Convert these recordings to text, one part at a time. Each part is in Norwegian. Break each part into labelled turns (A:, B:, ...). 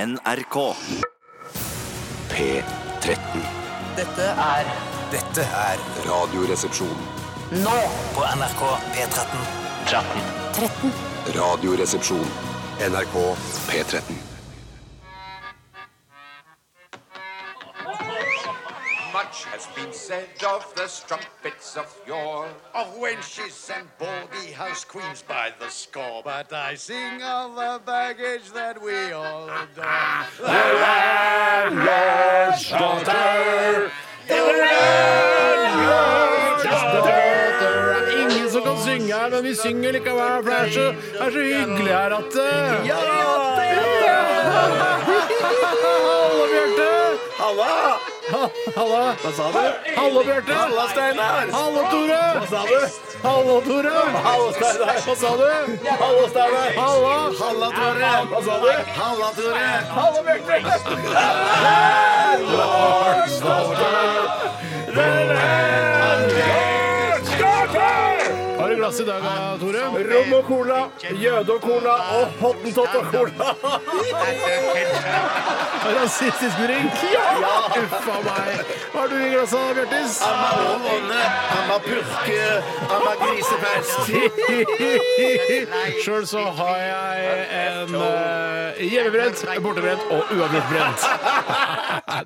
A: NRK.
B: P13.
C: Dette er
D: Dette er
B: Radioresepsjon.
C: nå på NRK P13.
B: Radioresepsjon. NRK P13.
E: Much has been said of the strumpets of yore, of wenches and baldy house queens by the score. But I sing of the baggage that we all adore.
F: Ingen som kan synge her, men vi synger likevel, for det er så, det er så hyggelig her at eh. det- Ja! Hallo, Bjarte! Ha- Halla! Hva sa du? Hallo, Bjarte! Halla, Steinar! Hallo, Tore! Hva sa du? Hallo, Tore! Hallo, Steinar! Hva sa du? Hallo, Steinar! Halla! Halla, Tore! Hva sa du? Halla, Tore! Hallo, Bjarte! Har du glass i dag, da, Tore? Rom og cola, jøde og cola og hottentott og cola. Rasistisk drink? Ja! Uff a meg. Hva har du i glasset, Bjørtis? Amarone, amapurke, amagrisefest. Sjøl så har jeg en eh, hjemmebrent, bortebrent og uavgjort brent.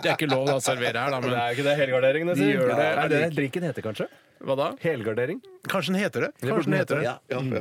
F: Det er ikke lov å servere her, da, men
D: ikke det helgarderingen
F: De gjør det.
D: Er det drinken heter, kanskje?
F: hva da?
D: Helgardering?
F: Kanskje den heter det? Kanskje den heter det.
D: Ja, ja, ja.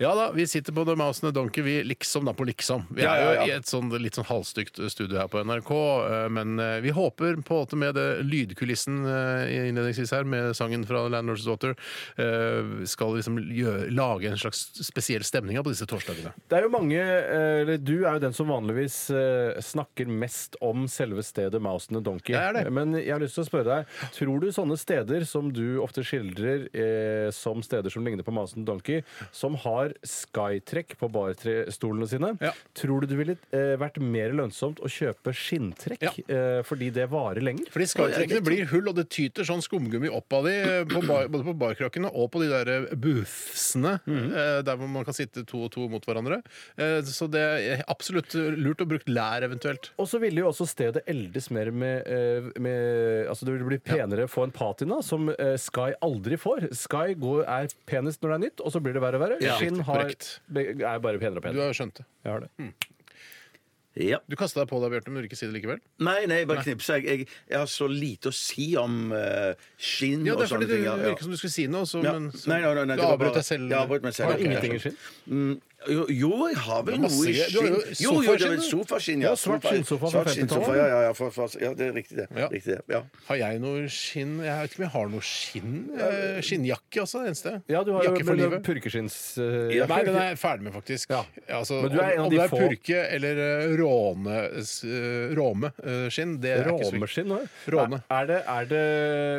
F: Ja da, vi sitter på The Mouse and the Donkey, vi liksom da på liksom. Vi er
D: Ja, ja, ja.
F: jo i et sånn, litt sånn halvstygt studio her på NRK, eh, men eh, vi håper på en måte med det lydkulissen eh, innledningsvis her, med sangen fra Landlord's Daughter, eh, skal liksom gjø- lage en slags spesiell stemning her på disse torsdagene.
D: Det er jo mange, eh, eller Du er jo den som vanligvis eh, snakker mest om selve stedet Mousen and Donkey.
F: Jeg er det.
D: Men jeg har lyst til å spørre deg, tror du sånne steder som du ofte skildrer eh, som steder som ligner på Mousen and Donkey, som har skytrekk på barstolene sine,
F: Ja.
D: tror du det ville eh, vært mer lønnsomt å kjøpe skinntrekk
F: Ja.
D: eh, fordi det varer lenger?
F: Fordi skartrekkene blir hull, og det tyter sånn skumgummi opp av de, eh, på bar, både på barkrakkene og på de der eh, boothsene, eh, der hvor man kan sitte to og to mot hverandre. Eh, Så det er absolutt lurt å bruke lær eventuelt.
D: Og så ville jo også stedet eldes mer med, eh, med Altså det ville bli penere få en patina, som eh, Sky aldri får. Sky går, er penest når det er nytt, og så blir det verre og verre.
F: Ja,
D: Skinn har,
F: korrekt.
D: be- er bare penere og
F: Du
D: penere.
F: har Mm. jo skjønt det.
D: Jeg har det.
G: Ja.
F: Du kasta deg på deg, Bjarte, men du vil ikke si det likevel?
G: Nei, nei, bare knipsa. Jeg, jeg, jeg har så lite å si om eh, skinn
F: Ja,
G: og
F: det er fordi
G: sånne
F: det
G: ting. ja, ja.
F: virker som du skulle si noe, så,
G: Ja.
F: men så,
G: Nei, nei, nei, nei,
F: du
G: det var
F: avbrøt
G: bare-
F: deg selv.
G: Jeg avbrøt meg selv.
F: Har du
G: Ok.
D: Ingenting i skinn.
G: Jo, jo, jeg har vel
F: Det er
G: noe
F: masse
G: i
F: greier. Du har
G: skinn.
F: jo
G: Jo, jo, det er vel
F: sofaskinn, du.
G: sofaskinn.
D: Ja, svart
G: sofa-
D: skinnsofa fra
G: svart skinnsofa,
D: 50-tallet.
G: Ja, ja, ja, for, for, ja, det er riktig, det.
F: Ja.
G: Riktig det. Ja.
F: Har jeg noe skinn? Jeg vet ikke om jeg har noe skinn. Eh, Skinnjakke, altså. Det eneste.
D: Ja, du har
F: Jakke for
D: jo eh,
F: livet.
D: purkeskinns...
G: Ja.
F: Nei, den er jeg ferdig med, faktisk.
D: Ja.
F: Altså,
D: Men du er en av
F: om, om
D: de
F: det er
D: få-
F: purke eller eh, råne, s- eh, råme eh, skinn, det er ikke så viktig.
D: Råmeskinn òg?
F: Råne.
D: Er det, er det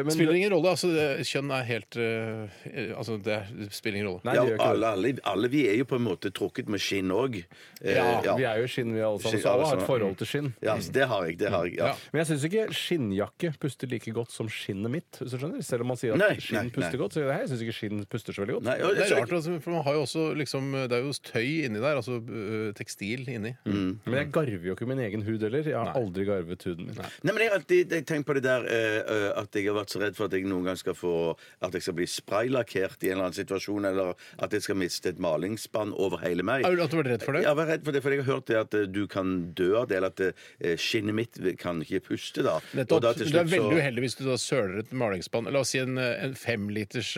D: men-
F: Spiller ingen rolle. Altså, det- kjønn er helt eh, Altså, det er- det spiller ingen rolle.
D: Nei,
G: Ja,
D: det gjør ikke det.
G: alle, alle, alle vi er jo på en måte trukket med skinn òg.
F: Ja,
D: Vi er jo skinn, vi alle sammen.
G: Skinn, alle
D: Så alle har
G: sammen.
D: et forhold til skinn.
G: Ja, så det har jeg. det har jeg, ja.
F: Ja.
D: Men jeg syns ikke skinnjakke puster like godt som skinnet mitt. hvis du skjønner Selv om man sier at
G: Nei,
D: skinn
G: nei,
D: puster
G: nei.
D: godt, så sier jeg syns ikke skinn puster så veldig godt.
G: Nei, og-
F: Det er
G: så-
F: rart, altså, for man har jo også liksom Det er jo tøy inni der, altså eh, tekstil inni.
D: Men jeg garver jo ikke min egen hud heller. Jeg har aldri garvet huden min.
G: Nei, men Jeg har alltid jeg tenkt på det der eh, eh, at jeg har vært så redd for at jeg noen gang skal få At jeg skal bli spraylakkert i en eller annen situasjon, eller at jeg skal miste et malingsspann over hele meg.
F: Har du- At du ble redd for det?
G: Jeg var redd for det, for jeg har hørt det at eh, du kan dø av det, eller at eh, skinnet mitt kan ikke puste da. Og
F: Nettopp.
G: da til
F: Du er
G: slutt så-
F: veldig uheldig hvis du da søler et malingsspann. La oss si en, eh, en femliters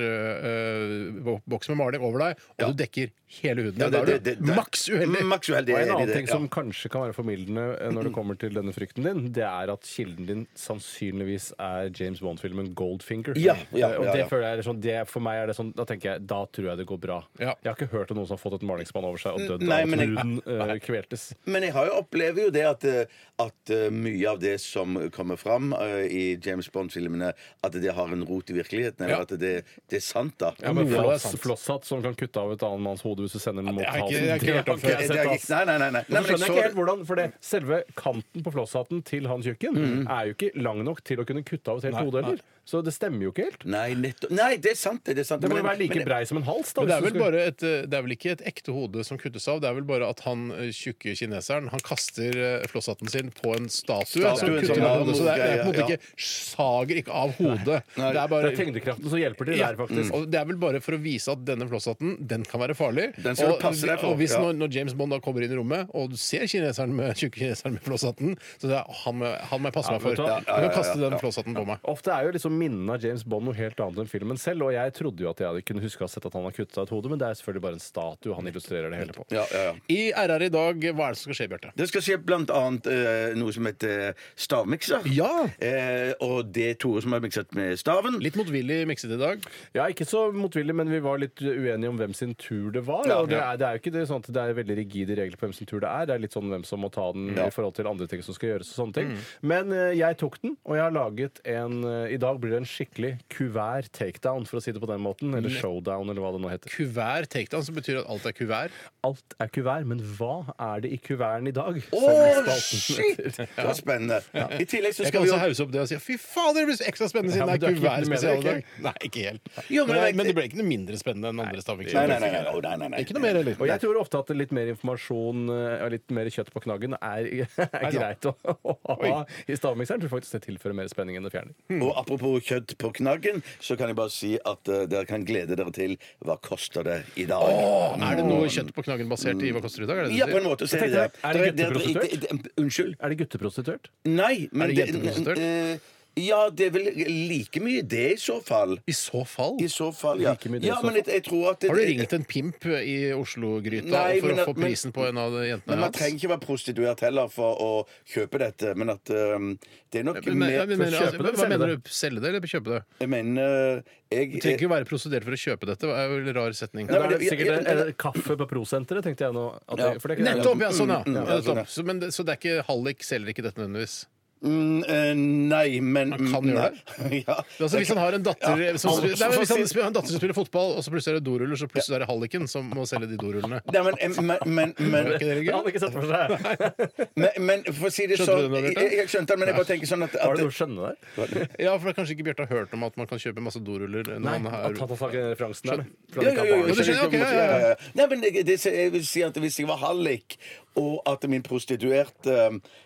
F: øh, bo- boks med maling over deg, og du dekker hele huden.
G: Ja,
F: da
G: det-
F: er du
G: det- det-
F: maks uheldig!
G: Maks uheldig.
D: Og
G: jeg er
D: en
G: enig i
D: annen
G: det,
D: ting
G: ja.
D: som kanskje kan være formildende eh, når det kommer til denne frykten din, det er at kilden din sannsynligvis er James Bond-filmen 'Goldfinger'.
G: Ja, ja,
D: Eh, og
G: ja,
D: det
G: ja.
D: føler jeg er sånn, det, For meg er det sånn, da tenker jeg, da tror jeg det går bra.
F: Ja.
D: Jeg har ikke hørt om noen som har fått et malingsspann over seg og dødd
G: Nei,
D: av
G: men
D: at
G: jeg-
D: huden eh, kveltes.
G: Men jeg har jo opplever jo det at, eh, at eh, mye av det som kommer fram eh, i James Bond-filmene, at det har en rot i virkeligheten, eller
F: Ja.
G: at det, det er sant, da.
D: Ja,
F: men
D: men
F: det er
D: floss,
F: sant.
D: flosshatt som kan kutte av et annen manns hode hvis du sender den mot
F: det har
D: halsen.
F: ikke- det har ikke
D: Det
F: hørt om
D: har
F: før.
D: ikke jeg
G: Det er
D: sett,
G: ikke-
D: ass.
G: nei, nei, nei. nei.
D: Og
G: Nei,
D: så
G: men jeg så
D: skjønner jeg ikke
G: det-
D: helt hvordan, for det, Selve kanten på flosshatten til han tjukken er jo ikke lang nok til å kunne kutte av et helt
F: Mm. Nei,
D: hode heller. Så det stemmer jo ikke helt.
G: Nei, nettopp. Nei, det er sant. Det, det er sant.
D: Det må
G: Men-
D: jo være like
G: men-
D: brei som en hals. da
F: Men det er
D: hvis
F: vel
D: du skal-
F: bare et øh, Det er vel ikke et ekte hodet som kuttes av. Det er vel bare at han eh, tjukke kineseren Han kaster eh, flosshatten sin på en statue.
G: Statuen
F: som kutter
G: som
F: av
G: er
F: hodet, så det er, det er på en
G: ja.
F: måte ikke sager ikke av hodet. Det er
D: Det
F: bare
D: er tyngdekraften som hjelper til
F: ja, Mm.
D: der,
G: Mm.
D: faktisk.
F: og det er vel bare for å vise at denne flosshatten den kan være farlig.
G: Den skal du
F: og,
G: passe deg for,
F: og hvis
G: ja.
F: når, når James Bond da kommer inn i rommet, og du ser kineseren med tjukke kineseren med flosshatten, så det er, han, må- han må jeg passe meg
D: vet
F: for.
D: du hva?
F: Jeg kan kaste den flosshatten på meg.
D: Ofte er jo liksom minnene av James Bond noe helt annet enn filmen selv, og jeg trodde jo at jeg hadde kunne huske å ha sett at han har kuttet av et hode, men det er selvfølgelig bare en statue han illustrerer det hele på.
G: Ja, ja, ja.
F: I RR i dag, hva er det som skal skje, Bjarte?
G: Det skal skje blant annet eh, noe som heter stavmikser.
F: Ja.
G: Eh, og det er Tore som har mikset med staven.
F: Litt motvillig mikset i dag.
D: Ja, ikke så motvillig, men vi var litt uenige om hvem sin tur det var. og det,
G: ja.
D: er, det er jo ikke det, sånn at det er veldig rigide regler på hvem sin tur det er. Det er litt sånn hvem som må ta den i forhold til andre ting som skal gjøres og sånne ting.
G: Mm.
D: Men eh, jeg tok den, og jeg har laget en eh, I dag blir det en skikkelig kuvær takedown, for å si det på den måten. Eller showdown, eller hva det nå heter.
F: Kuvær takedown, som betyr at alt er kuvær.
D: Alt er kuvær, men hva er det i kuverten i dag?
G: Å,
D: Som spalten
G: shit! Det var spennende. I tillegg så
F: Jeg
G: skal
F: kan
G: vi
F: også
G: jo
F: hause opp det og si fy faen, det blir så ekstra spennende
D: Ja,
F: siden
D: men
F: det er
D: du er ikke
F: kuværspesial i
D: med
F: dag.
D: det,
F: Nei, ikke helt.
G: Jo, men
F: men,
G: det-
F: det, men det ble ikke noe mindre spennende enn andre stavmikser.
G: Nei, nei, nei. nei, nei, nei, nei.
F: Ikke noe mer heller.
D: Og jeg tror ofte at litt mer informasjon eh, og litt mer kjøtt på knaggen er, er
F: da.
D: greit å, å ha i stavmikseren. Tror faktisk det tilfører mer spenning enn det fjerner.
G: Og apropos kjøtt på knaggen, så kan jeg bare si at eh, dere kan glede dere til hva koster det i dag.
F: Er det noe kjøtt på knaggen basert i hva koster det i dag? Er det det
G: Mm. Ja, på en måte. Så er det det. Dere-
F: du sier?
D: Jeg tenkte, er det
G: dere-
D: gutteprostituert?
G: det- det- Unnskyld?
D: Er det gutteprostituert?
G: Nei, men
F: Er det jenteprostituert?
G: eh, Ja, det er vel like mye det i så fall.
F: I så fall.
G: I så fall, ja.
D: Like mye det i
G: ja
D: så
G: men jeg, jeg tror at det,
F: Har du ringt en pimp i Oslo-gryta
G: Nei,
F: for
G: men
F: å
G: at-
F: få
G: men-
F: prisen på en av de jentene
G: Men man trenger ikke være prostituert heller for å kjøpe dette. Men at um, det er nok
F: Men-
G: mer
F: men- men-
D: kjøpe det eller
F: Hva
D: selge
F: mener du? Selge det eller kjøpe det?
G: Jeg mener eh, jeg,
F: Du trenger ikke å være prosedert for å kjøpe dette. Det er jo en rar setning.
G: Nei,
D: Da
G: men
D: er det
G: det-
D: sikkert
G: ja,
D: en,
G: ja, ja.
D: en kaffe på prosenteret, tenkte jeg nå. At
G: Ja.
D: det, for det, er ikke-
F: Nettopp! Ja, sånn, ja.
G: Mm, mm,
F: ja
G: ja, sånn, ja.
F: nettopp. Så, men, det- så det er ikke hallik selger ikke dette nødvendigvis?
G: Mm, eh, Nei, men
F: Man kan gjøre det.
G: Nei, ja.
F: Men Altså, hvis han har en datter
G: Ja,
F: som,
G: alle-
F: nei, men hvis han
G: si-
F: spiller, har en datter som spiller fotball, og så plutselig er det doruller, så plutselig er det halliken som må selge de dorullene.
G: Nei, men, eh, men, men, men,
F: Er ikke det
D: Jeg hadde
F: gøy?
D: ikke sett for seg.
G: men, men for å si det
F: Skjønte
G: sånn
F: du det nå, Bjarte?
G: jeg, jeg skjønte det, men jeg bare tenker sånn at,
D: Var det
G: at
D: noe å skjønne der?
F: Ja, for da kanskje ikke Bjarte har hørt om at man kan kjøpe masse doruller når
D: Nei,
F: man
D: at
F: har
D: han tar tak i den referansen der. Fra
G: Jo,
D: den
G: jo, jo,
D: kampanjen.
G: jo,
F: du
G: skjønner,
F: skjønner, ok, ja,
G: ja,
F: ja,
G: ja,
F: ja.
G: ja. Nei, men det, det, jeg vil si at Hvis jeg var hallik, og at min prostituerte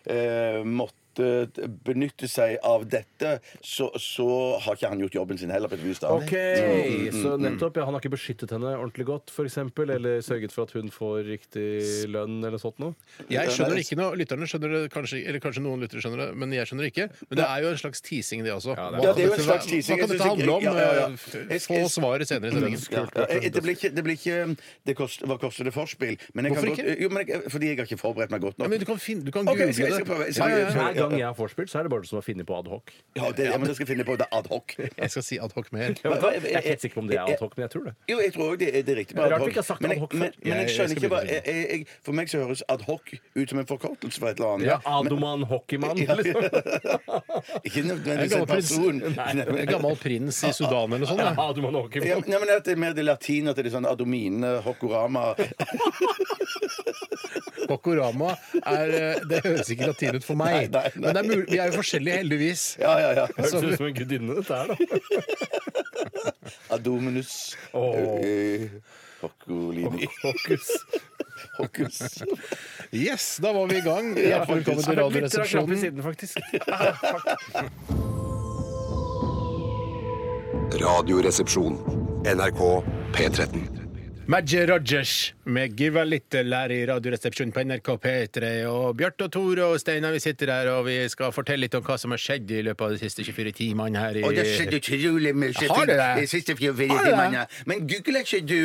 G: eh, måtte benytte seg av dette, så, så har ikke han gjort jobben sin heller. på et vis da. Mm.
D: Ok, så nettopp, ja, Han har ikke beskyttet henne ordentlig godt, f.eks., eller sørget for at hun får riktig lønn eller sånt noe?
F: Jeg skjønner ikke noe. Lytterne skjønner det kanskje, eller kanskje noen lyttere skjønner det, men jeg skjønner det ikke. Men det er jo en slags teasing, det også.
D: det er-
F: Hva
G: Ja, det er jo
F: kan
G: en
F: dette
G: slags
F: være-
G: teasing.
F: Hva kan
G: Jeg
F: dette
G: synes ikke-
F: handle om?
G: ja, ja, ja.
F: Eh, Få svaret senere i
G: Ja,
F: sendingen.
G: ja, eh, det blir ikke, det blir ikke det kost, Hva koster det forspill? Men jeg kan
F: Hvorfor
G: godt-
F: ikke?
G: Jo, men jeg, fordi jeg har ikke forberedt meg godt nok.
F: Ja, men du kan, finne, du
G: Ok,
F: kan google
G: jeg skal- jeg skal prøve- jeg
F: det.
G: skal-
F: Ja, ja, ja.
D: Hver gang jeg har vorspiel, så er det bare du som har funnet på adhoc.
G: ja, det, ja, men da skal jeg finne på det ad hoc.
F: Jeg skal si adhoc mer.
D: Jeg vet hva, jeg er ikke helt sikker på om det er adhoc, men jeg tror det.
G: Jo, jeg tror òg det, er- det er riktig. med
D: Rart
G: ad hoc.
D: vi ikke har sagt
G: men, jeg,
D: ad hoc før.
G: men, men
F: Jeg-
G: jeg
F: jeg
G: skjønner
F: skal
G: ikke hva jeg,
F: begynne
G: jeg, jeg, For meg så høres ad hoc ut som en forkortelse for et eller annet.
D: Ja, Adoman Hockeyman. Liksom.
G: Ikke
F: En
G: nødvendigvis en
F: gammel prins,
G: person. Nei,
F: en
G: men-
F: gammel prins i Sudan eller noe sånt. ja.
D: Adoman
G: Ja,
D: Hockeyman.
G: nei, men at Det er mer det latine, at det er sånn adomine, hokorama
F: Bokorama er eh, Det høres ikke latin ut for meg.
G: Nei, nei, nei.
F: Men det er mulig, vi er jo forskjellige, heldigvis.
G: Ja, ja, ja.
D: Høres ut som en gudinne, dette her, da.
G: Adominus
D: Åh.
G: eh, Hokolini
D: Hokus.
G: Hokus.
F: Yes, da var vi i gang. Hjertelig velkommen til
D: Litt knapp i
F: Radioresepsjonen.
D: siden, faktisk.
B: Radioresepsjon. NRK P13.
F: Maggie Rogers med Give a Little her i Radioresepsjonen på NRK P3. Og Bjarte og Tore og Steinar, vi sitter her og vi skal fortelle litt om hva som har skjedd i løpet av de siste 24 timene her i
G: Og det skjedde utrolig mye
F: Har det det?
G: de siste fire fire
F: Har det det?
G: timene. Men googler ikke du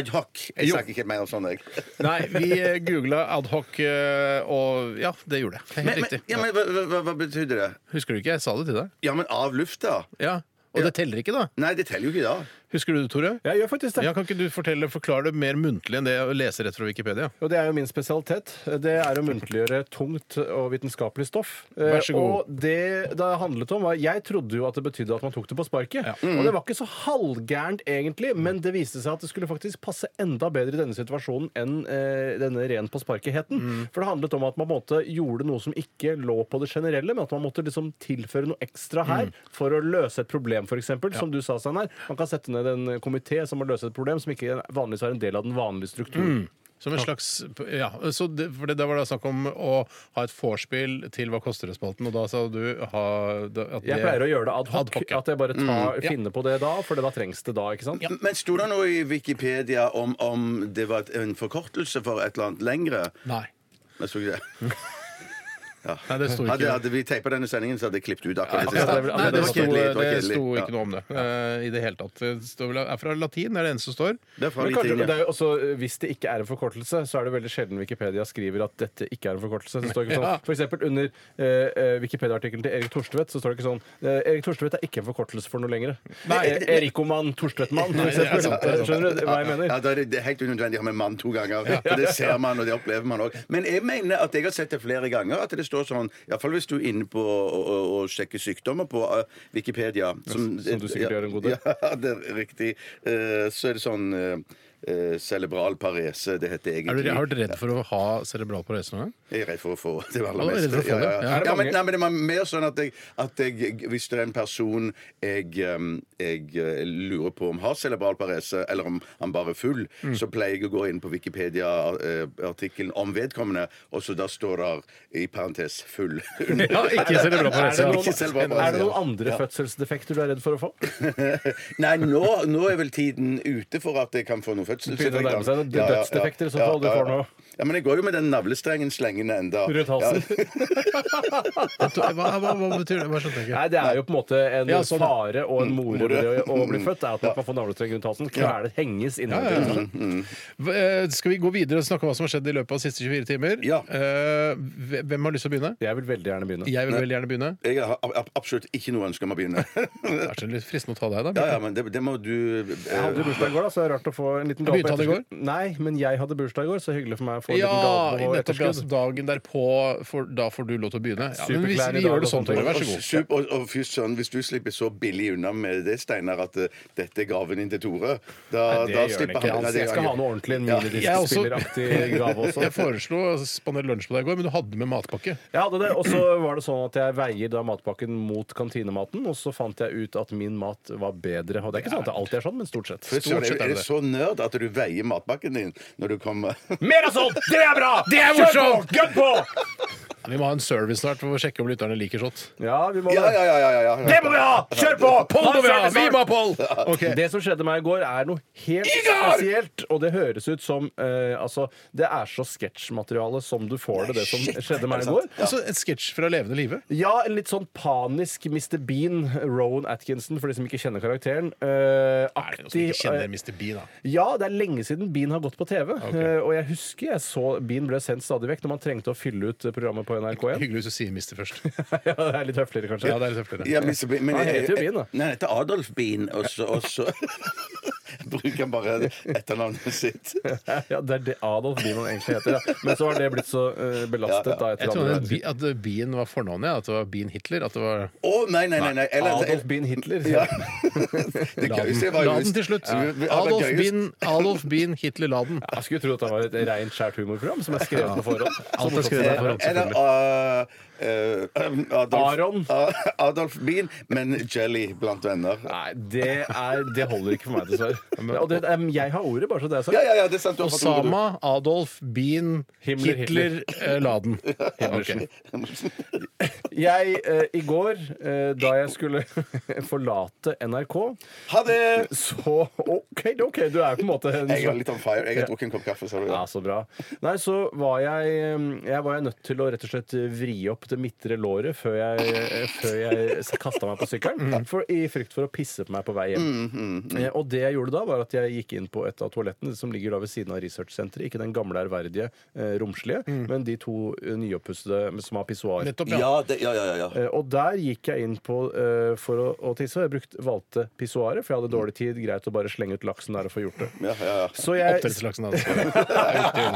G: ad hoc? Jeg
F: Jo.
G: snakker ikke mer om sånn, jeg.
F: Nei, vi eh, googla adhoc, eh, og ja, det gjorde jeg. Det er
G: Men, men,
F: Helt riktig.
G: ja, men hva, hva, hva betydde det?
F: Husker du ikke? Jeg sa det til deg.
G: Ja, men av lufta?
F: Ja. Og det teller ikke, da.
G: Nei, det teller jo ikke da.
F: Husker du det, Tore?
D: Jeg gjør faktisk det.
F: Ja, kan ikke du fortelle, forklare det mer muntlig enn det å lese rett fra Wikipedia?
D: Og det er jo min spesialitet. Det er å muntliggjøre tungt og vitenskapelig stoff. Eh,
F: Vær så god.
D: Og det det handlet om, var Jeg trodde jo at det betydde at man tok det på sparket. Og det var ikke så halvgærent, egentlig, men det viste seg at det skulle faktisk passe enda bedre i denne situasjonen enn eh, denne ren på sparket-heten.
F: Mm.
D: For det handlet om at man på en måte gjorde noe som ikke lå på det generelle, men at man måtte liksom tilføre noe ekstra
F: Mm.
D: her for å løse et problem, f.eks., eksempel som du sa, Steinar. Man kan sette ned en komité som må løse et problem som ikke vanligvis er en del av den vanlige strukturen.
F: Som en slags, ja, så det, for det, Da var det snakk om å ha et vorspiel til Hva koster det-spalten, og da sa du ha, da, at
D: Jeg pleier å gjøre det ad hoc.
F: Ad hoc, ja.
D: At jeg bare tar, finner på det da, for da trengs det da. ikke sant?
G: Men sto det noe i Wikipedia om, om det var et- en forkortelse for et eller annet lengre?
F: Nei.
G: Jeg så ikke det.
F: Nei, det sto ikke
G: Hadde, hadde vi teipa denne sendingen, så hadde jeg klippet ut akkurat det
D: Ja,
G: siste.
D: det ble-
F: Nei, det,
D: var
F: sto,
G: kjedelig,
F: det
G: kjedelig.
F: sto
G: Ja.
F: ikke noe om det eh, i det hele tatt. Det står vel- er fra latin, er det eneste som står.
G: Det er fra
D: Men kanskje,
G: Lithuania.
D: det er jo også, eh, Hvis det ikke er en forkortelse, så er det veldig sjelden Wikipedia skriver at dette ikke er en forkortelse. Det står ikke
F: Ja.
D: sånn. For eksempel under eh, eh, Wikipedia-artikkelen til Erik Torstvedt så står det ikke sånn eh, Erik Torstvedt er ikke en forkortelse for noe lenger. Nei, Erikoman Torstvedtmann, for
F: Nei, det er
D: eksempel.
F: sant, det er sant.
D: Skjønner du hva jeg mener?
G: Ja, da er det, det er helt unødvendig å ha med mann to ganger. For det ser man, og det opplever man òg. Men jeg mener at jeg har sett det flere ganger, at det står sånn Iallfall hvis du er inne på å, å, å sjekke sykdommer på eh, Wikipedia.
D: som du sikkert
G: ja,
D: gjør en god del.
G: Ja, det er riktig. Eh, så er det sånn eh, eh, Cerebral parese, det heter
F: Er
G: egentlig.
F: du, har du redd for å ha cerebral parese noen gang?
G: Jeg er redd for å få det aller
F: Alle er
G: meste.
F: redd for å få
G: Ja,
F: det.
G: ja, ja.
F: Er det
G: Ja, men,
F: mange-
G: nei, men det var mer sånn at jeg, at jeg Hvis det er en person jeg, ehm, jeg eh, lurer på om har cerebral parese, eller om han bare er full,
D: Mm.
G: så pleier jeg å gå inn på Wikipedia-artikkelen om vedkommende, og så da står det i parentes 'full'.
F: Ja, ikke cerebral
D: Er det
F: parese.
G: Ikke selv bare
D: noen,
G: bare
D: er det
G: si
D: noen
G: ja.
D: andre fødselsdefekter du er redd for å få?
G: Nei, nå, nå er vel tiden ute for at jeg kan få noen fødselseffekter.
D: Begynner å nærme seg noen
G: Ja, ja, ja.
D: dødsdefekter i så fall, du får nå.
G: Ja, men jeg går jo med den navlestrengen slengende enda.
D: Rundt halsen.
F: Hva, hva, hva betyr det? Hva skjønte jeg ikke?
D: Nei, det er jo på en måte en
F: Ja, sånn, ja.
D: fare og en more
G: More.
D: ved det å å bli født. Det er at man kan få navlestreng rundt halsen. Kveles, henges innvendig.
F: V- eh, Skal vi gå videre og snakke om hva som har skjedd i løpet av de siste 24 timer?
G: Ja.
F: Eh, hve- Hvem har lyst til å begynne?
D: Jeg vil veldig gjerne begynne.
F: Jeg vil veldig gjerne begynne.
G: Jeg har ab- ab- absolutt ikke noe ønske om å begynne.
F: Det er så litt fristende å ta deg, da.
G: Ja, ja, men det, det må du eh,
D: Jeg hadde jo bursdag i går, da, så det er rart å få en liten
F: Ja,
D: gave.
F: begynte han i går?
D: etterskudd. Nei, men jeg hadde bursdag i går, så hyggelig for meg å få en
F: Ja,
D: liten
F: i
D: gave på
F: nettopp ja,
D: etterskudd.
F: så dagen derpå, for, da får du lov til å begynne. Ja, men hvis
D: Superklær i
F: vi
D: dag
F: gjør det
D: og
F: sånn,
D: sånt.
F: Tore, vær så
G: Og,
F: god.
G: sup- og, og fy søren, hvis du slipper så billig unna med det, Steinar, at eh, dette er gaven din til Tore, da,
D: Det
G: da
D: gjør han
G: slipper
D: ikke.
G: han
D: Han
G: Nei,
D: sier
G: det
D: jeg
G: gjør
D: skal ha
G: han
D: noe ordentlig en
F: Jeg også-
D: minidiskspilleraktig gave også.
F: Jeg foreslo å spandere lunsj på deg i går, men du hadde med matpakke.
D: Jeg hadde det, Og så var det sånn at jeg veier da matpakken mot kantinematen, og så fant jeg ut at min mat var bedre. Og det er ikke sånn at det alltid er sånn, men stort sett.
G: Fy søren,
F: Stort sett er
G: er
F: det
G: det
F: det.
G: så nerd at du veier matpakken din når du kommer
D: Mer av sånt! Det er bra!
F: Det er morsomt!
D: Gønn på!
F: Vi må ha en service snart for å sjekke om lytterne liker sånt.
D: Ja, vi må
G: Ja, ja, ja. ja, ja, ja.
D: Det må vi ha! Kjør på!
F: Poll må vi ha! Vi må ha poll!
D: Det som skjedde meg i går, er noe helt spesielt. Og det høres ut som eh, Altså, det er så sketsjmateriale som du får det, det som skjedde meg i går.
F: Altså, en sketsj fra levende live.
D: Ja, en litt sånn panisk Mr. Bean, Rowan Atkinson, for de som ikke kjenner karakteren. eh,
F: Er det noen som
D: aktig.
F: ikke kjenner Mr. B, da?
D: Ja, det er lenge siden Bean har gått på TV. Eh, og jeg husker jeg så Bean ble sendt stadig vekk når man trengte å fylle ut programmet på NRK1.
F: Hyggelig hvis du sier Mr. først.
D: ja, det er litt høfligere, kanskje.
F: Ja, det er litt høfligere.
G: Ja, men, så- men,
D: Han heter jo Bean, da.
G: Nei, han heter Adolf Bean, og så, og så bruker han bare etternavnet sitt.
D: Ja, det er det Adolf Bean han egentlig heter. Ja. Men så har det blitt så eh, belastet da
F: Jeg
D: etter
F: trodde
D: andre
F: at Bi- at Bien var fornavnet, ja, at det var Bien Hitler. At det var
G: Å, nei, nei, nei. nei. Eller,
D: Adolf Bean Hitler.
G: Ja. Det gøyeste var jo
F: Laden til slutt.
G: Ja, det
F: Adolf
G: gøyeste-
F: Bien, Adolf Bien Hitler Laden.
D: Jeg skulle tro at det var et reint, skjært humorprogram som er skrevet på forhånd. Så
F: Alt er
D: morsomt.
F: skrevet der forhånd,
G: Eller
F: selvfølgelig.
G: uh, uh, Adolf,
D: Aron.
G: A- Adolf Bean, men Jelly blant venner.
D: Nei, det, er, det holder ikke for meg, dessverre. Og det, em, jeg har ordet, bare så det er
G: Ja,
D: sagt.
G: ja, ja, det er sant. Du har fått ordet, du.
F: Osama, Adolf, Bien,
D: Himmler,
F: Hitler, eh, Laden. Ok.
D: Jeg, eh, I går, eh, da jeg skulle forlate NRK,
G: Ha det!
D: så OK, OK, du er på en måte en
G: Jeg er litt on fire. Jeg har drukket en kopp kaffe, sa du.
D: Ja,
G: Ja.
D: så bra. Nei, så var jeg, mm, jeg var jeg nødt til å rett og slett vri opp det midtre låret før jeg, eh, før jeg kasta meg på sykkelen.
G: Mm.
D: For, I frykt for å pisse på meg på vei hjem. Eh, Og det jeg gjorde da, var at jeg gikk inn på et av toalettene som ligger da ved siden av researchsenteret. Ikke den gamle, ærverdige, eh, romslige,
G: Mm.
D: men de to eh, nyoppussede med- som har pissoar.
F: Nettopp, ja.
G: Ja, det, ja, ja, ja, ja.
D: Eh, Og der gikk jeg inn på eh, for å, å tisse, og jeg brukte, valgte pissoaret, for jeg hadde dårlig tid. Greit å bare slenge ut laksen der og få gjort det.
G: Mm. ja, ja, ja.
D: Så jeg
F: Oppdrettslaksen hadde spist.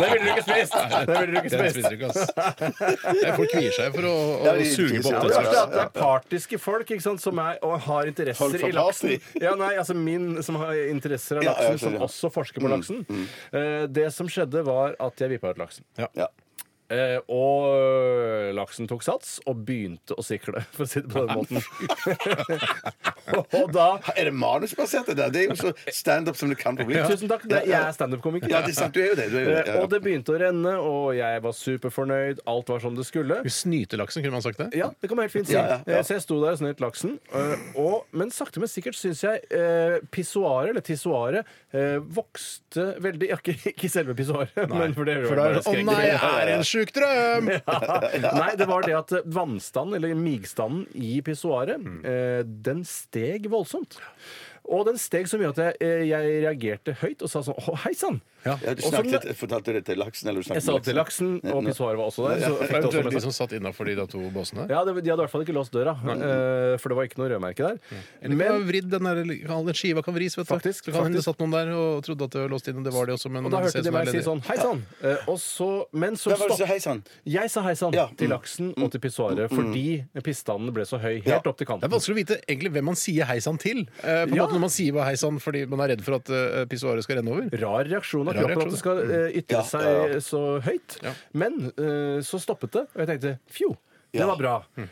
F: Det
D: ville du ikke spist! Det ville du ikke
F: Den
D: spist.
F: spiser ikke, ass. Det er Folk kvier seg for å, å
G: Ja, de-
F: suge på
G: ja,
D: Det verste er at
F: oppdrettslaks.
D: det er partiske folk ikke sant, som er, og har interesser
G: Folk fra
D: i laksen.
G: party.
D: Ja, nei, altså min som har interesser av
G: Ja,
D: laksen,
G: jeg skjønner. Mm,
D: som også forsker på laksen. Eh, Det som skjedde, var at jeg vippa ut laksen.
G: ja.
D: Eh, og øh, laksen tok sats og begynte å sikle, for å si det på den måten. og da
G: Er det manusbasert, det der? Det er jo så standup som det kan få blitt.
D: Tusen takk, det, jeg er standup-komiker.
G: Ja, det er sant. Du er jo det. Du er jo det.
D: Eh,
G: Ja.
D: Og det begynte å renne, og jeg var superfornøyd. Alt var som det skulle.
F: Snytelaksen, kunne man sagt det?
D: Ja, det kan man helt fint si.
G: Ja, ja, ja.
D: Eh, Så jeg sto der og snøt laksen. eh, Og, men sakte, men sikkert syns jeg eh, pissoaret, eller tissoaret, eh, vokste veldig ja, Ikke, ikke selve pissoaret, men for det
F: For da er det
D: bare
F: sånn Å
D: skrekk.
F: nei, jeg er en sjuk drøm!
D: Nei, det var det at eh, vannstanden, eller migstanden i pissoaret,
F: Mm.
D: eh, den steg voldsomt. Og den steg så mye at jeg, eh, jeg reagerte høyt og sa sånn Å, hei sann!
G: Ja, du
D: Og så-
G: snakket, fortalte det til laksen? Eller du snakket
D: Jeg sa
G: med
D: det til laksen, og pissoaret var også der. Så fikk det også
F: Eventuelt
D: med
F: de
D: seg.
F: som satt innafor de da to båsene.
D: Ja, det, De hadde i hvert fall ikke låst døra, eh, for det var ikke noe rødmerke der.
F: Mm. Eller kan ha vridd den, der, kan- den skiva kan vris, vet du. så
D: Faktisk,
F: kan hende det
D: faktisk.
F: satt noen der og trodde at det var låst inn, og det var det også, men
D: Og da
F: Mm, det ser ut
D: hørte de
F: som det er
D: meg si
F: ledig.
D: sånn Hei sann! Eh, Og så, men så
G: Da var det så
D: stopp.
G: hei sann.
D: Jeg sa hei sann
G: Ja,
D: til
G: mm,
D: laksen og til pissoaret fordi pistanden ble så høy helt opp til
F: Det er
D: kanten.
F: vanskelig å vite egentlig hvem man sier hei sann til. Eh, på en
D: Ja.
F: måte Når man sier bare hei sann fordi man er redd for at eh, pissoaret skal renne over.
D: Rar reaksjon av
F: Rar
D: kroppen at
F: reaksjon, Mm.
D: det skal eh, ytre
G: Ja,
D: seg
G: ja, ja.
D: så høyt. Men eh, så stoppet det, og jeg tenkte fjo, det
G: Ja.
D: var bra.
F: Mm.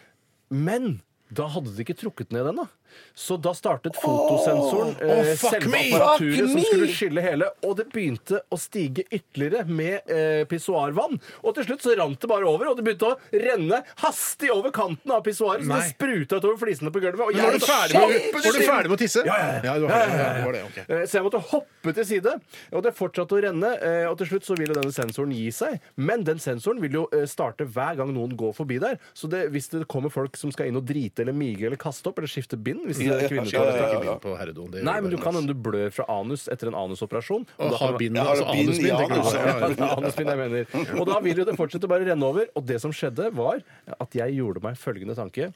D: Men da hadde de ikke trukket ned ennå. Så da startet fotosensoren, eh,
F: fuck
D: selve
F: me!
D: apparaturet
G: Fuck
D: som
G: me!
D: skulle skylle hele, og det begynte å stige ytterligere med eh, pissoarvann. Og til slutt så rant det bare over, og det begynte å renne hastig over kanten av pissoaret. Så
F: Nei.
D: det spruta utover flisene på gulvet. Og jeg
F: Var du
D: så-
F: ferdig med,
D: Kjempe-
F: var du ferdig med å tisse?
D: Ja, ja, ja.
F: du var
D: Ja,
F: ferdig,
D: ja, ja,
F: ja,
D: ja.
F: var det, ok.
D: Eh, Så jeg måtte hoppe til side, og det fortsatte å renne. eh, Og til slutt så ville denne sensoren gi seg. Men den sensoren vil jo eh, starte hver gang noen går forbi der. Så det, hvis det kommer folk som skal inn og drite eller mige eller kaste opp eller skifte bind hvis det
G: Ja, ja,
D: er kvinner,
F: Ja,
G: ja,
F: det er
G: ja.
F: ikke bind på herredoen. det gjør
D: Nei, men
F: bare
D: du kan
F: niks.
D: hende du blør fra anus etter en anusoperasjon. og
F: Å
D: da
F: ha
D: kan-
F: bind,
G: Ja,
F: altså
G: har du bind i
F: anusbind. tenker du på.
G: anus?
F: Ja, ja, ja.
D: Anusbind, jeg mener. Og da vil jo det fortsette å bare renne over. Og det som skjedde, var at jeg gjorde meg følgende tanke.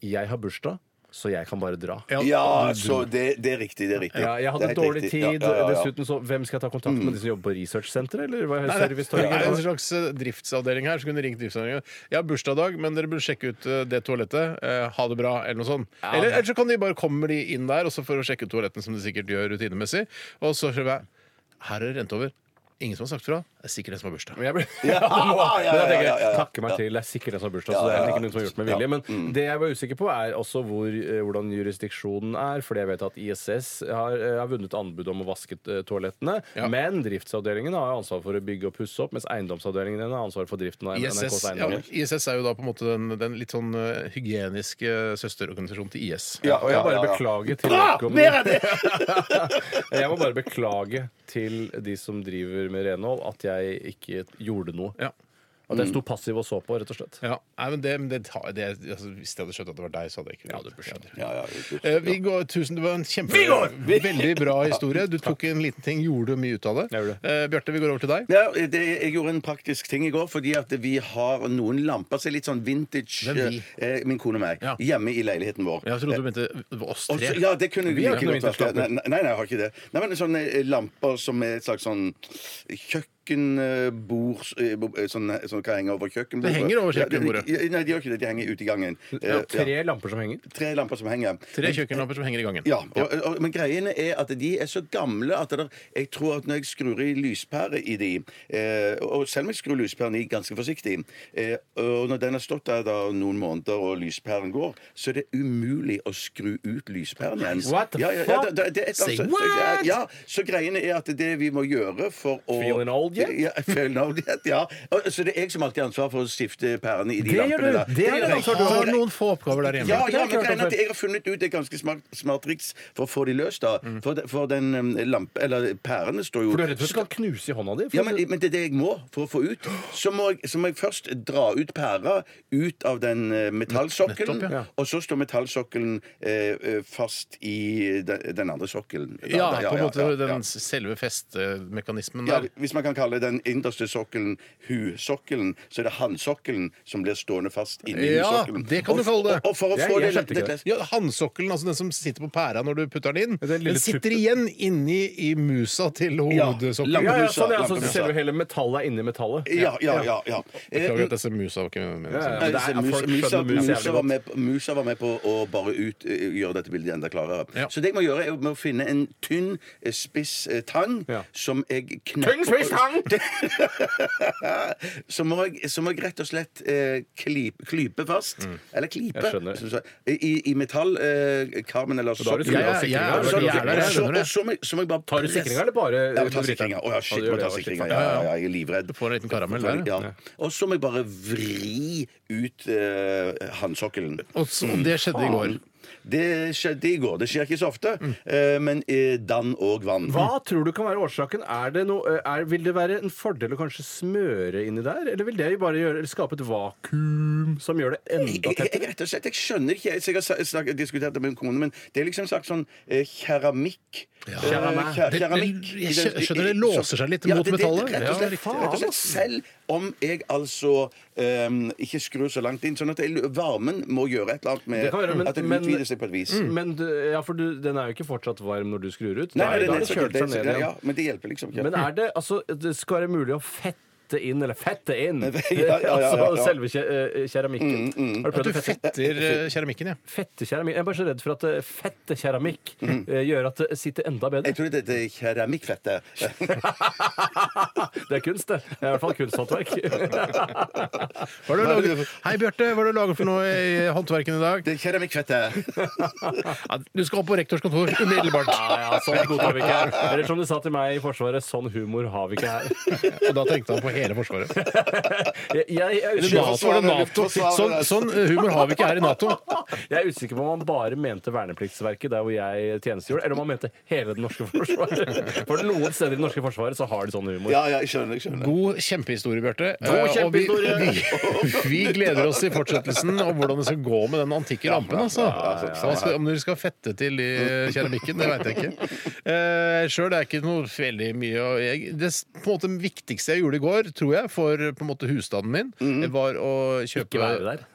D: Jeg har bursdag, så jeg kan bare dra.
G: Ja, så det, det er riktig. Det er riktig.
D: Ja,
G: Det
D: jeg
G: er
D: hadde
G: helt
D: dårlig
G: riktig.
D: tid.
G: Ja, ja, Mm. ja, ja.
D: Dessuten så, Hvem skal jeg ta kontakt med? De som jobber på researchsenteret? Eller hva er
F: Det er en
D: servicetorget?
F: slags eh, driftsavdeling her. Så kunne du ringt driftsavdelingen. Jeg har bursdag i dag, men dere burde sjekke ut eh, det toalettet. Eh, Ha det bra, eller noe sånt. Eller, eller så kan de bare kommer de inn der og så for å sjekke ut toalettene, som de sikkert gjør rutinemessig. Og så skriver jeg Her er det rent over. Ingen som har sagt fra. Det er sikkert en som har bursdag.
D: Men jeg ble...
G: Ja, ja, ja,
D: Men jeg
G: ja,
D: tenker,
G: ja, ja.
D: takke meg til. Det er sikkert den som har bursdag. Så
G: Ja,
D: det
G: ja,
D: er ikke
G: ja. Mm.
D: noen som har gjort med vilje. Men det jeg var usikker på, er også hvor, eh, hvordan jurisdiksjonen er. Fordi jeg vet at ISS har, eh, har vunnet anbud om å vaske eh, toalettene.
F: Ja.
D: Men driftsavdelingen har jo ansvar for å bygge og pusse opp, mens eiendomsavdelingen har ansvar for driften av
F: ISS,
D: NRKs
F: ja,
D: eiendommer.
F: ISS er jo da på en måte den, den litt sånn eh, hygieniske eh, søsterorganisasjonen til IS.
G: Ja,
D: Og
G: ja,
D: jeg bare
G: ja, ja.
D: beklager til vedkommende-
G: Mer av det!
D: Jeg må bare beklage til de som driver med renhold, at jeg ikke gjorde noe.
F: Ja.
D: At
G: Mm.
D: jeg sto passiv og så på, rett og slett.
F: Ja, nei, men det, men det, tar- det altså, Hvis jeg hadde skjønt at det var deg, så hadde jeg ikke
D: Ja, det burde skjønt.
G: Ja, ja, det er
F: Eh, Vi går, tusen, det var en kjempe, veldig bra historie. Du tok en liten ting, gjorde mye ut av det.
D: Jeg gjorde det.
F: Eh, Bjarte, vi går over til deg.
G: Ja, det, jeg gjorde en praktisk ting i går, fordi at vi har noen lamper som er litt sånn vintage.
F: Hvem vi?
G: eh, Min kone og meg.
F: Ja.
G: Hjemme i leiligheten vår.
F: Jeg trodde du mente oss
G: Og så-
F: tre.
G: ja, det kunne vi
D: har
G: ikke
D: ikke noe
G: godt vært.
D: vinterslapp.
G: Nei, nei, nei, jeg har ikke det. Nei, men Sånne eh, lamper som er et slags sånn kjøkkenbord eh, bo- eh, sånn, eh, som kan henge over kjøkkenbordet.
F: Det henger over
G: Ja, det-
F: kjøkkenbordet.
G: Ja, nei, de gjør ikke det. De henger ute i gangen. Eh,
D: Ja,
G: ja.
D: tre lamper som henger.
G: tre lamper som henger.
F: Tre kjøkkenlamper som henger i gangen.
G: Ja, og, og, Men greiene er at de er så gamle at det, jeg tror at når jeg skrur i lyspære i de eh, Og selv om jeg skrur lyspæren i ganske forsiktig eh, Og når den har stått der da noen måneder og lyspæren går, så er det umulig å skru ut lyspæren igjen.
D: What the
G: ja, ja, ja,
D: fuck?
G: det, det, det er et,
F: Say
G: altså,
F: what?
G: Ja, så greiene er at det vi må gjøre for å
D: Feeling old yet?
G: Ja, feeling old yet, ja. Og- Så det er jeg som alltid har ansvar for å skifte pærene i de
D: Det gjør
G: lampene
D: du.
G: der.
D: Det er det
G: jeg.
D: ansvar du
F: Du
G: Ja,
F: har noen få oppgaver
G: ja,
F: der hjemme.
D: Det
G: ja,
D: har
G: men
D: jeg ikke hørt om
G: greien er at
D: før.
G: jeg har funnet ut et ganske smart, smart triks for å få de løst. da
F: Mm.
G: For, de, for den um, lampe, eller pærene står jo
D: For du er redd for at du kan knuse i hånda di? for-
G: ja, men, men det er det jeg må for å få ut. Så må jeg, så må jeg først dra ut pæra ut av den eh, metallsokkelen.
F: Nettopp, ja.
G: Og så står metallsokkelen eh, eh, fast i den, den andre sokkelen. Da-
F: Ja,
G: da-
F: på en måte
G: ja, ja.
F: den selve festemekanismen
G: Ja,
F: der.
G: hvis man kan kalle den innerste sokkelen husokkelen, så er det handsokkelen som blir stående fast inni
F: Ja,
G: husokkelen.
F: det kan du
G: Og-
F: kalle det.
G: og- Og for å
D: Jeg-
G: få
D: jeg
G: det,
D: skjønte ikke det.
F: Ja, Håndsokkelen, altså den som sitter på pæra når du putter den inn,
D: Ja, den lille
F: den sitter
D: tuppen.
F: igjen inni i musa til hovedsokkelen.
D: ja, ja,
G: lampemusa,
D: sånn, ja, så
G: lampemusa.
D: selve hele metallet er inni metallet.
G: Ja, ja, ja. ja.
F: Beklager at jeg ser musa. var ikke meningen.
D: Ja, ja.
G: Eh,
D: Men det er-
G: så Musa-
D: folk
G: Musa-
D: skjønner mus jævlig
G: Musa var
D: godt.
G: med på- Musa var med på å bare ut, eh, gjøre dette bildet enda klarere.
F: Ja.
G: Så det jeg må gjøre, er å- må å finne en tynn, eh, spiss eh, tang
D: Ja.
G: som jeg knepper
D: Tynn, spiss tang!
C: gang!
G: så, må jeg, så må jeg rett og slett eh, klype, klype fast. Eller klipe.
D: Mm. Jeg skjønner.
G: som sagt, I, i metallkarmen eh, karmen eller
D: da har du skrudd av
G: Ja,
F: sikringen.
G: ja, ja,
F: Da har du
G: ja,
F: skrudd av
G: ja, så-
F: sikringen.
G: og så må jeg- så må jeg bare
D: Tar du
G: presse-
D: sikringa, eller bare
G: Ja, jeg tar
D: vrikker?
G: sikringa. Å ja, shit,
D: Ja, du
G: må
D: gjør
G: jeg ta
D: det, ja,
G: sikringa.
D: shit,
G: Ja, ja, ja, jeg er livredd.
F: Du får en liten karamell der,
G: Ja. Og så må jeg bare vri ut eh, håndsokkelen.
F: Og så, det skjedde i går.
G: Det skjedde i går. Det skjer ikke så ofte,
F: Mm.
G: eh, men eh, dann og vann.
D: Hva tror du kan være årsaken? Er det noe, eh, er, vil det være en fordel å kanskje smøre inni der? Eller vil det bare gjøre, skape et vakuum som gjør det
G: Jeg,
D: enda
G: jeg, jeg,
D: tettere?
G: rett og slett, jeg skjønner ikke Jeg, så jeg har sa- snakket, diskutert det med min kone, men det er liksom sagt sånn eh, keramikk. Eh,
D: Keramæ.
G: ke-
F: Det-
G: keramikk.
F: det- jeg skjø- skjønner det låser seg litt
G: Ja,
F: mot
G: det- det-
F: metallet.
G: Rett og
F: Ja,
G: slett.
F: riktig.
G: rett og slett selv om jeg altså eh, ikke skrur så langt inn, sånn at jeg, varmen må gjøre et eller annet med
D: Det kan være, men-
G: at den
D: men-
G: utvider seg på et vis.
F: Mm.
D: Mm. Men du, ja, for du, den er jo ikke fortsatt varm når du skrur ut.
G: Nei,
D: Da er-
G: det,
D: da
G: det,
D: har det kjølt
G: det,
D: seg ned
G: ja,
D: igjen.
G: ja, men det hjelper liksom ikke.
D: Men er det altså Det skal være mulig å fette inn, eller fette inn,
G: Ja, ja, ja, ja, ja.
D: altså selve ke- eh, keramikken. Har du
F: At
D: prøvd
F: du
D: å fette
F: fetter eh, keramikken, ja.
D: Fettekeramikk. Jeg er bare så redd for at eh, fettekeramikk eh, gjør at det sitter enda bedre.
G: Jeg tror det, det er keramikkfettet.
D: Det er kunst, det. Det er i hvert fall kunsthåndverk.
F: Hva har du laget? Hei, Bjarte. Hva har du laget for noe i håndverken i dag?
G: Det er keramikkfettet.
F: Ja, du skal opp på rektors kontor umiddelbart.
D: Ja, ja, sånn godtar vi ikke her. Eller som de sa til meg i Forsvaret, sånn humor har vi ikke her.
F: Og da tenkte han på hele Forsvaret.
D: Jeg, jeg, er
F: Eller
D: usikker,
F: Nato, var det NATO? Sånn, sånn humor har vi ikke her i Nato.
D: jeg er usikker på om han bare mente vernepliktsverket der hvor jeg tjenestegjorde, eller om han mente hele det norske forsvaret. For noen steder i det norske forsvaret så har de sånn humor.
G: Ja, ja, jeg skjønner. Jeg skjønner.
F: God kjempehistorie, Bjarte.
D: God
F: Eh, og vi-
D: kjempehistorie!
F: Vi, vi gleder oss til fortsettelsen om hvordan det skal gå med den antikke lampen. Altså. Hva skal, om dere skal fette til i keramikken, det veit jeg ikke. Eh, Sjøl er ikke noe veldig mye å- jeg, Det på en måte viktigste jeg gjorde i går, tror jeg, for på en måte husstanden min,
D: Mhm.
F: var å kjøpe
D: Ikke være der.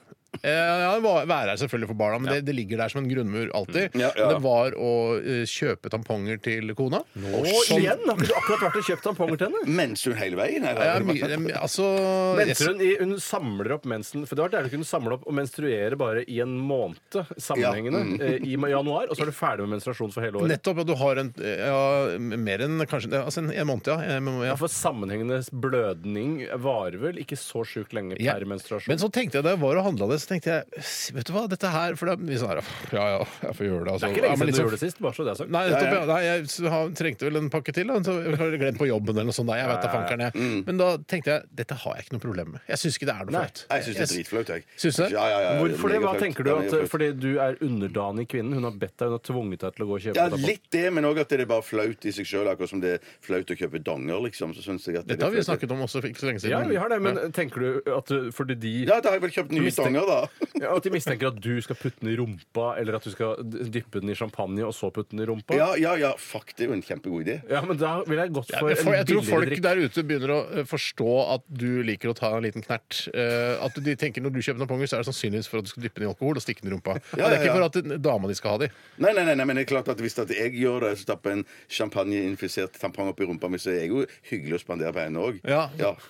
F: Eh, Ja, va- Være her selvfølgelig for barna, men det, det ligger der som en grunnmur alltid.
G: Ja, ja.
F: Men det var å eh, kjøpe tamponger til kona.
D: Og igjen har ikke du akkurat vært og kjøpt tamponger til henne?
G: Mens hun hele veien? eller?
F: Ja, my, eh, altså
D: Mensen, hun, i- hun samler opp mensen For det var deilig å kunne samle opp og menstruere bare i en måned sammenhengende
F: mm.
D: eh, i januar, og så er du ferdig med menstruasjon for hele året.
F: Nettopp at du har en ja, mer enn kanskje ja, altså en, en måned, ja. En, må- ja.
D: Ja, for sammenhengende blødning varer vel ikke så sjukt lenge
F: Ja.
D: per menstruasjon.
F: Men sånn- så tenkte jeg da jeg var og handla det, så tenkte jeg s- Vet du hva, dette her For det er mye sånn her Ja ja, jeg får gjøre det, altså.
D: det er ikke lenge
F: Ja, men
D: siden du
F: liksom-
D: gjorde det sist. bare så det er sagt.
F: Nei, nettopp, ja. Nei, jeg s- har- trengte vel en pakke til. Da. Så jeg har glemt på jobben eller noe sånt. Nei, jeg vet da fankeren jeg. Men da tenkte jeg dette har jeg ikke noe problem med. Jeg syns ikke det er noe
D: Mm. Nei.
F: flaut.
G: Jeg syns det er dritflaut, jeg.
F: Syns du det?
G: Ja, ja, ja,
D: Hvorfor det? Hva
G: megaflaut.
D: tenker du?
G: Ja,
D: At,
G: megaflaut.
D: fordi du er underdanig kvinnen? Hun har bedt deg, hun har tvunget deg til å gå og kjøpe
G: ja,
D: deg på-
G: litt det, men òg at det er bare flaut i seg sjøl. Akkurat som det er flaut å kjøpe donger, liksom. Så synes jeg at det
F: Dette har vi
G: er flaut.
F: snakket om også for ikke så lenge siden.
D: Ja, vi har det, men tenker du at du- fordi de
G: Ja, da har jeg vel kjøpt nye
D: Mistenk-
G: donger, da.
D: ja, At de mistenker at du skal putte den i rumpa, eller at du skal d- dyppe den i champagne og så putte den i rumpa?
G: Ja, ja, ja. Fuck, det er jo en kjempegod idé.
D: Ja, men da ville jeg gått
F: Ja,
D: for
F: jeg, for,
D: en
F: jeg tror
D: billigere
F: folk
D: drikk.
F: der ute begynner å eh, forstå at du liker å ta en liten knert. Eh, at de tenker Når du kjøper tamponger, så er det sannsynligvis for at du skal dyppe den i alkohol og stikke den i rumpa.
G: Ja,
F: Det
G: ja,
F: er ikke
G: ja.
F: for at den- dama di skal ha de.
G: Nei, nei, nei, nei, men det er klart at hvis at jeg gjør det, så stapper en champagneinfisert tampong oppi rumpa mi, så er jeg jo hyggelig å spandere på henne òg.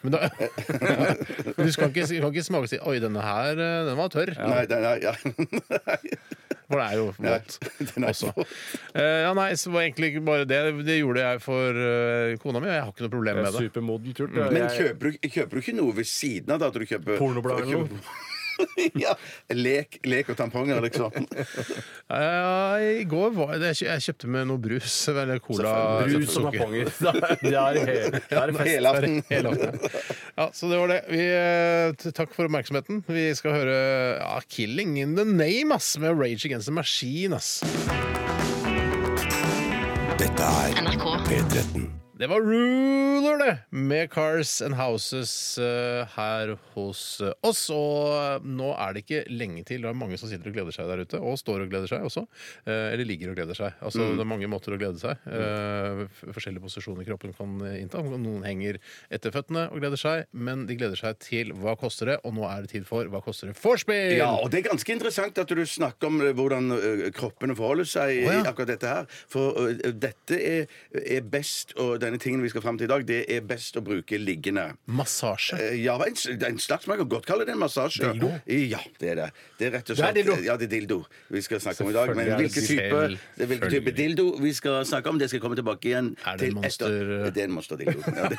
F: Men da, du skal ikke, du kan ikke smake og si 'oi, denne her eh, den var tørr'.
G: Nei, nei, nei, ja.
F: For det er jo våt
G: den er
F: også.
G: våt.
F: Eh, ja, nei, så var egentlig ikke bare det. Det gjorde jeg for eh, kona mi, og jeg har ikke noe problem med det.
D: Supermodent gjort. ja.
G: Mm. Men
D: Jeg-
G: kjøper du, kjøper du ikke noe ved siden av det? At du kjøper
D: Pornoblad eller noe?
G: kjøper- ja, lek, lek og tamponger, liksom.
F: Eh, I går var det Jeg kjøpte med noe brus eller cola.
G: Selvfølgelig.
D: Brus og
F: sukker.
D: tamponger. Det er, he- det er fest.
G: Hele aften.
F: Hele året. Ja, så det var det. Vi, eh, t- takk for oppmerksomheten. Vi skal høre ja, 'Killing in the Name' ass, med Rage Against the Machine. Ass.
B: Dette er
H: NRK.
B: P13.
F: Det var Ruler, det! Med Cars and Houses eh, her hos eh, oss. Og nå er det ikke lenge til. Det er mange som sitter og gleder seg der ute. Og står og gleder seg også. Eh, eller ligger og gleder seg.
G: Mm.
F: Altså, Det er mange måter å glede seg. Eh, f- forskjellige posisjoner kroppen kan innta. Noen henger etter føttene og gleder seg, men de gleder seg til Hva koster det? Og nå er det tid for Hva koster det? Vorspiel!
G: Ja, og det er ganske interessant at du snakker om eh, hvordan eh, kroppene forholder seg i
F: Å, ja.
G: akkurat dette her. For eh, dette er, er best og denne tingen vi skal fram til i dag, det er best å bruke liggende.
F: Massasje.
G: Eh, Ja, en, s- en slags man kan godt kalle det en massasje.
F: Dildo?
G: Ja, det er det. Det er rett og
D: Det
G: slett
D: er dildo.
G: Ja, det er dildo vi skal snakke om i dag. Men
F: Selvfølgelig er det
G: hvilken type,
F: dildo.
G: det- hvilken type
F: Selvfølgelig.
G: dildo vi skal snakke om, det skal jeg komme tilbake igjen
F: Er det
G: til
F: en monster-
G: etter. Det er en monsterdildo. Ja, det-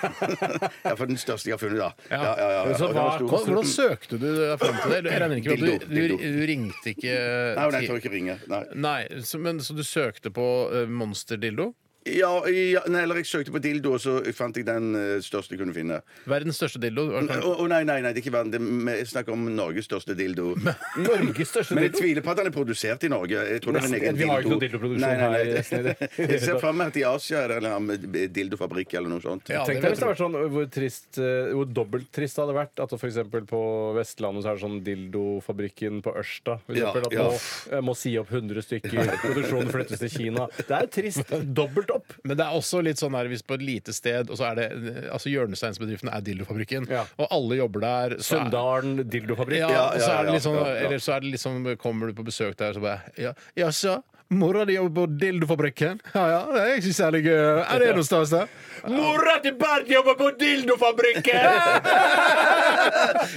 G: ja, for den største jeg har funnet, da. Ja, ja, ja, ja.
D: Så
G: Og den var
D: hva-
G: stor.
F: Hvordan, hvordan søkte du deg fram til det? Jeg regner ikke med at du,
G: Dildo,
F: du,
G: dildo.
F: du ringte ikke
G: Nei, nei, jeg tør ikke ringe. Nei.
F: Nei, så, men, så du søkte på eh, monsterdildo?
G: Ja, ja, nei, eller jeg søkte på dildo, og så fant jeg den eh, største jeg kunne finne.
F: Verdens største dildo?
G: Å å, nei, nei, nei, det er ikke verden. Det er- Jeg snakker om Norges største dildo.
D: Norges største
G: Men jeg
D: dildo.
G: tviler på at den er produsert i Norge. Jeg tror det er en
D: Nesten.
G: egen
D: Vi har ikke
G: dildo.
D: noe dildoproduksjon
G: Nei, nei, nei.
D: her, Snede.
G: Jeg ser for meg at i Asia er det en eller annen dildofabrikk eller noe sånt.
F: Ja,
D: Tenk
F: det vil
D: deg hvis det var sånn øh, hvor, trist, øh, hvor dobbelt trist det hadde vært at det for eksempel på Vestlandet så er det sånn dildofabrikken på Ørsta. For
G: Ja,
D: eksempel, at
G: ja.
D: Nå øh, må si opp 100 stykker, produksjonen flyttes til Kina. Det er jo trist. Dobbelt opp.
F: Men det er også litt sånn her hvis på et lite sted Og så er det, altså Hjørnesteinsbedriften er dildofabrikken,
D: Ja.
F: og alle jobber der. så er-
D: Søndalen dildofabrikk.
F: Ja,
G: Ja,
F: og så
G: ja,
F: er det
G: ja,
F: litt sånn,
G: ja, ja.
F: Eller så er det litt sånn, kommer du på besøk der, så bare Ja, ja så mora di jobber på dildofabrikken? Ja ja, det er ikke særlig gøy. Er det noe altså? stas, da?
D: Mora til Bernt jobber på dildofabrikken!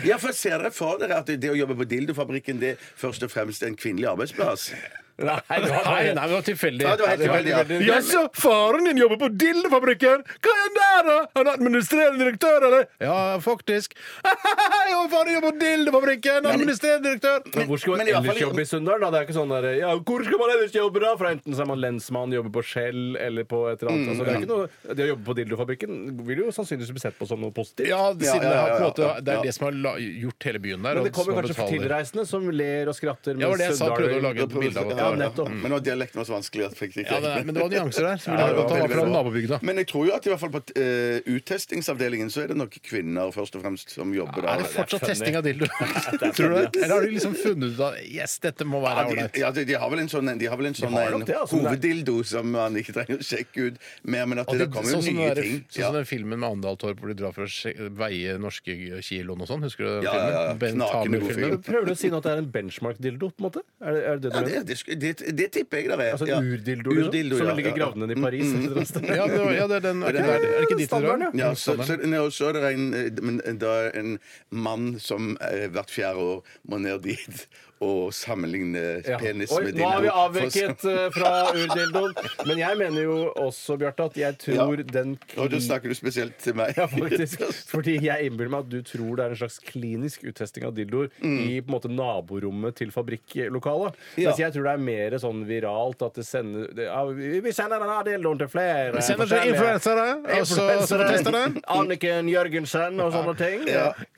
G: Ja, for ser dere for dere at det å jobbe på dildofabrikken det er først og fremst en kvinnelig arbeidsplass?
D: Nei, det
F: Nei,
D: var bare-
F: nei, det var tilfeldig.
G: Ja, det var helt tilfeldig, ja.
F: Ja, så faren din jobber på dildofabrikken? Hva er han der, da? Han er administrerende direktør, eller? Ja, faktisk. Ja, faren jobber på dildofabrikken! Administrerende direktør!
D: Men hvor skal man
G: Men i hvert fall
D: ellers
G: i-
D: jobbe i Sunndal? da? Det er ikke sånn der, ja, hvor skal man ellers jobbe da? For Enten så er man lensmann, jobber på Skjell eller på et eller annet. altså, det, er ikke noe, det å jobbe på dildofabrikken vil jo sannsynligvis bli sett på som noe positivt.
F: Ja, siden
G: ja, ja,
F: det har på
G: ja,
F: en måte
G: ja.
F: Det er det som har la- gjort hele byen der.
D: Men
F: og
D: det kommer
F: som
D: kanskje
F: betaler.
D: tilreisende som ler og skratter.
F: Ja, det var det jeg sa.
D: Sunndal-
F: Prøvde å lage et bilde av at
G: Ja,
F: det. var-
D: nettopp.
G: Men nå, dialekten var så vanskelig at jeg fikk
F: Ja, det,
G: ikke
F: men det var nyanser der. Som ville
G: Ja,
F: ha
G: det var
F: gått av
G: veldig
F: fra
G: bra.
F: nabobygda.
G: Men jeg tror jo at i hvert fall på eh, uttestingsavdelingen så er det nok kvinner først og fremst som jobber
F: Er
G: der.
F: det fortsatt testing av dildo? Tror du det? Eller har de liksom funnet ut at Yes, dette må være
G: Ja,
F: ålreit.
G: de, ja, de, de har vel en sånn, de har vel en sånn
D: har
G: en
D: nok det, altså, men det er-
G: hoveddildo som man ikke trenger å sjekke ut mer, men at
F: Og
G: det,
F: det-
G: kommer jo
F: sånn som
G: nye
F: den der-
G: ting.
F: Sånn som den filmen med Andal Torp hvor de drar for å sje- veie norske kiloen og sånn. Husker du den
G: Ja,
F: filmen?
G: ja, ja.
F: Ben
G: Knakende god
F: Tamer-filmen.
G: film.
D: Prøver du å si nå at det er en benchmark-dildo? på en måte? Er det er det,
G: Ja,
D: det du
G: det,
D: mener?
G: det, sk- det, det tipper jeg det er.
D: Altså
G: ja.
D: en urdildo, Mm. liksom,
G: Urdildo,
D: som
G: ja,
D: ligger
G: ja, ja.
D: gravd ned i Paris? et eller annet sted.
F: Ja, det var, ja, det er den, er, den, er, det- er det ikke dit de
D: Standarden,
F: drar?
G: Ja, så,
F: Standarden.
G: så, nei, og så er det en, eh, men da er en mann som eh, hvert fjerde år må ned dit og sammenligne penis
D: Oi,
G: med
D: nå
G: dildo.
D: har vi
G: For-
D: avveket eh, fra urdildoen. Men jeg mener jo også, Bjarte, at jeg tror
G: Ja.
D: den
G: Og da snakker du spesielt til meg.
D: Ja, faktisk. Fordi jeg innbiller meg at du tror det er en slags klinisk uttesting av dildoer
F: Mm.
D: i på en måte naborommet til fabrikklokalet.
G: Ja.
D: Mens jeg tror det er mer sånn viralt at det sender det, ja, vi- Vi sender denne dildoen til flere.
F: Vi sender til
D: forskjellige-
F: influensere, og så- så får vi teste den.
D: Anniken Jørgensen og sånne ting.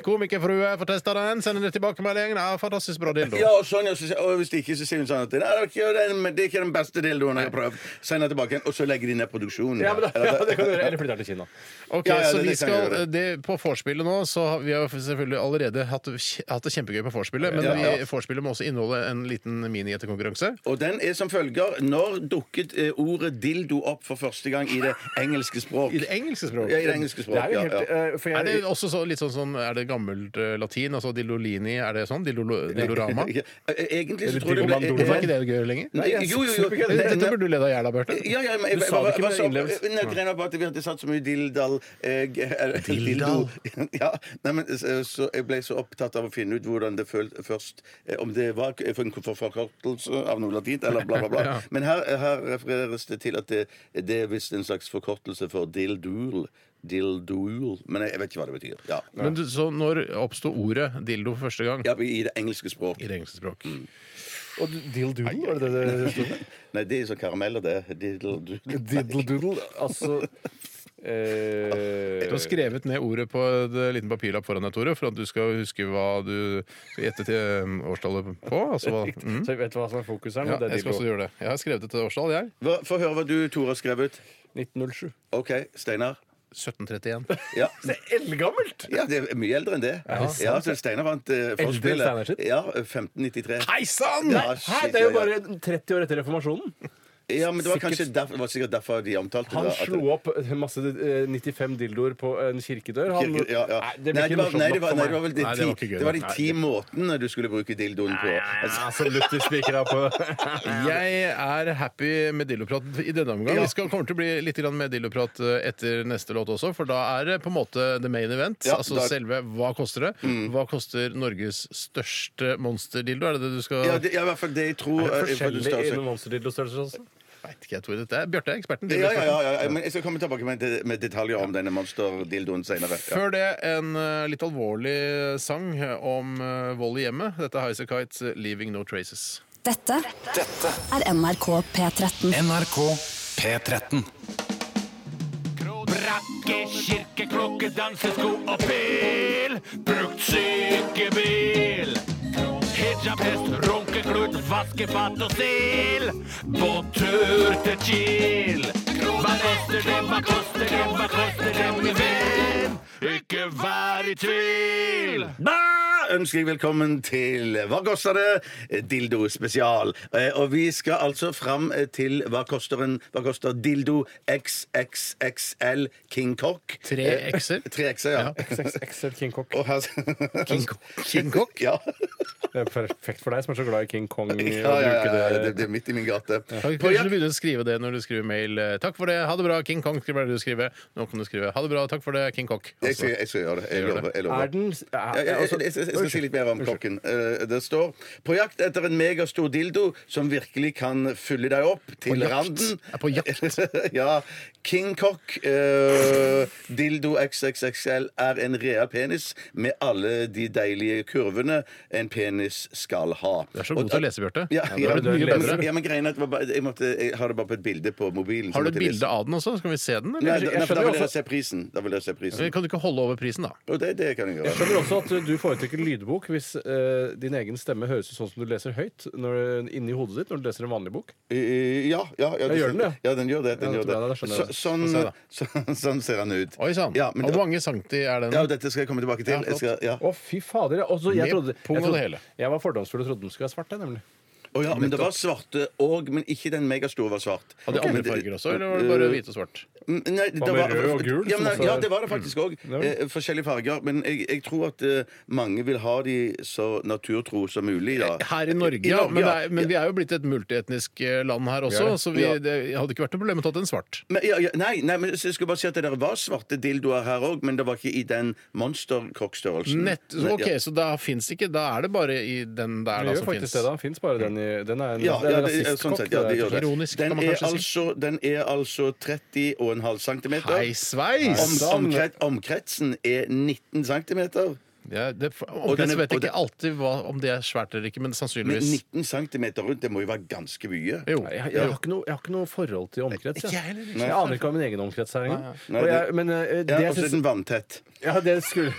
F: Komikerfrue får testa den, sender det tilbakemelding. Ja, fantastisk bra dildo.
G: Ja, og, sånn, ja, så, sier- og hvis det ikke, så sier hun sånn at Nei, det, er ikke, den- det er ikke den beste dildoen jeg har prøvd. Send den tilbake igjen, og så legger de ned produksjonen.
D: Ja, men da, ja, det kan du gjøre. Eller flytter til Kina.
F: Ok,
G: Ja, ja,
F: så
G: det-
F: vi
G: det kan jeg
F: skal,
G: gjøre.
F: det, På vorspielet nå så har Vi har jo selvfølgelig allerede hatt, det kje- hatt det kjempegøy på vorspielet, men
G: Ja, ja.
F: vi- vorspielet må også inneholde en liten mini-gjettekonkurranse.
G: Og den er som følger Når dukket eh, ordet dildo opp for første gang i det engelske språk?
F: I det engelske språket.
G: ja, i det engelske
D: Det
G: språk,
D: er jo
G: ja,
D: helt,
G: ja.
D: eh, for
F: Er det
D: jeg,
F: også så, litt sånn, sånn Er det gammelt eh, latin? Altså Dillolini, er det sånn? Dillo, dillorama?
G: Ja, eh, Egentlig så
D: Eller
G: tror jeg det
D: dildomandolo.
F: Hvorfor
G: ble e-
F: er ikke det gøy lenger?
G: Nei, jo, jo, jo.
F: Dette- Dette burde du le deg i hjel av, Bjarte.
G: Ja, ja, men jeg,
D: Du sa det ikke
G: hva-
D: med
G: hva-
D: innlevelse.
G: Nei, jeg regner på at vi hadde satt så mye dildal eh, g- eller-
F: Dildal?
G: dildo. Ja, nei, men så, så Jeg ble så opptatt av å finne ut hvordan det føltes først eh, Om det var k- for en for- forkortelse av noe latin, eller bla, bla, bla. Men her, eh, her refereres det til at det, det er visst en slags forkortelse for dildul. Dildool. Men jeg, jeg vet ikke hva det betyr. Ja.
F: Men du, så når oppsto ordet dildo for første gang?
G: Ja, I det engelske språk.
F: I det engelske språk.
D: og dildo, var det det det sto?
G: Nei, det er jo sånn karameller, det. Diddle-doodle.
D: Diddle-doodle. Altså eh,
F: Du har skrevet ned ordet på en liten papirlapp foran deg, Tore, for at du skal huske hva du skal gjette til eh, årstallet på. Altså, hva,
D: Riktig.
F: mm.
D: Så jeg vet hva som er fokus her nå.
F: ja,
D: det er
F: jeg skal også
D: dildo.
F: gjøre det. Jeg har skrevet et årstall, jeg.
G: Hva- Få høre hva du, Tore, har skrevet.
D: 1907.
G: OK, Steinar.
F: 1731.
G: Ja.
D: Det er eldgammelt!
G: Ja, det er mye eldre enn det. Ja, så Steinar vant uh,
D: enn Steinar sitt?
G: Ja, eh, 1593.
F: Hei sann!
G: Ja,
D: Hæ,
G: shit,
D: det er jo
G: ja, ja.
D: bare 30 år etter reformasjonen.
G: Ja, men det var kanskje derfor, det var sikkert derfor de omtalte
D: Han
G: det. at-
D: slo opp masse eh, 95 dildoer på en kirkedør. Han,
G: Kirke- ja, ja.
D: Nei,
G: Nei,
D: det blir
G: det
D: ikke
G: var- nei,
D: morsomt
G: det
D: nok
G: var-
D: for
G: nei, det var
D: meg.
G: vel de
F: Nei, det var ikke
G: ti-
F: gøy,
G: det var de
F: nei.
G: ti måtene du skulle bruke dildoen på. Altså,
D: Ja, så Luther spikra på.
F: Jeg er happy med dilloprat i denne omgang. Vi skal, kommer til å bli litt grann med dilloprat eh, etter neste låt også, for da er det på en måte the main event.
G: Ja,
F: altså
G: da- Mm.
F: selve hva koster det? Hva koster Norges største monsterdildo? Er det det du skal
G: Ja, det, ja, i hvert fall det jeg tror eh, for den
D: Forskjellig
G: største-
D: innen monsterdildo-størrelser også.
F: Vet ikke, jeg tror det er Bjarte, eksperten.
G: ja, ja,
F: dildoeksperten.
G: ja, ja, ja, men jeg skal komme tilbake med, det- med detaljer om denne monsterdildoen senere. Ja.
F: Før det en eh, litt alvorlig sang om eh, vold i hjemmet. Dette er Highasakite, eh, 'Leaving No Traces'.
H: Dette er NRK P13.
B: NRK P13.
I: Brakke, kirkeklokke, dansesko og pil. Brukt sykebil. Hijabhest, runkeklut, vaskefat og stil. På tur til Kiel. Hva koster det, hva koster det, hva koster det, min venn? Ikke vær i tvil.
G: Da ønsker jeg velkommen til Hva koster det? Dildo spesial. Eh, Og vi skal altså fram eh, til Hva koster en Hva koster dildo XXXL King Cock?
F: Tre
G: Eh,
F: X-er.
G: Tre X-er, ja.
D: Excel King Cock.
G: Og her-
F: King Cock?
G: Ja.
D: Det er perfekt for deg som er så glad i King Kong.
G: Ja,
D: og
G: ja, ja, ja,
D: bruker
G: det, det er midt i min gate.
F: Kan ikke- Kanskje du begynner å skrive det når du skriver mail. eh, Takk for det, ha det bra, King Kong. Skal bare du skrive. Nå kan du skrive ha det bra, takk for det, King Cock.
G: Jeg skal,
F: Altså.
G: jeg skal gjøre det. Jeg lover. Jeg lover.
D: Er den er,
G: Ja, ja, jeg,
D: altså,
G: jeg, jeg, jeg skal si litt mer om klokken. Eh, Det står på jakt etter en megastor dildo som virkelig kan fylle deg opp til
F: jakt?
G: randen.
F: Er på jakt?
G: ja. King Cock eh, dildo XXXL er en real penis med alle de deilige kurvene en penis skal ha.
F: Du er så god til å lese, Bjarte.
G: Ja,
F: Da
G: ja,
F: er du mye
G: ja,
F: bedre.
G: men, ja, men greien er at det var bare- jeg, måtte, jeg har det bare på et bilde på mobilen. så
F: Har du
G: måtte
F: et
G: jeg
F: bilde
G: lese.
F: av den også? Skal vi se den?
G: Nei,
F: Eller?
G: da, nei, for da vil jeg se prisen. Da vil jeg se prisen.
F: Kan du ikke holde over prisen, da?
G: Og det, det kan jeg
D: Jeg
G: gjøre.
D: skjønner også at du foretrekker lydbok hvis eh, din egen stemme høres ut sånn som du leser høyt når, inni hodet ditt når du leser en vanlig bok.
G: Eh, Ja, ja, ja,
D: gjør den det?
G: Ja, den gjør det. Den
D: Ja,
G: gjør
D: det tror jeg, da
G: det.
D: skjønner
G: Så,
D: jeg
G: sånn,
F: det.
G: så, sånn ser han ut.
F: Oi sann.
G: Ja, men
F: Hvor
G: da-
F: mange sankti er den?
G: ja, og dette skal jeg komme tilbake til. Jeg skal, ja.
D: Å, fy fader! ja. Også,
F: Med
D: jeg, trodde,
F: pung og
D: jeg,
F: det
D: trodde,
F: hele.
D: jeg var fordomsfull og trodde den skulle være svart. Jeg, nemlig.
G: Å ja, men det var svarte òg, men ikke den megastore var svart.
F: Hadde de andre
G: Men det-
F: farger også, eller var
G: eh,
F: det bare hvite og svart?
G: Mm, Nei, det
D: med rød og gul,
G: Ja,
D: som
G: men,
D: også
G: ja,
D: er-
G: det var det faktisk òg. Eh, forskjellige farger. Men jeg, jeg tror at eh, mange vil ha de så naturtro som mulig. Da.
F: Her i Norge, ja. Men, det er, men vi er jo blitt et multietnisk eh, land her også, så vi,
G: Ja.
F: det hadde ikke vært noe problem å ta en svart.
G: Men, ja, ja, nei, nei, men så jeg skulle bare si at det der var svarte dildoer her òg, men det var ikke i den monsterkokkstørrelsen.
F: Nett,
G: Nei,
F: ok,
G: ja.
F: Så da fins ikke? Da er det bare i den der
D: Den
F: da,
D: gjør
F: som
D: faktisk
F: fins?
D: det, da. Fins bare den i Den er en,
G: Ja,
D: det er
G: ja,
D: en
G: det, er- sånn
D: rasistkokk.
G: sett, ja, det
D: det
G: gjør
D: der.
G: det.
F: Ironisk, kan
G: Den
F: man
G: er,
F: kanskje si.
G: altså, den er altså 30,5 cm.
F: Hei, sveis!
G: omkret, omkretsen er 19 cm.
F: Ja, det, og
G: Og den er-
F: vet jeg
G: og den-
F: ikke alltid hva, om det er svært eller ikke, men
G: Men
F: sannsynligvis.
G: 19 cm rundt, det må jo være ganske mye.
F: Jo.
D: Nei, Jeg, jeg, har ikke noe, jeg har ikke noe forhold til omkrets.
F: Ikke
D: Jeg,
F: jeg heller, ikke.
D: jeg aner ikke hva min egen omkrets er engang.
G: Nei,
D: Og
G: det-
D: jeg- Men eh,
G: Ja, altså,
D: det jeg
G: og så er
D: syns
G: den vanntett.
D: Ja, det skulle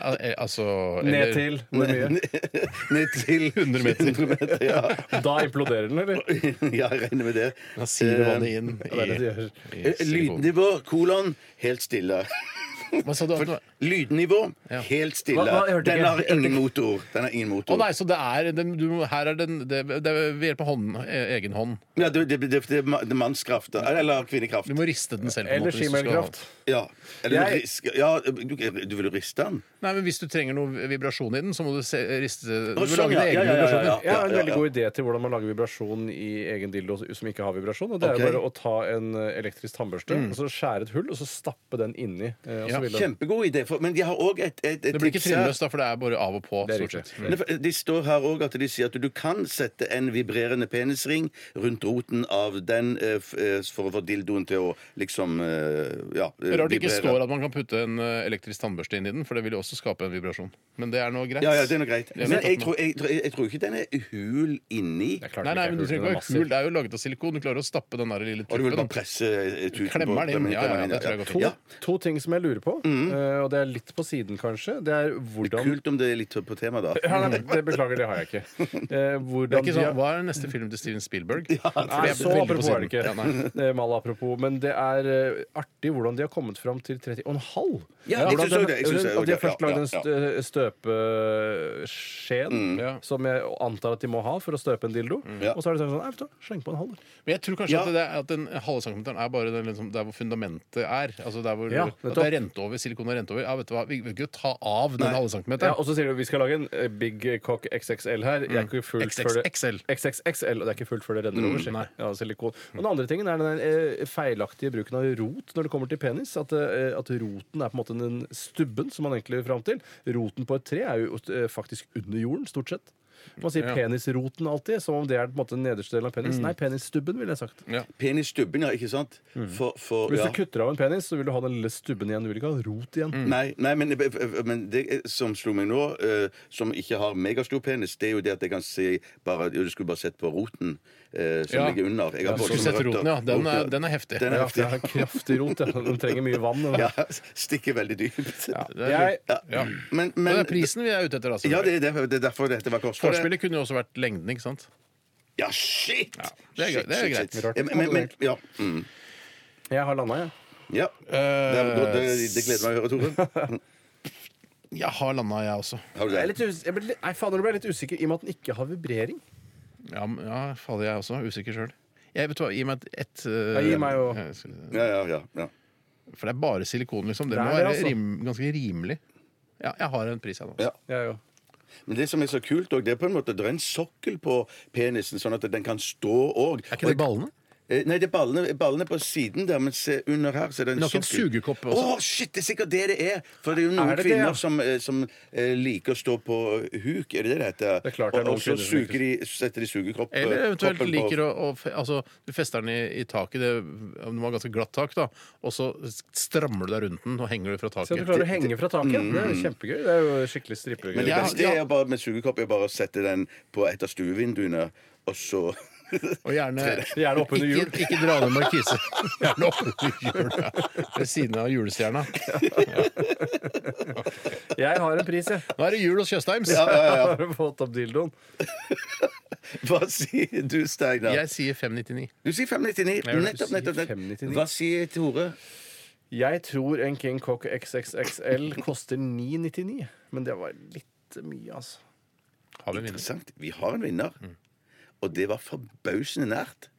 F: Al- eh, Altså
D: Ned
F: eller-
D: til hvor mye?
G: Ned til 100 meter. ja.
D: Da imploderer den, eller?
G: ja, jeg regner med det.
F: Da siver vannet inn
D: Eh, Ja, det er det
F: i,
D: det gjør.
F: i
G: Eh,
F: silikon.
G: Lydnivå, kolon, helt stille.
F: Hva sa du? at det var?
G: Lydnivå,
F: Ja.
G: helt
D: Hva- hva- jeg
G: stille.
D: hørte
G: Den
D: ikke.
G: har ingen motor. Den har ingen
F: Å
G: motor.
F: nei, så det er den, du, må- Her er den det, det er ved hjelp av hånden, eh, egen hånd.
G: Ja, det, det, det, det er mannskraft. Eller kvinnekraft.
F: Du må riste den selv. på en måte,
D: Eller
F: hvis du skal ha
D: skimelkraft.
F: den.
G: Ja. Eller
D: Jeg-
G: risk, ja, du, du vil jo riste den?
F: Nei, men Hvis du trenger noe vibrasjon i den, så må du se, riste Du må
G: sånn,
F: lage
G: ja,
F: dine
G: ja,
F: egne
G: ja, ja, ja.
F: vibrasjoner.
D: Jeg har en
G: ja,
D: veldig
G: ja.
D: god idé til hvordan man lager vibrasjon i egen dildo som ikke har vibrasjon. Og det
G: Ok. Mm.
D: er bare å ta en eh, elektrisk tannbørste og så skjære et hull og så stappe den inni. eh, Og
F: Ja,
D: så vil den.
G: Kjempegod idé. For, men de har òg et, et, et
F: Det blir ikke
G: tips her.
F: trinnløst, da, for det er bare av og på.
D: Det er
F: stort
D: riktig.
F: sett.
G: Men det- De står her òg at de sier at du kan sette en vibrerende penisring rundt roten av den eh, f- eh, for å få dildoen til å liksom eh, ja, eh,
F: Rart det ikke
G: vibrere.
F: står at man kan putte en eh, elektrisk tannbørste inn i den, for det vil jo også skape en vibrasjon. Men det er nå greit.
G: ja, ja, det er noe greit.
F: Det er
G: Men
F: fint
G: jeg
F: at man-
G: tror, jeg, tror- jeg, jeg tror ikke den er hul inni.
D: Det er
F: Nei,
D: klart den
F: nei,
D: ikke er
F: men du
D: hul,
F: trenger
D: den er
F: ikke være
D: massiv.
F: kul. Det er jo laget av silikon. Du klarer å stappe den der lille
G: Og du vil bare
F: tuppen.
G: presse eh, tuten
F: Klemmer den inn. Ja, ja, ja, det tror jeg går fint.
D: To, to ting som jeg lurer på.
F: Mm.
D: Eh, og det er litt på siden, kanskje. Det er hvordan
G: Kult om det er litt på tema, da.
D: ja, nei, Det beklager, det har jeg ikke. Eh,
F: Det er
D: hvordan
F: ikke
D: de
F: sånn,
D: har-
F: Hva er neste film til Steven Spielberg? For
D: Nei,
F: det er
D: så
F: veldig på
D: apropos er det
F: siden. Ja, nei.
D: ikke. Det er mal apropos. Men det er eh, artig hvordan de har kommet fram til 30,5.
G: Ja, jeg synes også det, jeg synes det,
D: At de har
G: ja,
D: først
G: ja,
D: lagd
G: ja.
D: en stø støpeskjeen,
F: Ja.
D: som jeg antar at de må ha for å støpe en dildo.
G: Ja.
D: Og så er det sånn Nei, vet du, hva, sleng på en halv.
F: Men jeg tror kanskje
G: Ja.
F: at, det er, at den halve centimeteren er bare den, liksom, der hvor fundamentet er. Altså der hvor
D: Ja,
F: at det
D: nettopp.
F: er rent over, silikon er rent over. Ja, vet du hva, Vi vil ikke ta av den halve
D: Ja,
F: centimeteren.
D: og så sier du vi skal lage en eh, Big Cock XXL her. Jeg er ikke fullt før det
F: XXXL.
D: XXXL, og det er ikke fullt før det renner over. sier jeg. Ja, silikon. Og den andre tingen er den eh, feilaktige bruken av rot når det kommer til penis. At, eh, at roten er på en måte den stubben som man egentlig vil fram til. Roten på et tre er jo eh, faktisk under jorden, stort sett. Man sier
F: Ja.
D: penisroten alltid, som om det er på en måte den nederste delen av penis. Nei, penisstubben, ville jeg sagt.
G: Penisstubben, ja, ikke sant?
F: Mm.
G: For, for
D: Hvis
G: ja.
D: du kutter av en penis, så vil du ha den lille stubben igjen. Du vil ikke ha rot igjen.
G: Nei, nei, men, eh, men det som slo meg nå, eh, som ikke har megastor penis, det er jo det at jeg kan se bare, Du skulle bare sett på roten eh, som
F: Ja.
G: ligger under. Jeg
F: Ja, du skulle
G: voldsomme
F: sett roten,
G: røtter.
F: ja. Den er-
G: Roten,
F: den er heftig.
G: Den er
D: Ja,
G: heftig.
D: det er kraftig rot. Ja. Den trenger mye vann. den.
G: Ja, stikker veldig dypt. Ja.
F: Det er,
D: Jeg,
G: Ja. Men, men,
F: det er prisen vi er ute etter. Altså.
G: Ja, det er, derfor, det er derfor dette var kort.
F: Forspillet kunne jo også vært lengden, ikke sant?
G: Ja, shit!
F: det er
G: Shit,
F: greit, det er
G: shit,
F: greit.
G: shit. Ja, Men, men, men, ja. Mm.
D: jeg har landa, jeg.
G: ja. Det, er godt. det, det gleder meg å høre, Tore.
F: Jeg har landa, jeg også.
G: Har du
D: Jeg, er
G: det?
D: litt us jeg ble litt, nei, fader, nå ble jeg litt usikker i og med at den ikke har vibrering.
F: Ja, men- ja fader, jeg også. Usikker sjøl. Jeg vet hva, Gi meg et, et
D: Ja, gi meg jo-
G: Ja, ja, ja, ja.
F: For det er bare silikon, liksom. Det
D: Det er
F: må
D: det,
F: være
D: altså.
F: rim, ganske rimelig. Ja, jeg har en pris, jeg nå.
G: Ja.
D: Jeg,
G: Men det som er så kult, og det er på en måte det er en sokkel på penisen, sånn at den kan stå òg.
F: Er ikke det ballene?
G: Nei, det er ballene, ballene på siden der, men se under her så er det en
F: Men har ikke en
G: sokkel.
F: sugekopp
G: Å,
F: også?
G: shit! Det er sikkert det det er. For det er jo noen
D: Er det det,
G: kvinner
D: ja?
G: som, eh, som eh, liker å stå på eh, huk, er det det det heter?
D: Det er klart det
G: og,
D: er noen
G: og så
D: kvinner som
G: suger de, setter de sugekopp
F: Eller eventuelt
G: koppen
F: liker
G: Eh, på.
F: å, å fe- Altså, du fester den i, i taket, det, om det var ganske glatt tak, da, og så strammer du deg rundt den og henger du fra
D: se at
F: taket.
D: du klarer å henge fra taket.
F: Mm.
D: Det er jo kjempegøy. Det er jo skikkelig
G: Men det
F: Ja,
G: beste
F: ja.
G: er bare, med sugekopp er bare å sette den på et av stuevinduene, og så
F: Og gjerne,
D: Gjerne oppunder hjul.
F: Ikke, ikke dra ned markise. Gjerne oppunder hjul. Ja. Ved siden av julestjerna.
D: Jeg har en pris, jeg.
F: Nå er det jul hos Tjøstheims.
D: Jeg har fått opp dildoen.
G: Hva sier du, Steinar?
F: Jeg sier 599.
G: Du sier 599.
F: gjør det.
G: Nettopp, nettopp. nettopp.
D: 599.
G: Hva sier Tore?
D: Jeg tror en King Cock XXXL koster 999, men det var litt mye, altså.
F: Har vi en vinner? Mm.
G: Interessant. Vi har en vinner. Og det var forbausende nært.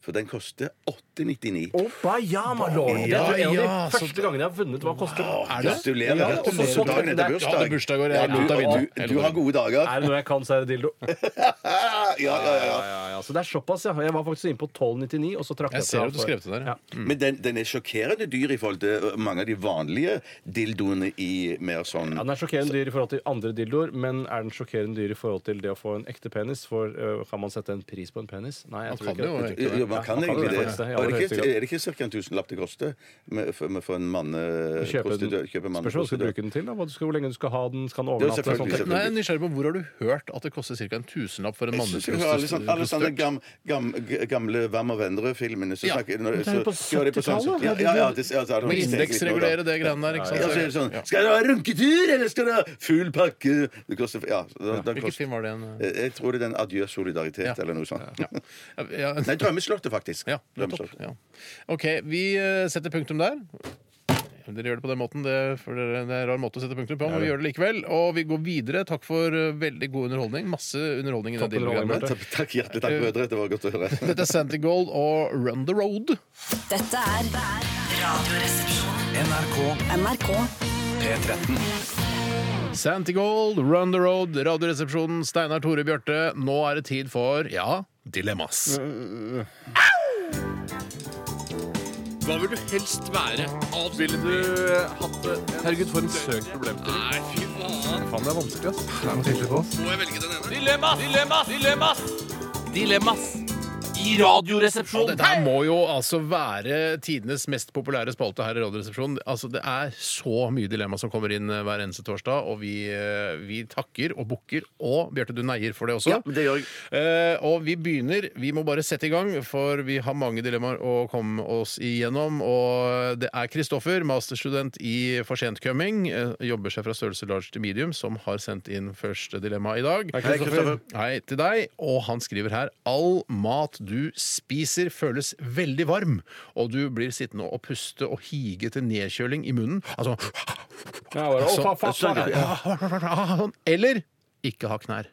G: For den koster 899.
D: Obayama-lord! Det er en av de
F: Ja, så-
D: første gangene jeg har vunnet. Hva koster det?
F: det?
G: Gratulerer.
D: Ja, og så-
G: Gratulerer.
D: så-
G: Dagen etter
D: Jeg
F: Jeg hadde
G: bursdag.
F: bursdag i år.
G: Ja,
F: Jeg lot deg
G: du,
F: vinne.
G: du, du har gode dager.
D: Er det noe jeg kan, så er det dildo.
G: Ah, ja, ja, ja.
D: Så det er såpass, ja. Jeg var faktisk inne på 1299, og så trakk
F: Jeg
D: jeg
F: ser
D: fra
F: at du
D: for-
F: skrev det der.
D: Ja.
F: ja.
G: Men den, den er sjokkerende dyr i forhold til uh, mange av de vanlige dildoene i mer sånn
D: Ja, Den er sjokkerende dyr i forhold til andre dildoer, men er den sjokkerende dyr i forhold til det å få en ekte penis? For øh, Kan man sette en pris på en penis? Nei,
F: Man
D: jeg tror
F: kan jo
D: ikke det.
F: egentlig
G: Jo, man kan
D: man kan
G: egentlig
D: det
G: det.
D: faktisk, ja,
G: Og Er det
D: det er
G: ikke, er det ikke ca. en tusenlapp det koster med- for, med- for en mann eh,
D: Kjøpe den.
G: prostitu- kjøpe en mann
D: Spørs hva du skal
G: prostitu-
D: bruke den til. da, hva du skal, Hvor lenge du skal ha den, skal den
G: Det er
D: overnatte?
G: selvfølgelig-
D: og sånt.
F: Nå er jeg nysgjerrig på Hvor har du hørt at det koster ca. en tusenlapp for en
G: Jeg synes jo alle sånne- alle sånne
F: manneprostituert?
G: gam, gam, g- gamle Wam og Vennerød-filmene så
F: Ja.
G: snakker når-
D: det er jo på
G: så- ja, det er på sånn-
D: 70-tallet,
G: Ja, ja, ja, det- ja, så er det
F: Må
G: noe
F: indeksregulere det greiene der, ikke
G: Ja, så er det
F: sant?
G: sånn Skal du ha runketur, eller skal du ha full pakke? Det koster Ja. Da, da
F: Hvilken
G: koster,
F: film var det? en-
G: Eh, jeg tror det er den Adjø solidaritet
F: Ja.
G: eller noe sånt.
F: Ja, ja.
G: Nei, Drømmeslottet, faktisk.
F: Ja, nettopp.
G: Drømmeslottet.
F: Ja. OK, vi eh, setter punktum der. Dere gjør det på den måten. Det, for dere, det er en rar måte å sette punktum på, men vi gjør det likevel. Og vi går videre. Takk for eh, veldig god underholdning. Masse underholdning i
D: Topp
F: dette
D: underholdning,
F: programmet.
D: Bjarte.
G: Takk, takk, hjertelig takk,
F: Eh.
G: brødre. Det var godt å høre.
F: Dette er Santigold og Run the Road.
H: Dette er Radioresepsjonen.
B: NRK
H: NRK
B: P13
F: Santigold, Run the Road, Radioresepsjonen, Steinar Tore Bjarte. Nå er det tid for, ja, dilemmas. Hva vil du helst være? Ville du hatt det? Herregud, for en søk problemstilling. Nei, fy faen. det er vanskelig, ass. Må jeg velge den ene? Dilemmas! Dilemmas! Dilemmas!
I: i
F: Og
I: Radioresepsjonen.
F: dette her må jo altså være tidenes mest populære spalte her i Radioresepsjonen. Altså, det er så mye dilemma som kommer inn eh, hver eneste torsdag, og vi, eh, vi takker og bukker. Og Bjarte, du neier for det også.
G: Ja, det gjør jeg.
F: Eh, og vi begynner. Vi må bare sette i gang, for vi har mange dilemmaer å komme oss igjennom. Og det er Kristoffer, masterstudent i For sent coming, eh, jobber seg fra størrelse large til medium, som har sendt inn første dilemma i dag.
D: Hei, Kristoffer.
F: Hei til deg. Og han skriver her All mat du spiser føles veldig varm, og du blir sittende og puste og hige til nedkjøling i munnen. Altså
D: Ja, bare, å, faen, faen, faen.
F: sånn. Eller ikke ha knær.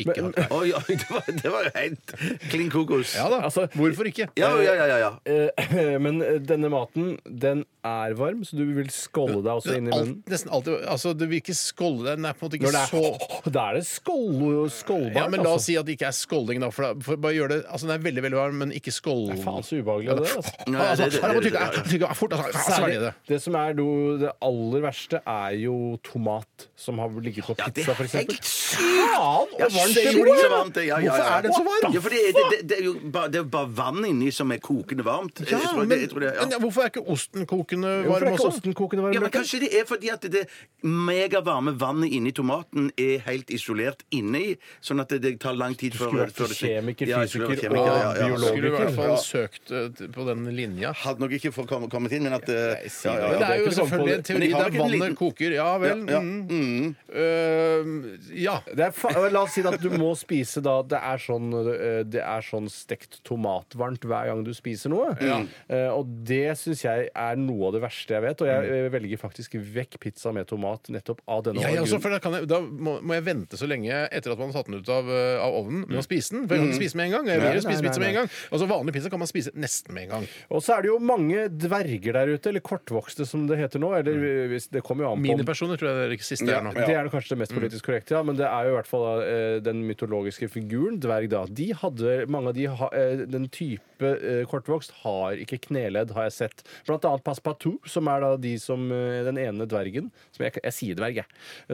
F: Ikke ha knær.
G: Oi, oi, det var, det var helt klin kokos.
F: Ja da.
D: Altså,
F: Hvorfor ikke?
G: Ja, ja, ja, ja, ja.
D: Eh, Men eh, denne maten, den er varm, så du vil skålde deg også inn i munnen.
F: Alt, nesten alltid Altså, du vil ikke skålde deg. Den er på en måte ikke
D: Når det
F: så
D: er, da er det skål, skålbart.
F: ja, men La oss
D: altså.
F: si at det ikke er skålding, da. For, da- for bare gjør det, altså Den er veldig veldig varm, men ikke skåld...
D: Faen så ubehagelig det er. Altså.
G: Nei,
F: Altså,
G: det- det-
F: her må
G: det-
F: tygge,
G: det- det-
F: tygge fort, altså, svelge det.
D: det som er do- det aller verste, er jo tomat som har ligget på
G: det
D: pizza,
G: er
D: f.eks.
G: helt
D: Faen!
G: Ja,
D: og
G: shit,
D: varmt det
G: det
D: blir!
G: blir så varmt, ja, ja, ja.
D: Hvorfor er den så varm?
G: Ja, for det, det, det, det er jo bare, det er jo bare vann inni som er kokende varmt. Jeg
F: Ja,
G: tror
F: men,
G: det- jeg tror det- ja.
F: men hvorfor er ikke osten kokende
D: Hvorfor
F: varm
D: er ikke
F: også?
D: osten kokende varm?
G: Ja, men
D: Bjarte?
G: Kanskje det er fordi at det megavarme vannet inni tomaten er helt isolert inni, sånn at det, det tar lang tid før
D: skulle vært kjemiker,
G: Ja, jeg skulle vært
D: fysiker
G: kjemiker, ja,
D: og
G: ja, ja.
D: biolog.
F: Skulle i hvert fall
G: Ja.
F: søkt eh, på den linja.
G: Hadde nok ikke fått komme- kommet inn, men at eh, ja, ja,
F: Men
G: ja.
F: det er jo
D: ikke kommet på
F: selvfølgelig en
D: det.
F: teori
G: Men jeg har
F: der
G: ikke en
F: vannet
G: liten-
F: koker. Ja vel.
G: Ja, ja.
F: Mm. Eh, ja.
D: Det er fa la oss si at du må spise da Det er sånn, eh, det er sånn stekt tomatvarmt hver gang du spiser noe. Eh, Og det syns jeg er noe av det verste jeg vet. Og jeg eh, velger faktisk vekk pizza med tomat nettopp av denne
F: Ja, jeg også,
D: grunnen.
F: for da, kan jeg, da må, må jeg vente så lenge etter at man har tatt den ut av, eh, av ovnen med å spise den. For jeg kan ikke spise med en gang. Jeg vil jo
D: Nei,
F: spise
D: nei,
F: pizza
D: nei,
F: med en gang. Altså Vanlig pizza kan man spise nesten med en gang.
D: Og så er det jo mange dverger der ute, eller kortvokste som det heter nå. Eller eh,
G: Mm.
D: hvis, det kommer jo an på om-
F: Minipersoner tror jeg det er det siste er nå.
D: Det er kanskje det
F: Mm.
D: mest politisk korrekte, ja, men det er jo i hvert fall eh, den mytologiske figuren dverg. da. De hadde, Mange av de ha, eh, den type eh, kortvokst har ikke kneledd, har jeg sett. Blant annet Passepartout, som er da de som, eh, den ene dvergen som jeg, jeg sier dverg, jeg.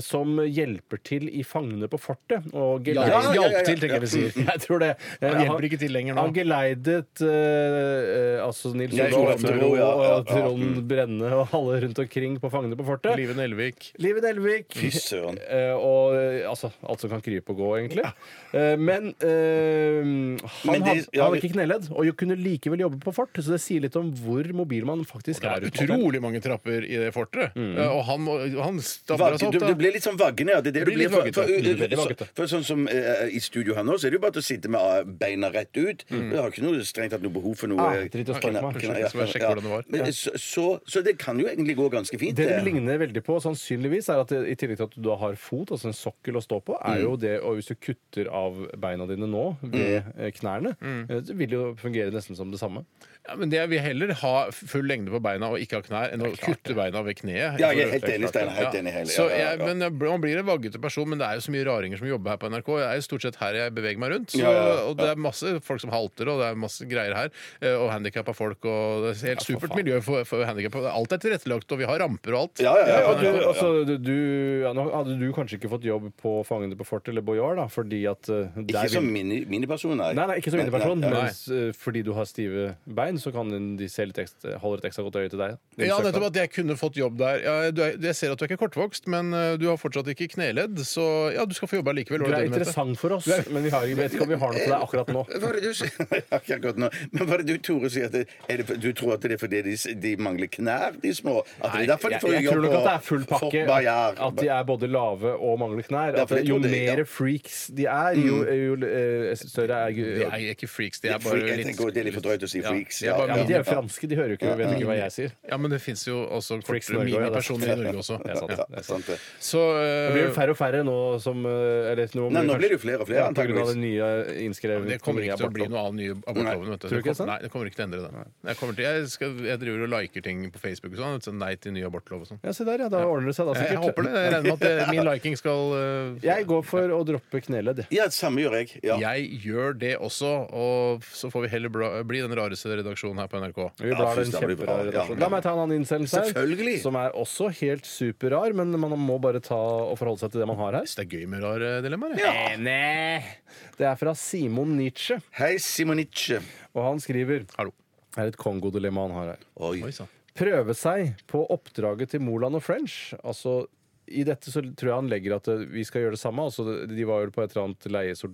D: Som hjelper til i Fangene på fortet. Og
F: Ja,
D: geleider-
F: hjelp til, tenker jeg vi sier.
D: Jeg tror det. Eh,
F: Han hjelper ikke til lenger nå.
D: Han geleidet eh, eh, altså Nils
G: Nei,
D: Olav
G: Olav
D: Toro
G: Toro, ja, ja, ja.
D: og Trond
F: Mm.
D: Brenne og alle rundt omkring på Fangene på fortet.
F: Live Nelvik.
D: Liv i Nelvik.
G: Fy søren.
D: Eh, og eh, altså, alt som kan krype og gå, egentlig. Eh, men eh, han,
G: Men det-
D: hadde,
G: ja,
D: han hadde
G: vi-
D: ikke kneledd, og kunne likevel jobbe på fort. Så det sier litt om hvor mobil man faktisk
F: Det
D: er.
F: er
D: ute på felt.
F: utrolig mange trapper i det fortet. Eh, Og han, må- han stabler
G: Vagge,
F: seg
G: du,
F: opp,
G: du
F: da.
G: blir litt sånn vaggende, ja. Det er det du
F: Blir
G: blir.
F: litt
G: For, for,
F: vaggete.
G: for,
F: Veldig
G: for, sånn som eh, i studio her nå, så er det jo bare til å sitte med eh, beina rett ut. Du har ikke noe strengt tatt noe behov for noe.
D: Mm. Ah,
G: eh,
D: drit i å
G: kna-
D: spørre meg.
G: kna-
F: Unnskyld, jeg skal bare sjekke hvordan det var.
G: Men, eh, så, så, så det kan jo egentlig gå ganske fint. eh.
D: Det det
G: det.
D: ligner veldig på, sannsynligvis, er at det, i tillegg til at du da har fot, altså en sokkel å stå på, er
G: Mm.
D: jo det Og hvis du kutter av beina dine nå, ved eh, knærne, eh, det vil jo fungere nesten som det samme.
F: Ja, men det jeg vil heller ha full lengde på beina og ikke ha knær, enn å kutte beina ved kneet.
G: Ja, jeg er helt enig, Steinar. Helt
F: Ja.
G: enig, helt enig.
F: Så
G: Ja, ja,
F: jeg,
G: ja.
F: men jeg, bl- man blir en vaggete person, men det er jo så mye raringer som jobber her på NRK. Det er jo stort sett her jeg beveger meg rundt. Så,
G: Ja, ja, ja.
F: Og det er masse folk som halter, og det er masse greier her. eh, Og handikappa folk, og det er helt supert miljø for, for handikappa. Alt er tilrettelagt, og vi har ramper og alt.
G: Ja, ja, ja,
D: Ja,
G: ja,
D: du,
G: ja, ja.
D: altså, du, du, ja, nå hadde du kanskje ikke fått jobb på Fangene på fortet eller Boyard, da, fordi at eh,
G: Ikke
D: der
G: som
D: vil
G: mini- miniperson, nei.
D: Nei, nei, ikke som vinterperson,
G: Nei, nei,
D: men eh, fordi du har stive bein, så kan de se litt ekstra, holder et ekstra godt øye til deg.
F: Ja, nettopp at jeg kunne fått jobb der. Ja, du er, jeg ser at du er ikke kortvokst, men eh, du har fortsatt ikke kneledd, så ja, du skal få jobbe her likevel.
D: Du
F: var det det
D: er
F: mente?
D: interessant for oss, men vi har, jeg vet ikke om vi har noe til deg akkurat nå.
G: Hva er det du sier? Akkurat nå. Men hva er det du, Tore, sier? At det, er det, du tror at det er fordi de, de mangler knær, de små? At det er derfor de
D: Jeg,
G: får
D: jeg
G: jobb
D: tror nok at det er
G: på
D: full pakke.
G: Fort Bayard?
D: At de er både lave og mangler knær.
G: Ja,
D: At
G: for jeg
D: jo
G: tror det- ja.
D: mer freaks de er, jo, jo eh, større er
F: De er ikke freaks, de er
G: Freak-
F: bare
G: jeg
F: litt
G: tenker, det er litt for drøyt å si freaks.
F: Ja,
D: Ja, men de er jo franske, de hører jo ikke, vet jo ikke hva jeg sier.
F: Ja, men det fins jo også
D: Freaks
F: kortere
D: Norge, ja, det er
F: minipersoner i
D: sant.
F: Norge også.
D: Det er sant,
F: Ja.
D: det.
G: Ja, sant det.
F: Så eh,
D: Det blir vel færre og færre nå som eh, eller, nå,
G: Nei, nå blir det jo flere og flere,
D: ja, på grunn av den nye innskrevne
F: det kommer ikke til å bli noe av den nye abortloven. Vet du. Det
D: Tror du ikke
F: kom-
D: det er sant?
F: Nei, det kommer ikke til å endre det. Jeg, kommer til, jeg, skal, jeg driver og liker ting på Facebook og sånn. sånn Nei til ny abortlov og sånn.
D: Ja, se der, ja. Da ordner det seg da
F: Jeg,
D: sikkert.
F: jeg håper det. Jeg regner med at det, min liking skal eh,
D: Jeg går for å droppe ved kneledd.
G: Ja, samme gjør jeg. Ja.
F: Jeg gjør det også, og så får vi heller bla, bli den rareste redaksjonen her på NRK.
D: Vi blar
G: fy,
D: en
G: da blir det bra.
D: kjemperar
G: Ja.
D: redaksjon. La meg ta en annen innsendelse her,
G: Selvfølgelig.
D: som er også helt superrar, men man må bare ta og forholde seg til det man har her.
F: Så det er gøy med rare dilemmaer. jeg.
D: Det er fra Simon Nietzsche,
G: Hei, Simonice.
D: og han skriver
F: Hallo.
D: Det er et kongodilemma han har her.
G: Oi.
F: Oi sann.
D: prøve seg på oppdraget til Moland og French. Altså, I dette så tror jeg han legger at eh, vi skal gjøre det samme. Altså, de var jo på et eller annet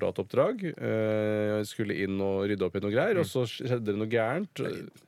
D: leiesoldatoppdrag. Eh, skulle inn og rydde opp i noe greier, og så skjedde det noe gærent.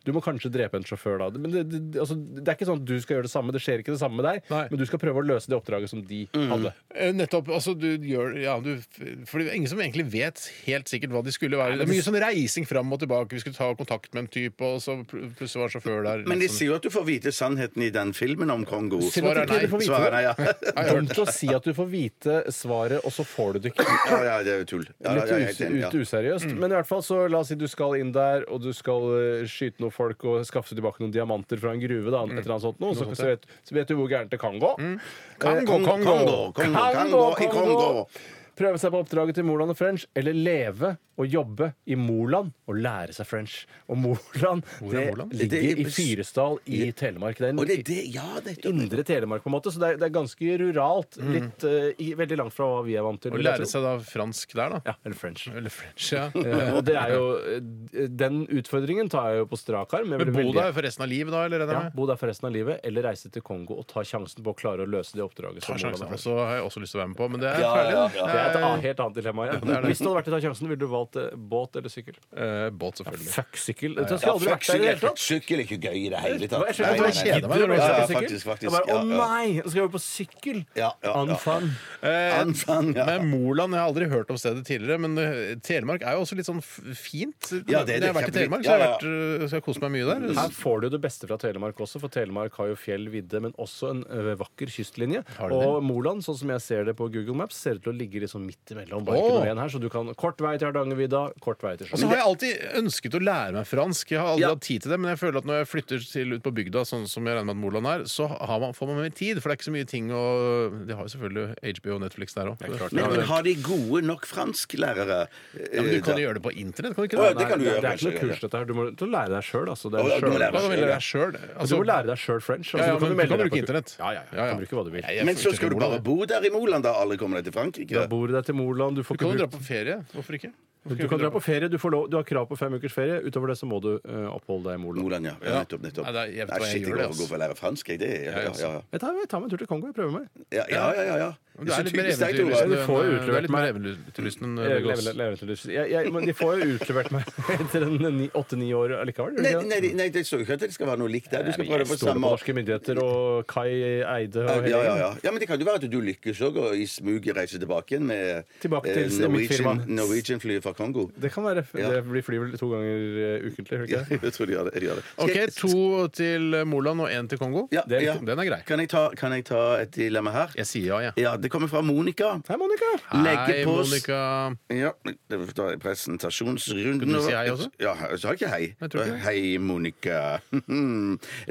D: Du må kanskje drepe en sjåfør da. Men det, det, altså, det er ikke sånn at du skal gjøre det samme. Det skjer ikke det samme med deg,
F: Nei.
D: men du skal prøve å løse det oppdraget som de
G: Mm.
D: hadde.
F: Eh, Nettopp. altså du gjør ja, du, For det er ingen som egentlig vet helt sikkert hva de skulle være. Det er mye sånn reising fram og tilbake. Vi skulle ta kontakt med en type, og så pl- plutselig var det sjåfør der.
G: Men de
F: Sånn.
G: sier jo at du får vite sannheten i den filmen om Kongo.
D: Synd at
F: Svaret er
D: ikke
F: nei.
D: du får vite
G: Svaret er
D: det.
G: nei, ja.
F: Har jeg hørt.
D: Dumt å si at du får vite svaret, og så får du det ikke.
G: ja, ja, det er jo tull. Ja,
D: Litt
G: ja, jeg er helt
D: us
G: enig, ja. Mm.
D: ut useriøst. Men i hvert fall så la oss si du skal inn der, og du skal eh, skyte noen folk og skaffe tilbake noen diamanter fra en gruve. da,
G: Mm.
D: et eller annet sånt noe, så, så, vet, så vet du hvor gærent det kan gå.
G: Kongo,
D: Eh,
G: Kongo, Kongo, Kongo, i Kongo.
D: Prøve seg på oppdraget til Moland og French, eller leve og jobbe i Moland og lære seg French. Og Moland det
F: Moland?
G: Det
D: ligger
G: er-
D: i Fyresdal i Telemark. Det er en
G: Og det er det Ja, det er
D: indre Telemark, på en måte, så det er, det er ganske ruralt.
G: Mm.
D: litt, eh, i, Veldig langt fra hva vi er vant til.
F: Å
D: vil jeg
F: lære
D: tro.
F: seg da fransk der, da.
D: Ja, eller French.
F: Eller french, ja.
D: Eh, Og det er jo, eh, den utfordringen tar jeg jo på strak arm.
F: Men
D: Jeg ville
F: bo
D: veldig-
F: der for resten av livet, da? eller er det
D: Ja,
F: med?
D: bo der for resten av livet, eller reise til Kongo og ta sjansen på å klare å løse det oppdraget.
F: Ta
D: som
F: sjansen.
D: Moland har.
F: Og så har jeg også lyst til å være med på, men det er
G: Ja,
F: ferdig.
G: ja,
F: da.
G: ja.
D: Det er et
F: Eh,
D: annet- helt annet dilemma. Ja. Hvis du hadde vært i Ta sjansen, ville du valgt eh, båt eller sykkel?
F: eh, båt, selvfølgelig.
D: Fuck sykkel. Jeg skulle aldri
G: Fuck,
D: vært der i det hele
G: sykkel-
D: tatt.
G: Sykkel er ikke gøy i det hele
D: Hva,
G: tatt.
D: Jeg skjønner
G: Nei,
D: ikke
G: nei, nei.
D: at jeg
F: kjeder meg
D: gidder å
F: når jeg
D: være
G: Ja,
D: på sykkel.
G: faktisk, faktisk,
D: Jeg bare,
G: ja,
D: Å
G: ja.
D: nei! Nå skal jeg over på sykkel!
G: Ja, ja, ja.
D: Unfun.
F: Eh,
G: Anfang, ja.
F: Men Moland, Jeg har aldri hørt om stedet tidligere, men eh, Telemark er jo også litt sånn f- fint.
G: Ja, det er det,
F: jeg har vært i
G: kjempefint.
F: Telemark, så
G: Ja,
F: jeg
G: ja.
F: har vært, eh, så jeg har kost meg mye der.
D: Her får du det beste fra Telemark også, for Telemark har jo fjell, vidde, men også en ø, vakker kystlinje.
F: Har de det?
D: Og Moland, sånn som jeg ser det på Google Maps, ser ut til å ligge liksom midt imellom. Bare
F: Åh! Altså,
D: ikke noe igjen her, så du kan kort vei til Hardangervidda, kort vei til
F: Og så
D: sjøen.
F: har jeg alltid ønsket å lære meg fransk. Jeg har aldri
D: Ja.
F: hatt tid til det, men jeg føler at når jeg flytter til ut på bygda, sånn som jeg regner med at Moland er, så har man, får man mer tid. For det er ikke så mye ting å De har jo selvfølgelig HBO og Netflix der òg.
G: Men, men
F: Ja,
G: har de gode nok fransklærere?
F: men du kan
G: Eh,
F: jo gjøre det på internett, kan du ikke
G: Å, ja,
F: det?
G: det kan du
D: Nei,
G: gjøre,
D: det er
G: kanskje,
D: ikke
G: ja,
D: noe
G: ja.
D: kurs, dette her. Du må til å lære deg sjøl, altså. Det
G: Å,
D: er
G: ja, du må
D: sjøl.
G: lære
F: Da kan du velge deg sjøl.
D: du må lære deg sjøl French.
F: Ja,
D: Altså,
F: ja,
D: så kan
F: men
D: du melde
F: du kan
D: deg på
F: bruke
D: kurs.
F: internett.
D: Ja, ja, ja.
F: Ja, ja.
D: Du kan bruke hva du vil.
G: Men så skal du bare bo der i Moland, da alle kommer deg til Frankrike?
D: Da
G: da?
D: bor du deg til Moland, du
F: Du
D: får
F: kan
D: ikke
F: jo dra
D: brukt
F: på ferie. Hvorfor ikke? Hvorfor
D: du
F: ikke
D: kan dra på ferie, du, får lov, du har krav på fem ukers ferie. Utover det så må du ø, oppholde deg i Moland.
G: Moland, ja. ja. Nettopp, nettopp.
F: Nei, det er- jeg vet
G: Nei,
F: hva jeg
G: shit, jeg
F: gjør
G: går
F: det,
G: for å gå for å lære fransk, jeg. Det er ja, ja, ja.
D: Jeg tar, jeg tar meg en tur til Kongo. Jeg prøver meg.
G: Ja, ja, ja, ja, ja.
F: Du er
G: så
F: litt mer
G: typisk deg, Tore.
F: eventyrlysten
D: Du får
F: enn-
D: utlevert
F: du er litt mer
D: meg.
F: eventyrlysten eh, enn
D: Jeg,
F: Vegas.
D: Eh, lever- lever til lyst. jeg, jeg, men de får jo utlevert meg etter en ni- åtte-ni år allikevel. gjør de
G: Nei,
D: ikke det?
G: nei, nei, nei, det står jo ikke at det skal være noe likt der. Du skal prøve
D: Jeg
G: på
D: stoler
G: samme
D: på norske myndigheter og Kai Eide og
G: ja,
D: hele
G: ja,
D: gjengen.
G: ja. ja, men det kan jo være at du lykkes òg, og i smuget reiser tilbake igjen med
D: Tilbake til
G: eh,
D: mitt
G: Norwegian,
D: firma.
G: Norwegian-flyet fra Kongo.
D: Det kan være.
G: Ja.
D: Det blir fly vel to ganger eh, ukentlig. gjør det
G: Ja,
D: ikke det?
G: jeg tror de gjør det. De gjør det. Skal
F: OK,
G: jeg-
F: to til Moland og én til Kongo.
G: Ja,
D: Det er
G: ja.
D: riktig.
F: Den er grei.
G: Kan jeg, ta, kan jeg ta et dilemma her?
F: Jeg sier ja, jeg.
G: Ja, Det kommer fra Monica.
D: Hei, Monica!
G: Legge
F: Hei,
G: på s-
F: Monica.
G: Ja, det var da i presentasjonsrunden
F: Kunne du si hei også?
G: Ja, jeg sa ikke hei. Eh,
F: Jeg tror ikke det.
G: Hei, Monica.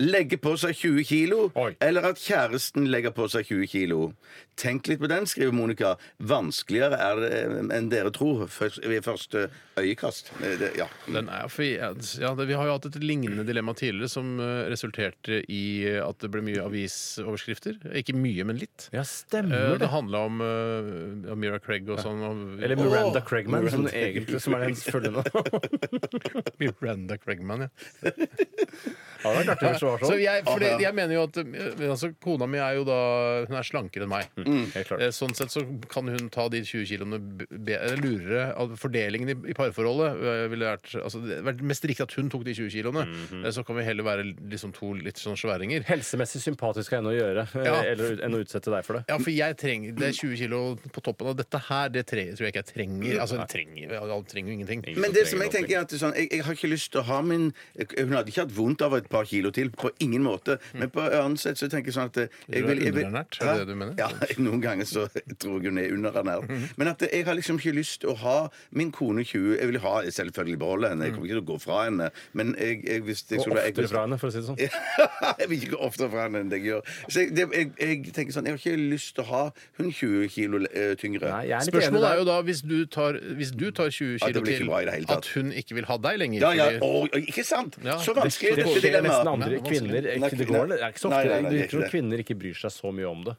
G: Legge på seg 20 kilo,
F: Oi.
G: eller at kjæresten legger på seg 20 kilo. Tenk litt på den, skriver Monica. Vanskeligere er det enn dere tror først, ved første øyekast. Eh, Det, ja.
F: Den er, for, ja, det, vi har jo hatt et lignende dilemma tidligere som eh, resulterte i eh, at det ble mye avisoverskrifter. Ikke mye, men litt.
D: Ja,
F: Eh,
D: stemmer
F: det
D: det.
F: handla om eh, Amira Craig og sånn. Og,
D: Eller Miranda Craigman, som, den egentlig, som er hennes følge nå.
F: Miranda Craigman, ja.
D: Har det vært artig hvis det var
F: Så
D: sånn?
F: jeg, for det, jeg mener jo at eh, altså, Kona mi er jo da Hun er slankere enn meg.
G: Mm,
D: Helt klart.
F: Eh, Sånn sett så kan hun ta de 20 kiloene b- be- eller lurere. av Fordelingen i, i parforholdet eh, ville vært altså, Det hadde vært mest riktig at hun tok de 20 kiloene.
G: Mhm.
F: Eh, Så kan vi heller være liksom, to litt sånn sværinger.
D: Helsemessig sympatisk av henne å gjøre
F: Ja.
D: eh, eller, enn å utsette deg for det.
F: Ja, for jeg trenger Det er 20 kilo på toppen av dette her, det tre, tror jeg ikke jeg trenger. Altså, jeg trenger, jeg trenger jo ingenting.
G: Men det som jeg tenker er at det er sånn, jeg, jeg har ikke lyst til å ha min Hun hadde ikke hatt vondt av et par kilo til, på ingen måte. Men på annet sett så tenker jeg sånn at eh, jeg
F: Mm. Du er
G: vil, jeg vil,
F: underernært, er det det du mener? Mm-hmm.
G: Ja, noen ganger så tror jeg hun er underernært. Men at jeg har liksom ikke lyst til å ha min kone 20 Jeg vil ha, selvfølgelig beholde henne. Jeg kommer ikke til å gå fra henne. Men jeg, jeg, hvis jeg
D: Og
G: skulle være- jeg-
D: oftere fra henne, for å si det sånn.
G: jeg vil ikke gå oftere fra henne enn det jeg gjør. Så jeg, det, jeg, jeg tenker sånn Jeg har ikke lyst til å ha hun 20 kilo eh, tyngre.
D: Nei, jeg er litt enig
F: Spørsmålet er
D: der.
F: jo da, hvis du tar, hvis du tar 20
G: Ja, det
F: kilo
G: blir ikke
F: til,
G: bra i det hele tatt.
F: at hun ikke vil ha deg lenger.
G: ja, ja,
F: fordi-
G: å, ikke sant?
F: Ja.
G: Så
F: Det-
G: vanskelig
D: Det
G: dette
D: skjer nesten
G: dilemmaet.
D: andre
F: Nei,
D: kvinner.
F: vanskelig.
D: Ikke, det, går, det er ikke så ofte.
G: Nei, nei, nei, det er
D: jeg tror
G: ikke det.
D: kvinner ikke bryr seg så mye om det.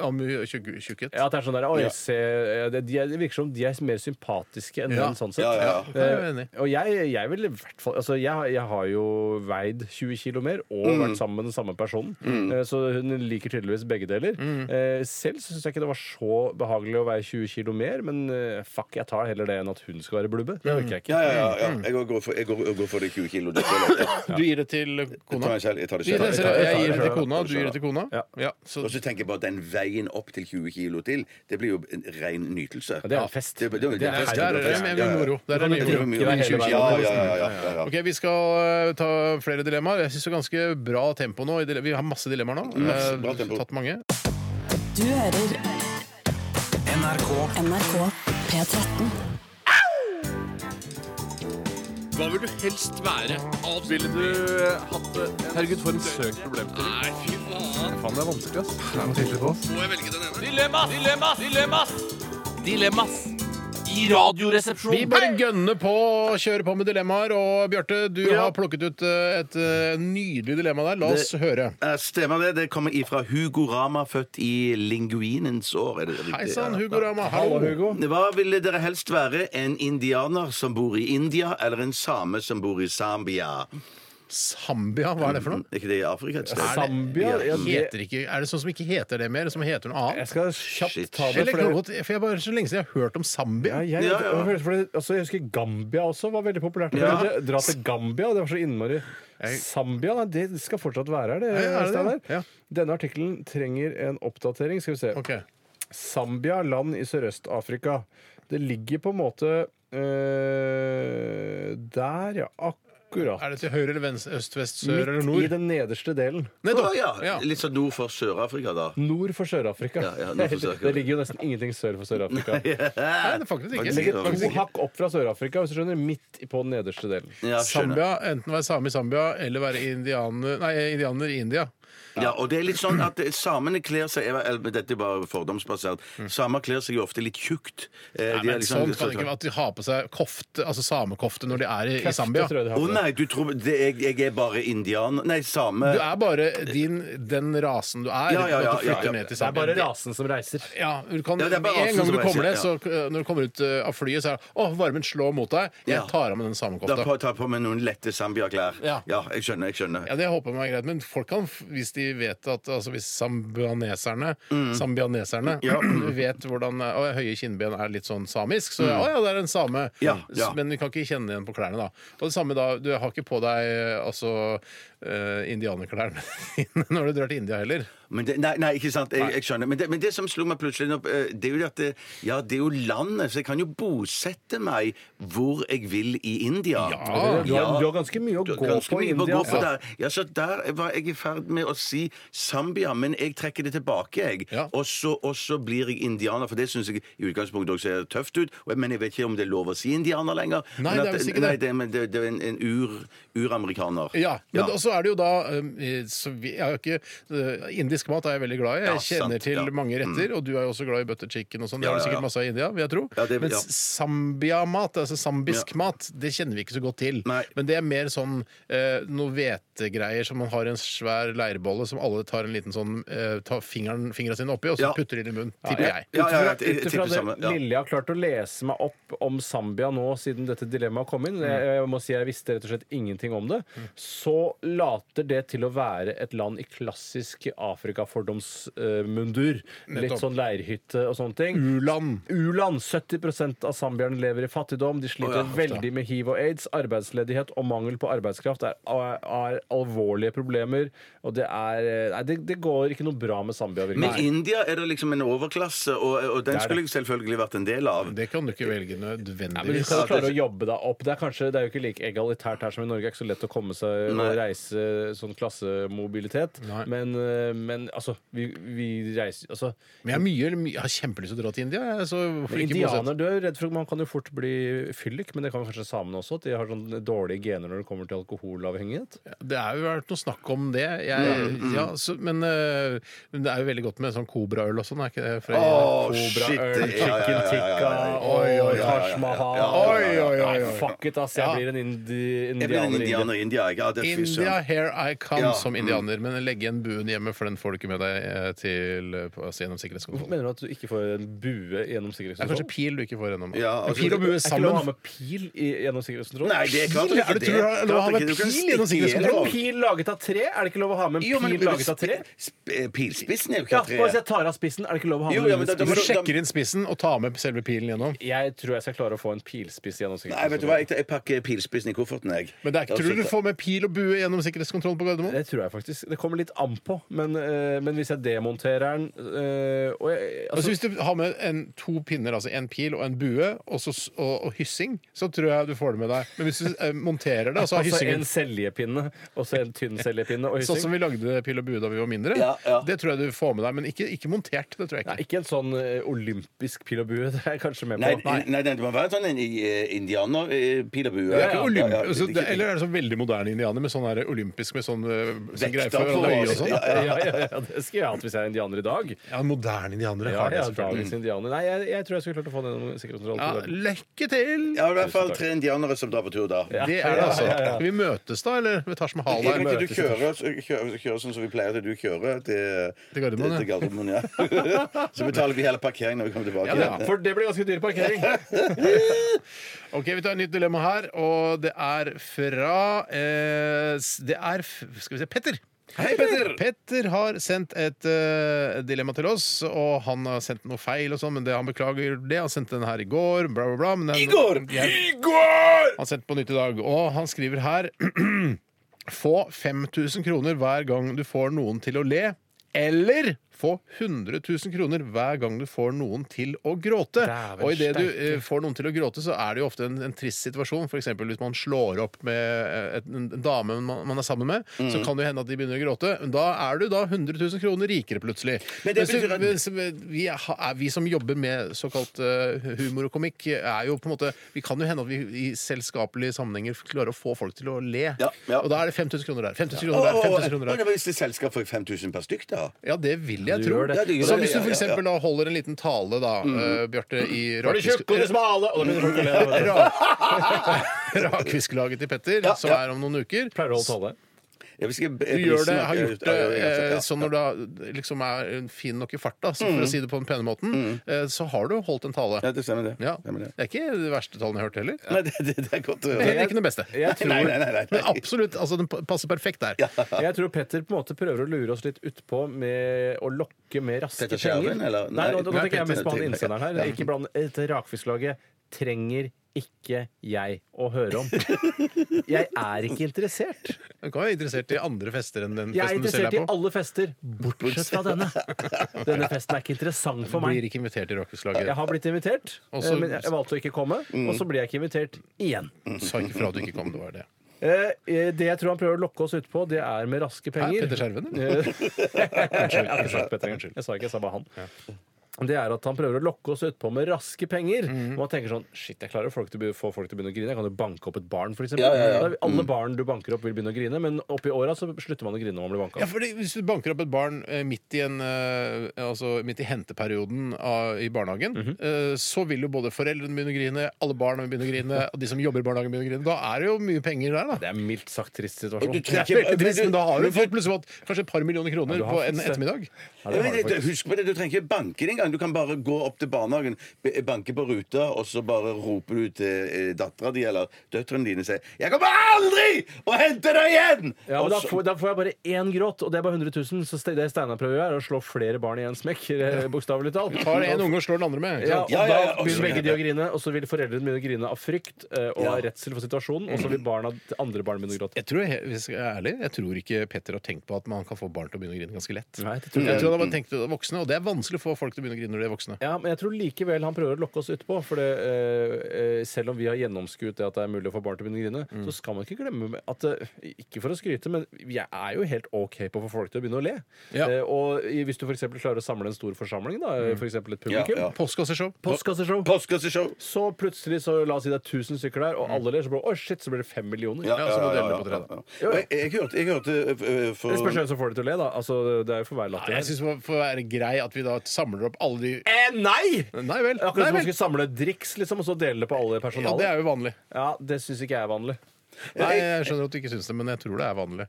F: Om hun er tjukk- tjukket.
D: Ja, at det, er sånn der, å,
G: Ja.
D: jeg ser, det, de er, det virker som de er mer sympatiske enn
F: Ja.
D: menn, sånn sett.
G: Ja, ja,
F: Ja, jeg er enig.
D: Eh, Og jeg, jeg vil i hvert fall altså jeg, har- jeg har jo veid 20 kg mer og
G: Mm.
D: vært sammen med den samme personen. Eh, Så hun liker tydeligvis begge deler. Eh, Selv syns jeg ikke det var så behagelig å veie 20 kg mer, men eh, fuck, jeg tar heller det enn at hun skal være blubbe. Det orker jeg ikke.
G: Ja, ja, ja,
D: Mm.
G: ja. Jeg går- går for, jeg går, jeg går for de 20 kilo. Det føler jeg.
F: Du gir det til
G: Jeg tar
F: kona?
G: meg selv. Jeg tar det
F: Du gir det
G: selv.
F: til,
D: tar- jeg
F: jeg
D: tar
F: gir det til
D: det.
F: kona, du gir det til kona?
D: Ja.
F: Ja, så
G: Og så tenker jeg bare at den veien opp til 20 kilo til, det blir jo en ren nytelse.
D: Ja, det er en fest.
G: Det, det, det, det,
D: Det er-
F: Der er det mye moro. Der er det
D: Du
F: mye
D: kan
F: moro.
D: drikke deg hele veien.
G: Ja, ja, ja, ja, ja, ja.
F: Ok, Vi skal eh, ta flere dilemmaer. Jeg syns det er ganske bra tempo nå. i dile- Vi har masse dilemmaer nå.
G: Masse
F: Eh,
G: bra tempo.
F: Tatt mange.
H: Du hører
B: NRK
H: NRK P13.
I: Dilemmas! Dilemmas! Dilemmas i Radioresepsjonen.
F: Vi bare gønner på og kjører på med dilemmaer. Og Bjarte, du har plukket ut eh, et eh, nydelig dilemma der. La oss høre.
G: Eh, Stemmer det. Det kommer ifra Hugo Rama, født i linguinens år. Er det riktig?
F: Hei
G: Ja.
F: sann, Hugo Rama.
D: Hallo,
F: Hallo.
D: Hugo.
G: Hva ville dere helst være? En indianer som bor i India, eller en same som bor i Zambia?
F: Zambia, hva er det for noe?
G: Er ikke det i Afrika et sted?
D: Zambia?
G: Ja.
D: Ja, det-
F: Heter ikke, er det sånn som ikke heter det mer, som heter noe
D: Jeg
F: annet?
D: skal kjapt
G: Shit.
D: ta det.
F: Eller
D: for det-
F: Knallgodt, for jeg bare, Så lenge siden jeg har hørt om
D: Ja,
F: Zambia.
D: jeg,
G: Ja, ja.
D: for det- For det, altså, jeg husker Gambia også var veldig populært.
G: Ja.
D: Men det- Dra til Gambia, det var så innmari Zambia, nei, det skal fortsatt være her, det.
F: Ja, er det
D: Steinar.
F: det? Ja.
D: Denne artikkelen trenger en oppdatering. Skal vi se.
F: Ok.
D: Zambia, land i Sørøst-Afrika. Det ligger på en måte eh, Der, ja. Akkurat.
F: Er det til høyre eller venstre? Øst, vest, sør eller
D: Midt i
F: nord?
D: den nederste delen.
F: Nettopp.
G: Å, ja.
F: Ja.
G: Litt sånn nord for Sør-Afrika, da.
D: Nord for Sør-Afrika.
G: Ja, ja, nord for Sør-Afrika.
D: det ligger jo nesten ingenting sør for Sør-Afrika.
F: Nei, det er faktisk ikke.
G: Faktisk ikke.
D: Ligger to hakk opp fra Sør-Afrika, hvis du skjønner. Midt i- på den nederste delen.
G: Ja, skjønner.
F: Zambia, enten være same i Zambia eller være indianer, nei, indianer i India.
G: Ja, og det er litt sånn at samene kler seg eller, men Dette er bare fordomsbasert. Samer kler seg jo ofte litt tjukt. Eh, de
F: Mm. Nei,
G: er
F: men
G: liksom-
F: sånn kan det ikke være at de har på seg kofte, altså samekofte når de er i, i Zambia.
D: Kjefte, tror jeg de har
G: Å
D: på det.
G: nei, du tror det, jeg, jeg er bare indianer Nei, same.
F: Du er bare din, den rasen du er.
G: Ja, ja, ja,
F: at du
G: ja,
F: flytter
G: ja.
F: ned til
D: Det er
F: Zambia.
D: bare rasen som reiser.
F: Ja, du kan,
G: Ja, det er bare
F: en
G: rasen
F: gang
G: som
F: du
G: reiser,
F: kommer ned,
G: ja.
F: så eh, når du kommer ut eh, av flyet, så er det Å, varmen slår mot deg. Jeg
G: Ja.
F: tar av meg den
G: Da
F: samekofta.
G: får jeg ta på meg noen lette Zambia-klær.
F: Ja.
G: jeg skjønner. jeg skjønner
F: Ja, det håper jeg er greit, men folk kan, f- hvis de vet at altså hvis sambianeserne,
G: Mm.
F: sambianeserne vet hvordan å, høye kinnben er litt sånn samisk, så å ja, det er en same,
G: Mm. Ja, ja.
F: S- men vi kan ikke kjenne igjen på klærne da. Og det samme da, du har ikke på deg eh, altså eh, indianerklærne dine når du drar til India heller.
G: Men det, nei, nei, ikke sant. Jeg, jeg skjønner. Men det, men det som slo meg plutselig opp, eh, det er jo det at det, Ja, det er jo landet, så jeg kan jo bosette meg hvor jeg vil i India.
F: Ja.
D: Du har, du har ganske mye å
G: Du-
D: gå
G: ganske
D: på i
G: mye å
D: India.
G: gå på
D: altså.
G: der. Ja, så der var jeg i ferd med å si Zambia, men jeg trekker det tilbake, jeg.
F: Ja.
G: Og, så, og så blir jeg indianer, for det syns jeg i utgangspunktet også ser tøft ut. Og jeg, men jeg vet ikke om det er lov å si indianer lenger.
F: Nei,
G: men
F: det er visst ikke det.
G: Nei, det, men det, det er en, en ur, uramerikaner.
F: Ja, men
G: Ja.
F: også er det jo da um, eh, så vi, jeg har ikke, eh, Indisk mat er jeg veldig glad i. Jeg
G: Ja, sant,
F: kjenner til
G: ja. Mm.
F: mange retter, og du er jo også glad i butter chicken og sånn. Det
G: Ja,
F: er det
G: ja, ja.
F: sikkert masse av i India, vil jeg tro.
G: Ja, det-
F: men
G: ja.
F: s- Zambia-mat, altså zambisk
G: Ja.
F: mat, det kjenner vi ikke så godt til.
G: Nei.
F: Men det er mer sånn eh, noe hvetegreier som man har i en svær leirbolle som alle tar en liten sånn eh, tar fingeren, fingrene sine oppi, og så
G: Ja.
F: putter de den i munnen. Tipper jeg.
G: Ja, ja, ja, jeg- jeg
D: Ut
G: tipper
D: ifra det
G: samme, ja.
D: lille jeg har klart å lese meg opp om Zambia nå, siden dette dilemmaet kom inn,
G: Mm.
D: jeg, jeg må si jeg visste rett og slett ingenting om det, så later det til å være et land i klassisk Afrikafordomsmundur. Litt
F: Nettopp.
D: sånn leirhytte og sånne ting.
G: Mm.
F: U-land.
D: U-land. 70 av zambierne lever i fattigdom. De sliter veldig med hiv og aids. Arbeidsledighet og mangel på arbeidskraft er, er alvorlige problemer. Og det er Nei, det, det går ikke noe bra med Zambia. virkelig.
G: Men i India er det liksom en overklasse, og, og den skulle jeg selvfølgelig vært en del av.
F: Det kan du ikke velge
D: Men du
F: nødvendigvis.
D: skal jo klare å jobbe deg opp. Det er, kanskje, det er jo ikke like egalitært her som i Norge. Det er ikke så lett å komme seg og
G: Nei.
D: reise sånn klassemobilitet.
F: Nei.
D: Men, eh, men men altså, vi, vi reiser Altså,
F: Men jeg, er mye, eller mye, jeg har kjempelyst til å dra til India. jeg, Så hvorfor ikke
D: indianer
F: bosette-
D: dør, redd for Man kan jo fort bli fyllik, men det kan kanskje samene også. At de har sånn dårlige gener når det kommer til alkoholavhengighet.
F: Det har jo vært noe snakk om det. Jeg,
G: Mm,
F: ja, så, men, øh, men det er jo veldig godt med sånn kobraøl og sånn, er ikke det? Fra
G: Åh,
D: Kobra
G: shit!
D: Øl,
G: Ja, ja,
D: Chicken
G: ja, ja, ja,
D: Tikka,
G: ja.
D: oi, oi,
G: ja, ja,
D: Taj
G: ja.
D: Mahal.
G: Ja, ja, ja, ja, ja,
F: Oi, oi, oi,
D: Nei,
F: oi.
D: Fuck it, ass. Jeg
F: Ja.
D: blir en indi
G: Jeg blir en
D: indianer. i India.
G: indianer i India. Jeg. Ja, det er fy
F: India,
G: søren.
F: here I come
G: Ja,
F: som
G: mm.
F: indianer. Men legge igjen buen hjemme, for den får du ikke med deg eh, til, eh, på- altså, gjennom
D: Hvorfor
F: sikkerhetskontrollen.
D: mener du at du ikke får en bue gjennom
F: Det er kanskje
D: sikkerhetskontrollen?
F: pil du ikke får gjennom.
G: Ja, altså-
F: pil og
D: Er
F: bue
D: ikke lov å ha
F: sammen.
D: med pil i, gjennom sikkerhetskontrollen?
G: Nei, det er klart
F: Pil?
G: ikke
F: Er det-
G: det.
F: tror du det er lov å ha
G: Klart
F: med
G: ikke, du kan stikke
F: pil gjennom sikkerhetskontrollen?
D: Er
G: gjennom.
D: en pil laget av tre? Er det ikke lov å ha med en
G: Jo, men
D: pil laget av tre?
G: sp- sp- Pilspissen er jo ikke
D: Ja,
G: av
D: og Hvis
G: tre.
D: jeg tar av spissen, er det ikke lov å ha
G: Jo,
D: med
G: ja, men da-
D: en
F: Du
G: da-
D: spiss?
G: da-
F: sjekker inn spissen og tar med selve pilen gjennom.
D: Jeg tror jeg skal klare å få en pilspiss gjennom
G: Nei, vet du hva, jeg,
D: sikkerhetskontrollen.
G: jeg pakker pilspissen i kofferten, jeg.
F: Men det er ikke,
G: Da
F: tror du du
G: slutter-
F: får med pil og bue gjennom sikkerhetskontrollen på
G: altså-
F: Gardermoen?
D: Det tror jeg faktisk. Det kommer litt an på. Men, eh, men hvis jeg demonterer den eh, og jeg,
F: Altså, hvis du har med en, to pinner, altså en pil og en bue, og, så, s- og, og hyssing, så tror jeg du får det med deg. Men hvis du eh, monterer det, og så har
D: Altså
F: hyssingen
D: en seljepinne, og så en tynn seljepinne og
F: Sånn som
D: hyssing.
F: vi lagde pil og bue da vi var mindre.
G: Ja, ja.
F: Det tror jeg du får med deg, men ikke, ikke montert. Det tror jeg
D: Nei,
F: ikke.
D: ikke en sånn eh, olympisk pil og bue. Det er jeg kanskje med
G: Nei,
D: på.
G: nei, nei, det må være sånn en indianer-pil og bue.
F: Det er ikke
G: Ja,
F: olymp-
G: ja, ja,
F: altså, det,
G: ikke-
F: eller er det sånn veldig moderne indianer med sånn her olympisk med sånn, eh, sånn greie
G: Vekta
F: for
G: på-
F: øye og sånn?
G: Ja,
D: Ja, ja, ja, det skulle jeg hatt hvis jeg er indianer i dag.
F: Ja, moderne indianere
D: Ja,
F: har det
D: ja,
F: selvfølgelig.
D: dagens indianer. Nei, jeg, jeg tror jeg skulle klart å få den gjennom
F: Ja,
D: sikkerhetskontrollen.
F: lykke til!
G: Ja, i hvert fall tre indianere som drar på tur da.
F: Det er det, altså. Skal vi møtes, da? Eller ved Taj Mahal?
G: Jeg kan
F: der?
G: ikke du kjører, kjører, kjører sånn som vi pleier at du kjører til,
F: Til Gardermoen, ja.
G: til Gardermoen, ja. Så betaler vi hele parkeringen når vi kommer tilbake.
F: Ja,
G: igjen.
D: For det blir ganske dyr parkering.
F: Ok, Vi tar et nytt dilemma her, og det er fra eh, s- Det er f- skal vi se, Petter.
G: Hei, Petter!
F: Petter har sendt et eh, dilemma til oss, og han har sendt noe feil og sånn, men det, han beklager det. Han sendte den her i går, bla, bla, bla. Men den, Han sendte på nytt i dag, og han skriver her Få 5000 kroner hver gang du får noen til å le, eller få 100 000 kroner hver gang du får noen til å gråte.
D: Dæven
F: Og idet du
D: steike.
F: eh, får noen til å gråte, så er det jo ofte en, en trist situasjon. F.eks. hvis man slår opp med eh, et, en dame man, man er sammen med, så
G: Mm.
F: kan det jo hende at de begynner å gråte. Da er du da 100 000 kroner rikere plutselig.
G: Men det
F: Mens du-
G: betyr at-
F: mens vi, ha- er, vi som jobber med såkalt eh, humor og komikk, er jo på en måte Vi kan jo hende at vi i selskapelige sammenhenger klarer å få folk til å le.
G: Ja, ja.
F: Og da er det 5000 kroner der. 5000
G: Å,
F: kroner der,
G: å,
F: 5000
G: å,
F: kroner
G: å,
F: der.
G: men Hvis det er selskap får jeg 5000 per stykk, da?
F: Ja, det vil jeg
D: Du
F: tro.
D: gjør det.
G: Ja, det gjør
F: Så
G: det,
F: hvis du
G: ja,
F: for
G: ja, ja.
F: eksempel da holder en liten tale, da, eh, Bjarte, i
D: Var det tjukke og det smale? Og da begynner folk å le. vet du.
F: Rakfisklaget til Petter, som er om noen uker.
D: Pleier å holde tale.
G: Ja, hvis jeg-
F: Du gjør det, har
G: Ja,
F: gjort
G: ja, ja,
F: det.
G: ja, ja.
F: eh, Så når du da liksom er fin nok i farta, så for å si det på den pene måten, eh, så har du holdt en tale.
G: Ja, det stemmer det.
F: Ja.
G: Stemmer det.
F: Det er ikke det verste tallene jeg har hørt heller.
G: Nei, det, det, det er godt å
F: Heller
G: høre.
F: ikke det beste.
D: Jeg tror
G: Nei, nei, nei, nei.
F: Men absolutt, altså den passer perfekt der.
D: Jeg tror Petter på en måte prøver å lure oss litt utpå med å lokke med raske
G: Petter Skjerven,
D: penger.
G: eller?
D: Nei,
G: Nei,
D: nå,
G: nei,
D: nå tenker jeg
G: Petter-
D: mest på han
G: Petter-
D: innsenderen her.
G: Ja.
D: Ikke bland Dette rakfisklaget trenger ikke jeg å høre om. Jeg er ikke interessert.
F: Du kan være interessert i andre fester enn den
D: Jeg er
F: festen du selv
D: interessert i
F: er på.
D: alle fester, bortsett fra denne. Denne festen er ikke interessant for
F: Blir
D: meg.
F: ikke invitert i rockeslaget.
D: Jeg har blitt invitert,
F: Og så-
D: eh, men jeg valgte å ikke komme. Og så blir jeg ikke invitert igjen.
F: Sa ikke fra at du ikke kom, det var det.
D: Eh, eh, Det jeg tror han prøver å lokke oss ut på, det er med raske
F: Er
D: penger.
F: Petter Skjerven, eller?
D: Eh, Jeg har ikke sagt Petter engang.
F: Unnskyld.
D: Jeg sa ikke, jeg sa bare han. Det er at han prøver å lokke oss utpå med raske penger. Og man tenker sånn Shit, jeg klarer å folk til, å be- få folk til å begynne å grine. Jeg kan jo banke opp et barn, f.eks.
G: Ja, ja, ja.
D: Alle barn du banker opp, vil begynne å grine, men oppi åra så slutter man å grine når man blir banka
F: Ja,
D: opp.
F: fordi Hvis du banker opp et barn eh, midt i, en, eh, altså midt i henteperioden av, i barnehagen,
D: Mhm.
F: eh, så vil jo både foreldrene begynne å grine, alle barna begynne å grine, og de som jobber i barnehagen begynner å grine. Da er det jo mye penger der, da.
D: Det er en mildt sagt trist
G: Og du
D: situasjon.
F: Det er
G: trekker-
F: veldig trist, men da har du
G: Men du-
F: fått plutselig fått kanskje et par millioner kroner
D: Ja, du har
F: på en
D: fått det.
F: ettermiddag.
D: Ja, det
G: Ja,
D: har
G: men
D: det
G: det-
D: faktisk.
G: Husk på det, Du trenger ikke banke det engang. Du kan bare gå opp til barnehagen, be- banke på ruta, og så bare roper du til dattera di eller døtrene dine og sier 'Jeg kommer aldri å hente deg igjen!'
D: Ja, men
G: Og
D: da
G: så-
D: får, da får jeg bare én gråt, og det er bare 100 000. Så ste- det Steinar prøver å gjøre, er å slå flere barn i én smekk, eh, bokstavelig talt.
F: Tar en unge og slår den andre med. ikke
D: Ja,
F: sant?
D: og
G: Ja, ja, ja,
D: Da
G: og så-
D: begynner begge de å grine, og så vil foreldrene begynne å grine av frykt eh, og av
G: Ja.
D: redsel for situasjonen, og så vil barna til andre barn begynne å gråte.
F: Jeg tror, jeg- hvis jeg er ærlig, jeg tror ikke Petter har tenkt på at man kan få barn til å begynne å grine ganske lett.
D: Nei, det tror jeg
F: Jeg tror han har bare tenkt det voksne, og det er vanskelig å få folk til å begynne å grine når de er voksne.
D: Ja, men jeg tror likevel han prøver å lokke oss utpå. For det, eh, eh, selv om vi har gjennomskuet det at det er mulig å få barn til å begynne å grine,
G: Mm.
D: så skal man ikke glemme at eh, Ikke for å skryte, men jeg er jo helt OK på å få folk til å begynne å le.
F: Ja.
D: Eh, og i- hvis du f.eks. klarer å samle en stor forsamling, da, eh, for eksempel et publikum
G: Mm. Ja, ja.
F: Postkasseshow.
D: Postkasseshow.
G: Postkasseshow!
D: Så plutselig, så la oss si det er 1000 stykker der, og alle ler, så blir det, «Oi, shit, så blir det fem millioner.
F: Mm. Ja, så må du dele det på tre, da.
G: ja. Og Jeg, jeg hørte, jeg hørte øh, øh, for
D: Det spørs hvem som får det til å le, da. Altså, det er jo for hver
F: Nei,
D: latter.
F: Jeg syns det får være grei at vi da samler opp alle de
D: Eh, nei!
F: Nei vel. Nei
D: Akkurat som man
F: vel.
D: skulle samle driks liksom, og så dele det på alle
F: Ja, det
D: personalet.
F: er jo vanlig.
D: Ja, Det syns ikke jeg er vanlig.
F: Nei, jeg skjønner at du ikke syns det, men jeg tror det er vanlig.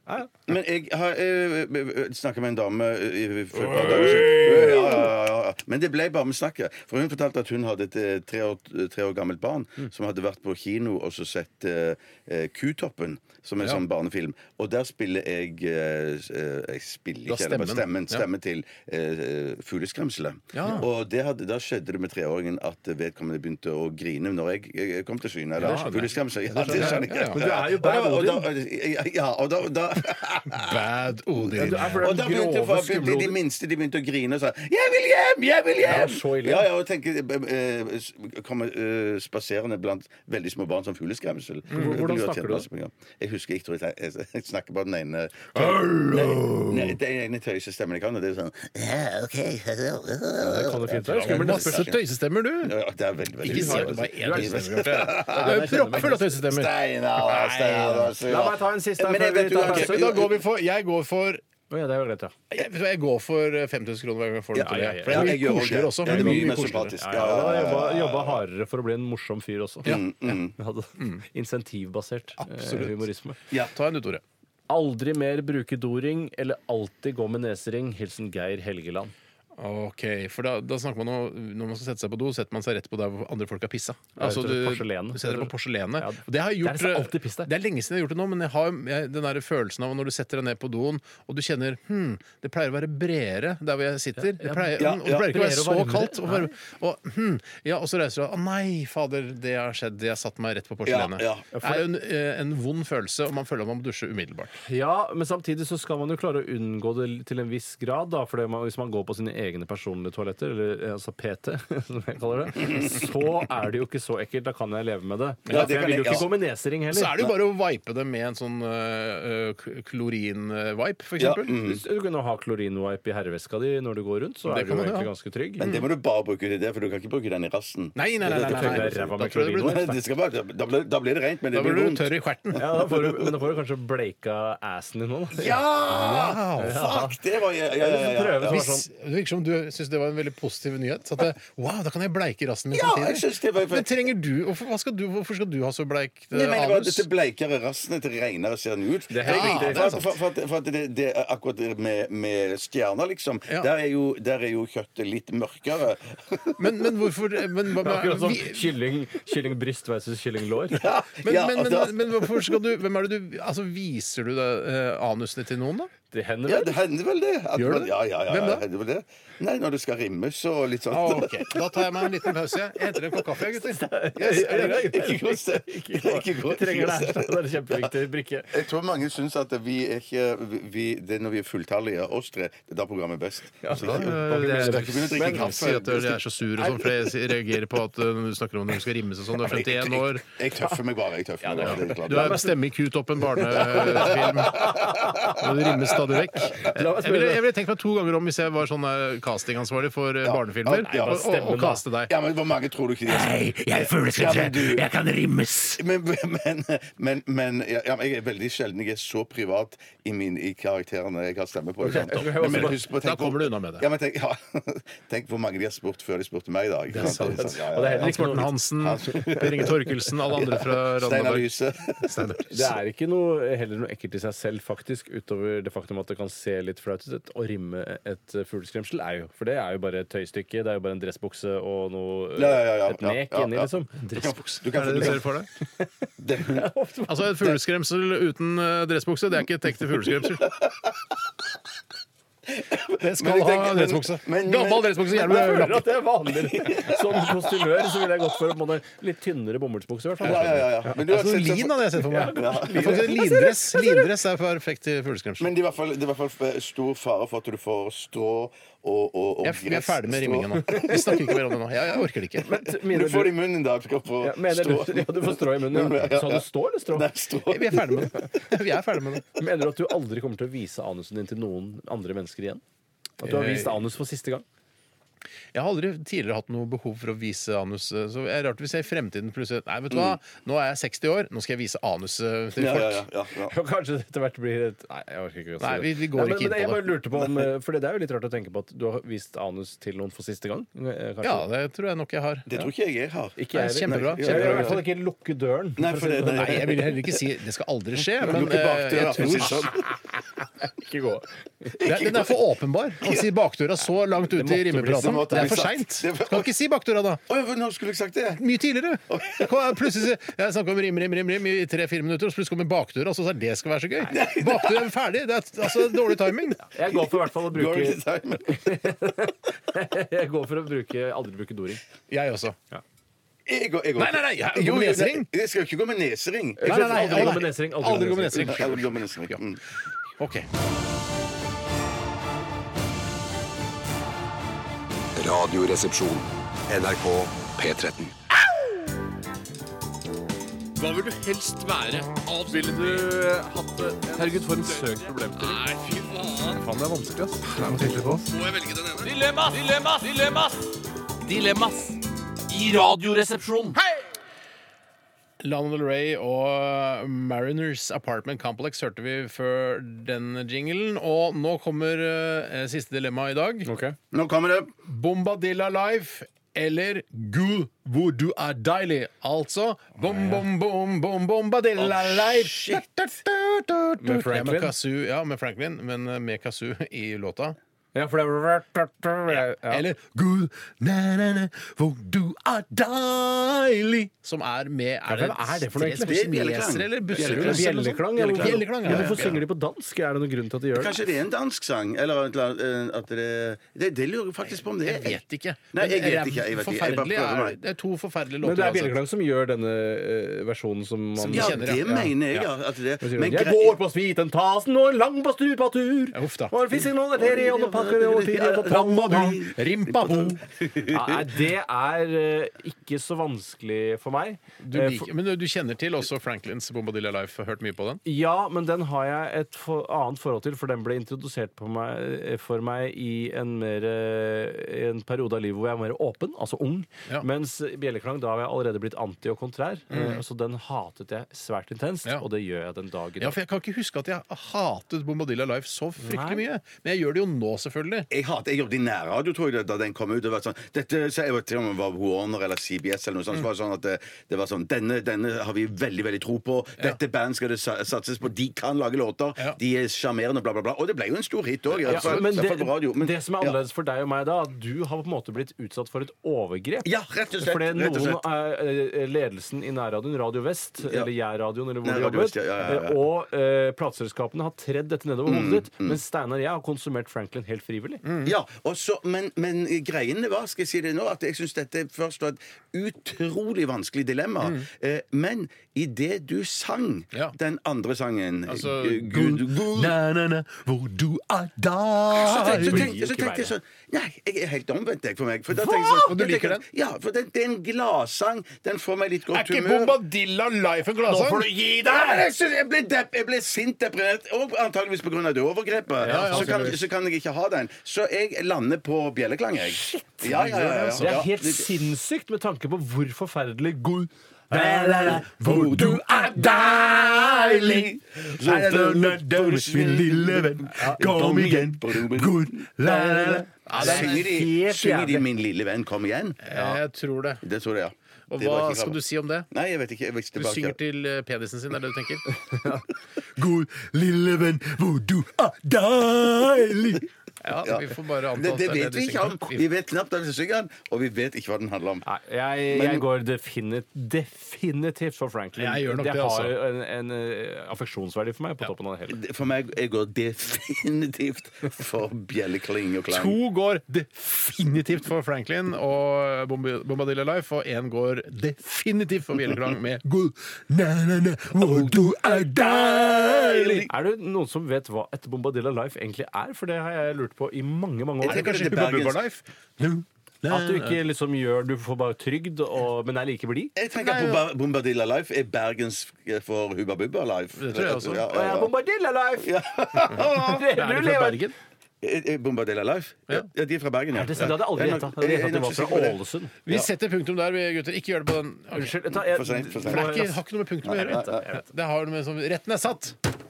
G: Men jeg har øh, snakka med en dame øh, øh, for et par dager siden. Øh, Ja, ja, ja, ja. Men det ble bare med snakket. For hun fortalte at hun hadde et eh, tre år, tre år gammelt barn
F: Mm.
G: som hadde vært på kino og så sett eh, eh, Q-toppen, som en sånn barnefilm. Og der spiller jeg eh, s- eh, Jeg spiller
F: Da
G: ikke, eller bare
F: stemmen.
G: stemmen, stemmen til eh, fugleskremselet.
F: Ja.
G: Og det hadde, da skjedde det med treåringen at vedkommende begynte å grine når jeg eh, kom til syne. Eller
F: skjønner jeg.
G: fugleskremselet. Ja,
F: Det skjønner
G: det skjønner
F: jeg.
G: jeg.
F: Ja, ja.
D: Men du er jo
G: Og da-
D: bad
G: og da- Ja, og da, da
F: Bad Odin.
D: Det er for
G: og
D: den
G: da begynte
D: grove,
G: folk- de, de
D: skumle
G: minste de begynte å grine og sa 'Jeg vil hjem! Jeg vil hjem!'
D: Ja, så ille.
G: ja, ja, og tenke, eh, s- Komme eh, spaserende blant veldig små barn som fugleskremsel.
D: Mm. Hvordan
G: Det blir jo
D: snakker du da?
G: kjempevanskelig. Jeg husker ikke, tror jeg, jeg, jeg snakker bare den ene Hallo! Nei, den ene tøysestemmen jeg kan, og det er sånn ja, OK
D: Det kan det fint være.
F: Men
D: Skummelt.
F: Masse tøysestemmer, du.
G: Ja, Det er veldig, veldig
F: Ikke si at det bare er én tøysestemme. Bjarte. Du er proppfull av tøysestemmer.
G: Steinar, Steinar, Steinar.
D: La meg ta en siste her
G: Men jeg
D: før
G: vet
D: vi
G: jo
D: tar
G: ikke-
F: Ok, men da går vi for Jeg går for
D: Å, ja, det er jo greit, ja.
F: jeg, vet du hva, jeg går for 5000 kroner hver gang jeg får den til
D: ja,
F: det.
D: ja,
F: For det
G: Ja,
F: er
G: jeg gjør
F: mye koseligere også.
G: Ja, det er mye mer
F: koseligere.
G: sympatisk.
D: Ja, ja, ja. Jobba, jobba hardere for å bli en morsom fyr også. Vi hadde Insentivbasert eh,
F: Mm, Absolutt.
D: humorisme.
F: Ta en ut, Tore.
D: Aldri mer bruke doring eller alltid gå med nesering. Hilsen Geir Helgeland.
F: Ok, for da, da snakker man om Når man skal sette seg på do, setter man seg rett på der hvor andre folk har pissa.
D: Ja, rett og slett porselenet.
F: du setter deg på porselenet.
D: Ja.
F: Og det, har jeg gjort,
D: Det er nesten alltid piss der.
F: det er lenge siden jeg har gjort det nå, men jeg har jeg, den der følelsen av når du setter deg ned på doen, og du kjenner hm, det pleier å være bredere der hvor jeg sitter. Det pleier,
G: Ja,
F: mm, og det
G: ja.
F: pleier ikke å være så
D: Bredere og varmere.
F: kaldt. Og, varme- og, hm, ja, og så reiser du deg. Å nei, fader, det har skjedd. Jeg satte meg rett på porselenet.
G: Ja, ja.
F: Det er jo en, eh, en vond følelse, og man føler at man må dusje umiddelbart.
D: Ja, men samtidig så skal man jo klare å unngå det til en viss grad, da. For det man, hvis man går på sine egne personlige toaletter, eller eh, altså PT, som jeg kaller det, så er det jo ikke så ekkelt. Da kan jeg leve med det.
G: Ja, det
D: for jeg
G: kan
D: vil jo
G: jeg-
D: ikke
G: ja.
D: gå med nesering
F: Så
D: heller.
F: er det jo bare å vipe det med en sånn øh, øh, klorin-vipe, for
G: Ja,
F: eksempel.
G: mm.
D: Hvis du kan jo ha klorinwipe i herreveska di når du går rundt, så
F: Det
D: er du
F: kan
D: jo
F: man jo
D: egentlig
F: ha.
D: ganske trygg.
G: Men det må du bare bruke til det, for du kan ikke bruke den i rassen.
F: Nei, nei, nei, nei, nei,
D: tørker
F: nei.
D: deg ræva
F: Da
D: med
F: tror jeg det blir-
D: klorin.
G: Det skal bare, da, blir, da blir det rent, men
F: da
G: det
F: blir
G: blir
F: du
G: vondt.
F: tørr i kverten.
D: Ja, da får du, men da får du kanskje bleika assen din nå, da.
G: Ja! Fuck, det var ja, ja, ja, ja,
D: Prøve
G: ja.
D: som er
F: Hvis,
D: sånn.
F: det virker som du syns det var en veldig positiv nyhet. Så at det, wow, da kan jeg bleike rassen min
G: Ja, jeg synes det var-
F: Men trenger du, hvorfor, hva skal du Hvorfor skal du ha så bleikt
G: Nei,
F: eh,
G: men det var
F: anus?
G: Dette bleikere rassene til reinere ser den ut.
D: er helt
G: Ja,
D: riktig.
G: for, for, for, at- for at det, det er akkurat det med, med stjerner, liksom.
F: Ja.
G: Der, er jo, der er jo kjøttet litt mørkere.
F: Men, men hvorfor men, hva- hva-
D: Akkurat som
F: vi-
D: kylling, kyllingbryst versus kyllinglår.
G: sånn
F: men,
G: Ja, altså,
F: men,
G: og
F: men,
G: da-
F: men, hvorfor skal du Hvem er det du Altså, viser du det, eh, anusene til noen, da?
D: Det hender
G: Ja,
D: vel.
G: det hender vel det. at
F: Gjør
G: man-
F: det?
G: Ja, ja, ja,
F: Hvem da?
G: ja, hender vel det? Nei, når du skal rimmes og litt sånn. sånt.
F: Ah, ok, Da tar jeg meg en liten pause. Jeg henter en kopp kaffe, jeg, gutter.
G: Yes, er det greit? Ikke gå og se. Ikke gå-
D: Trenger det. Det er en kjempeviktig brikke.
G: Jeg tror mange syns at vi er ikke vi- vi, Det er når vi er fulltallige, oss tre, det er da programmet er best. Så ikke-
F: det
G: skal ikke begynne å drikke
F: Men
G: kaffe.
F: si at jeg er så sur og sånn, for jeg reagerer på at uh, når du snakker om når du skal rimmes og sånn. Du er 51 år.
G: Jeg tøffer meg bare. jeg tøffer meg bare, det er klart.
F: Du er stemme i Q-toppen barnefilm. Og du rimmes stadig vekk.
D: La meg
F: Jeg ville, jeg ville tenkt meg to ganger om hvis jeg var sånn eh, castingansvarlig for eh, barnefilmer,
G: Ja,
F: og, og, og
D: stemmen, da.
F: caste deg.
G: Ja, men Hvor mange tror du ikke de er?
I: Hei, jeg er fugleskremse. Jeg kan rimmes.
G: Men, men, men, men ja, ja, men jeg er veldig sjelden jeg er så privat i, min, i karakterene jeg har stemme på. Liksom.
D: jeg også
G: Men, men
D: bare-
G: husk på,
F: Da
G: tenk, hvor-
F: kommer du unna med det.
G: ja, men tenk, ja, tenk hvor mange de har spurt før de spurte meg i dag. ikke sant? Det er sant, ja,
D: Og det
G: ja, ja.
D: er heller
F: Hans
D: ikke
F: Morten
D: noe
F: Hansen, Per Inge Torkelsen, alle andre fra
G: Steinar
F: Randaberg.
G: Lyse.
F: Steinar Lyse.
D: Det er ikke noe, heller noe ekkelt i seg selv, faktisk, utover det faktum at det kan se litt flaut ut. Å rimme et eh, fugleskremsel er jo For det er jo bare et tøystykke. Det er jo bare en dressbukse og noe eh,
G: Ja, ja, ja, ja,
D: Et nek
G: ja, ja,
D: inni,
G: ja.
D: liksom.
G: Du kan
F: Er
G: få du
F: det det du
G: kan-
F: ser for deg?
G: det-
F: Altså, Et fugleskremsel uten eh, dressbukse, det er ikke et ekte fugleskremsel. Det
G: Men
F: skal
G: jeg
F: ha
G: tenker- men-
F: dressbukse.
G: men-
F: Gammel
G: men-
F: dressbukse.
D: Men jeg
F: Gjerne
D: føler at det er vanligere. Som kostymør så ville jeg gått for en måte litt tynnere bomullsbukse, i hvert fall.
G: Ja, ja, ja, ja. Men, du har
F: Altså,
G: sett-
F: lin hadde jeg sett for meg.
G: Ja.
F: Jeg får ikke- Lindress, lindress er perfekt til fugleskremsel.
G: Men det er i hvert fall, det er i hvert fall stor fare for at du får strå og, og, og
F: Jeg, jeg er ferdig med rimmingen nå.
G: gressstrå.
F: Vi snakker ikke mer om det nå. Jeg, jeg orker det ikke.
D: Mener
G: Du får det i munnen, da. Du skal få
D: ja, mener du,
G: strå.
D: ja, du får strå i munnen.
G: Ja,
D: Ja.
G: ja.
D: Sa du stå eller strå?
G: Nei, strå.
F: Vi er ferdig med det. Vi er ferdig med det.
D: Mener du at du aldri kommer til å vise anusen din til noen andre mennesker igjen? At du har vist anus for siste gang?
F: Jeg har aldri tidligere hatt noe behov for å vise anus. eh, Så det er rart hvis jeg i fremtiden plutselig Nei, vet du hva, nå er jeg 60 år, nå skal jeg vise anus eh, til
G: Mm. Ja,
F: folk.
G: ja, ja, ja, ja.
D: Og kanskje det etter hvert blir et Nei, jeg orker ikke å si
F: Nei, vi- vi går
D: men,
F: ikke inn
D: men jeg
F: på
D: bare
F: det.
D: lurte på om eh, For det er jo litt rart å tenke på at du har vist anus til noen for siste gang. eh, kanskje.
F: Ja, det tror jeg nok jeg har.
G: Det tror ikke jeg jeg har.
D: Ikke jeg
F: Nei,
D: heller.
F: kjempebra,
D: Jeg vil i
F: kjempebra.
D: hvert fall ikke lukke døren.
G: Nei, for det,
F: Nei, jeg vil heller ikke si Det skal aldri skje, men eh, jeg tror
D: Ikke gå.
F: Det er- Den er for åpenbar. Han sier bakdøra så langt ute i
G: Det
F: rimepraten.
G: måtte
F: Det er
G: bli
F: for
G: sagt.
F: seint.
G: Det var-
F: Kan ikke si bakdøra da.
G: Å, ja, Når skulle jeg sagt det?
F: Mye tidligere. Jeg kom- Plutselig så- Jeg snakka om rim, rim, rim, rim i tre-fire minutter, og så plutselig kommer bakdøra, og så sa jeg, det skal være så gøy. Bakdøra er ferdig. Det er altså dårlig timing.
D: Jeg går for i hvert fall å bruke
G: Glory to time.
D: Jeg går for å bruke, aldri bruke doring.
F: Jeg også.
G: Jeg går, jeg går.
F: Nei, nei, nei, jeg-
G: Jo,
F: gå med
G: jo,
F: nesering.
G: nei, Jeg skal jo ikke gå med nesering.
F: Nei, nei, nei,
D: Aldri gå med nesering, aldri
F: Aldri gå
G: Jeg
F: med nesring.
G: skal gå med nesering.
F: Ja.
G: Mm.
F: OK.
B: Radioresepsjon. NRK P13.
I: Dilemmas! Dilemmas! Dilemmas! Dilemmas! I radioresepsjonen.
F: Lana Del Rey og Mariners Apartment Complex hørte vi før den jinglen. Og nå kommer eh, siste dilemma i dag.
G: Nå kommer det.
F: Bombadilla Life eller Gul Voodoo Adaili. Altså bom, bom, bom, bom, Bombadilla Life. Med
D: Franklin?
F: Ja, med, Kazoo, ja, med Franklin, men eh, med Kazoo i låta.
D: Ja, for det er
F: Eller Gul na-na-na, Voodoo Adaili. Som er med Er
D: hva er det for noe
F: tre
D: egentlig?
F: spesimeser eller busserud? eller noe sånt?
D: Bjelleklang. ja.
F: Bjelleklang, ja.
D: Men Hvorfor synger de på dansk? Er det noen grunn til at de gjør det?
G: Kanskje det er en dansk sang? Eller et eller annet, eh, at det, det, det lurer jeg faktisk på om det er.
F: Jeg vet ikke.
G: Nei, jeg
F: Men
G: vet ikke, jeg vet ikke. Jeg bare
F: forferdelig
G: prøver
F: er,
G: meg.
F: det er to forferdelige
D: Men
F: låter.
D: det er
F: altså.
D: Bjelleklang som gjør denne eh, versjonen som man
F: de
G: Ja,
F: kjenner,
G: det
F: ja.
G: mener jeg, ja. At det,
D: Hva sier
G: men
D: hun? Jeg
G: grei-
D: går på sviten, tasen og en lang på stupatur.
F: Ja, uff da.
D: Og en fisken og en ferie og noen pakker og en tidlig og tam og du.
F: Rimpa bo.
D: Ja, nei, det er eh, ikke så vanskelig for meg.
F: Du
D: Eh,
F: liker, men du kjenner til også Franklins Bombadilla Life? Hørt mye på den?
D: Ja, men den har jeg et for, annet forhold til, for den ble introdusert på meg, eh, for meg i en, mer, eh, en periode av livet hvor jeg var mer åpen, altså ung.
F: Ja. Mm.
D: Mens Bjelleklang, da har jeg allerede blitt anti og kontrær, eh, så den hatet jeg svært intenst,
F: Ja.
D: og det gjør jeg den dag i
F: Ja,
D: dag.
F: for Jeg kan ikke huske at jeg har hatet Bombadilla Life så fryktelig mye. Men jeg gjør det jo nå, selvfølgelig.
G: Jeg hater, jeg jobbet i nærradio tror jeg, da- da den kom ut. Det var sånn, dette, så jeg vet ikke om det var Warner eller CBS eller noe sånt. Så var det sånn at det, det var sånn, denne, denne har vi veldig, veldig tro på. Dette band skal det sa- satses på. De kan lage låter.
F: Ja.
G: De er sjarmerende, bla, bla, bla. Og det ble jo en stor hit òg.
D: Ja, men det,
G: på radio. Men-
D: det som er annerledes for deg og meg da, at du har på en måte blitt utsatt for et overgrep.
G: Ja, rett og slett,
D: Fordi
G: rett og
D: noen eh, ledelsen i nærradioen, Radio Vest, eller Gjærradioen, eller hvor
G: Nei,
D: du
G: Radio
D: jobbet,
G: Vest, ja, ja, Mm, ja, ja.
D: eh, og eh, plateselskapene har tredd dette nedover hodet ditt, mens Steinar og jeg har konsumert Franklin helt frivillig.
G: Ja, og så, men, men greien var, skal jeg si det nå, at jeg syns dette først var et utrolig vanskelig dilemma.
D: Mm.
G: Eh, men idet du sang
F: Ja.
G: den andre sangen
F: Altså,
G: eh, Gud, Gud,
F: Na-na-na, hvor du er da
G: så tenkte, så
D: Nei,
G: tenkte, så tenkte
D: ikke
G: jeg
D: verre.
G: sånn Nei, jeg er helt omvendt, jeg, for meg. For da tenkte jeg sånn,
F: Og du
G: da tenkte
F: liker
G: jeg, Ja, for det, det er en gladsang. Den får meg litt
F: Er
G: godt
F: ikke
G: humør.
F: Bombadilla Life en gladsang?
G: gi deg! jeg, synes, jeg, ble depp, jeg ble sint, deprimert, og antageligvis pga. det overgrepet.
F: Ja, ja,
G: så, kan,
F: tydeligvis.
G: så kan jeg ikke ha den. Så jeg lander på bjelleklang, jeg. Shit! Ja, ja, ja, ja,
D: Det
G: ja.
D: er helt sinnssykt med tanke på hvor forferdelig god
F: Hvor du er deilig min lille venn, kom igjen, good la-la-la.
G: Synger de,
D: helt
G: synger de
D: jævlig.
G: 'Min lille venn, kom igjen'?
F: Jeg tror det.
G: Det tror jeg, ja.
F: Og
G: Det var
F: hva
G: ikke
F: skal
G: klar.
F: du si om det?
G: Nei, jeg vet ikke. Jeg vet ikke
F: Du
G: tilbake.
F: synger til eh, penisen sin, er det du tenker? God lille venn, hvor du er deilig Ja,
G: Ja.
F: vi får bare anta
G: det,
F: at
G: det
F: er
G: vet
F: du
G: vi ikke om.
F: synger.
G: Vi vet knapt hvem som synger den, og vi vet ikke hva den handler om.
D: Nei, jeg, jeg går definit, definitivt for Franklin.
F: Jeg gjør nok det,
D: har
F: altså.
D: en, en eh, affeksjonsverdi for meg på toppen av det hele.
G: For meg jeg går definitivt for bjellekling og klang.
F: To går definitivt for Franklin og Bomb- Bombadilla Life, og én går definitivt for Bjelleklang med God na-na-na, hvor du er deilig
D: Er det noen som vet hva et Bombadilla Life egentlig er? For det har jeg lurt på i mange, mange
F: Er det
D: år.
F: kanskje
G: det er
F: Hubba
G: bergensk.
F: Bubba Life?
D: At du ikke liksom gjør Du får bare trygd, og, men er like blid.
G: Jeg tenker at Bomba- Bombadilla Life er Bergens for Hubba Bubba Life.
F: Det tror jeg også.
G: Ja,
D: Og jeg
G: ja,
D: er Bombadilla Life!
G: ja.
D: Du
F: Er det fra
D: lever-
F: Bergen?
G: Er- er Bombadilla Life? Ja. de er fra Bergen, ja.
D: Er det sant? Det hadde jeg aldri
G: Jeg er
D: gjetta.
G: nok- jeg er
D: Det
G: nok
D: var
G: så
D: fra
G: sikker på det.
D: Ålesund.
F: Vi setter punktum der, vi gutter. Ikke gjør det på den.
D: Unnskyld. vet du hva, jeg-
G: For sent, for sent.
F: For det er ikke, har ikke noe med punktum å
G: Nei, nei,
F: gjøre. Det har noe med som, Retten er satt,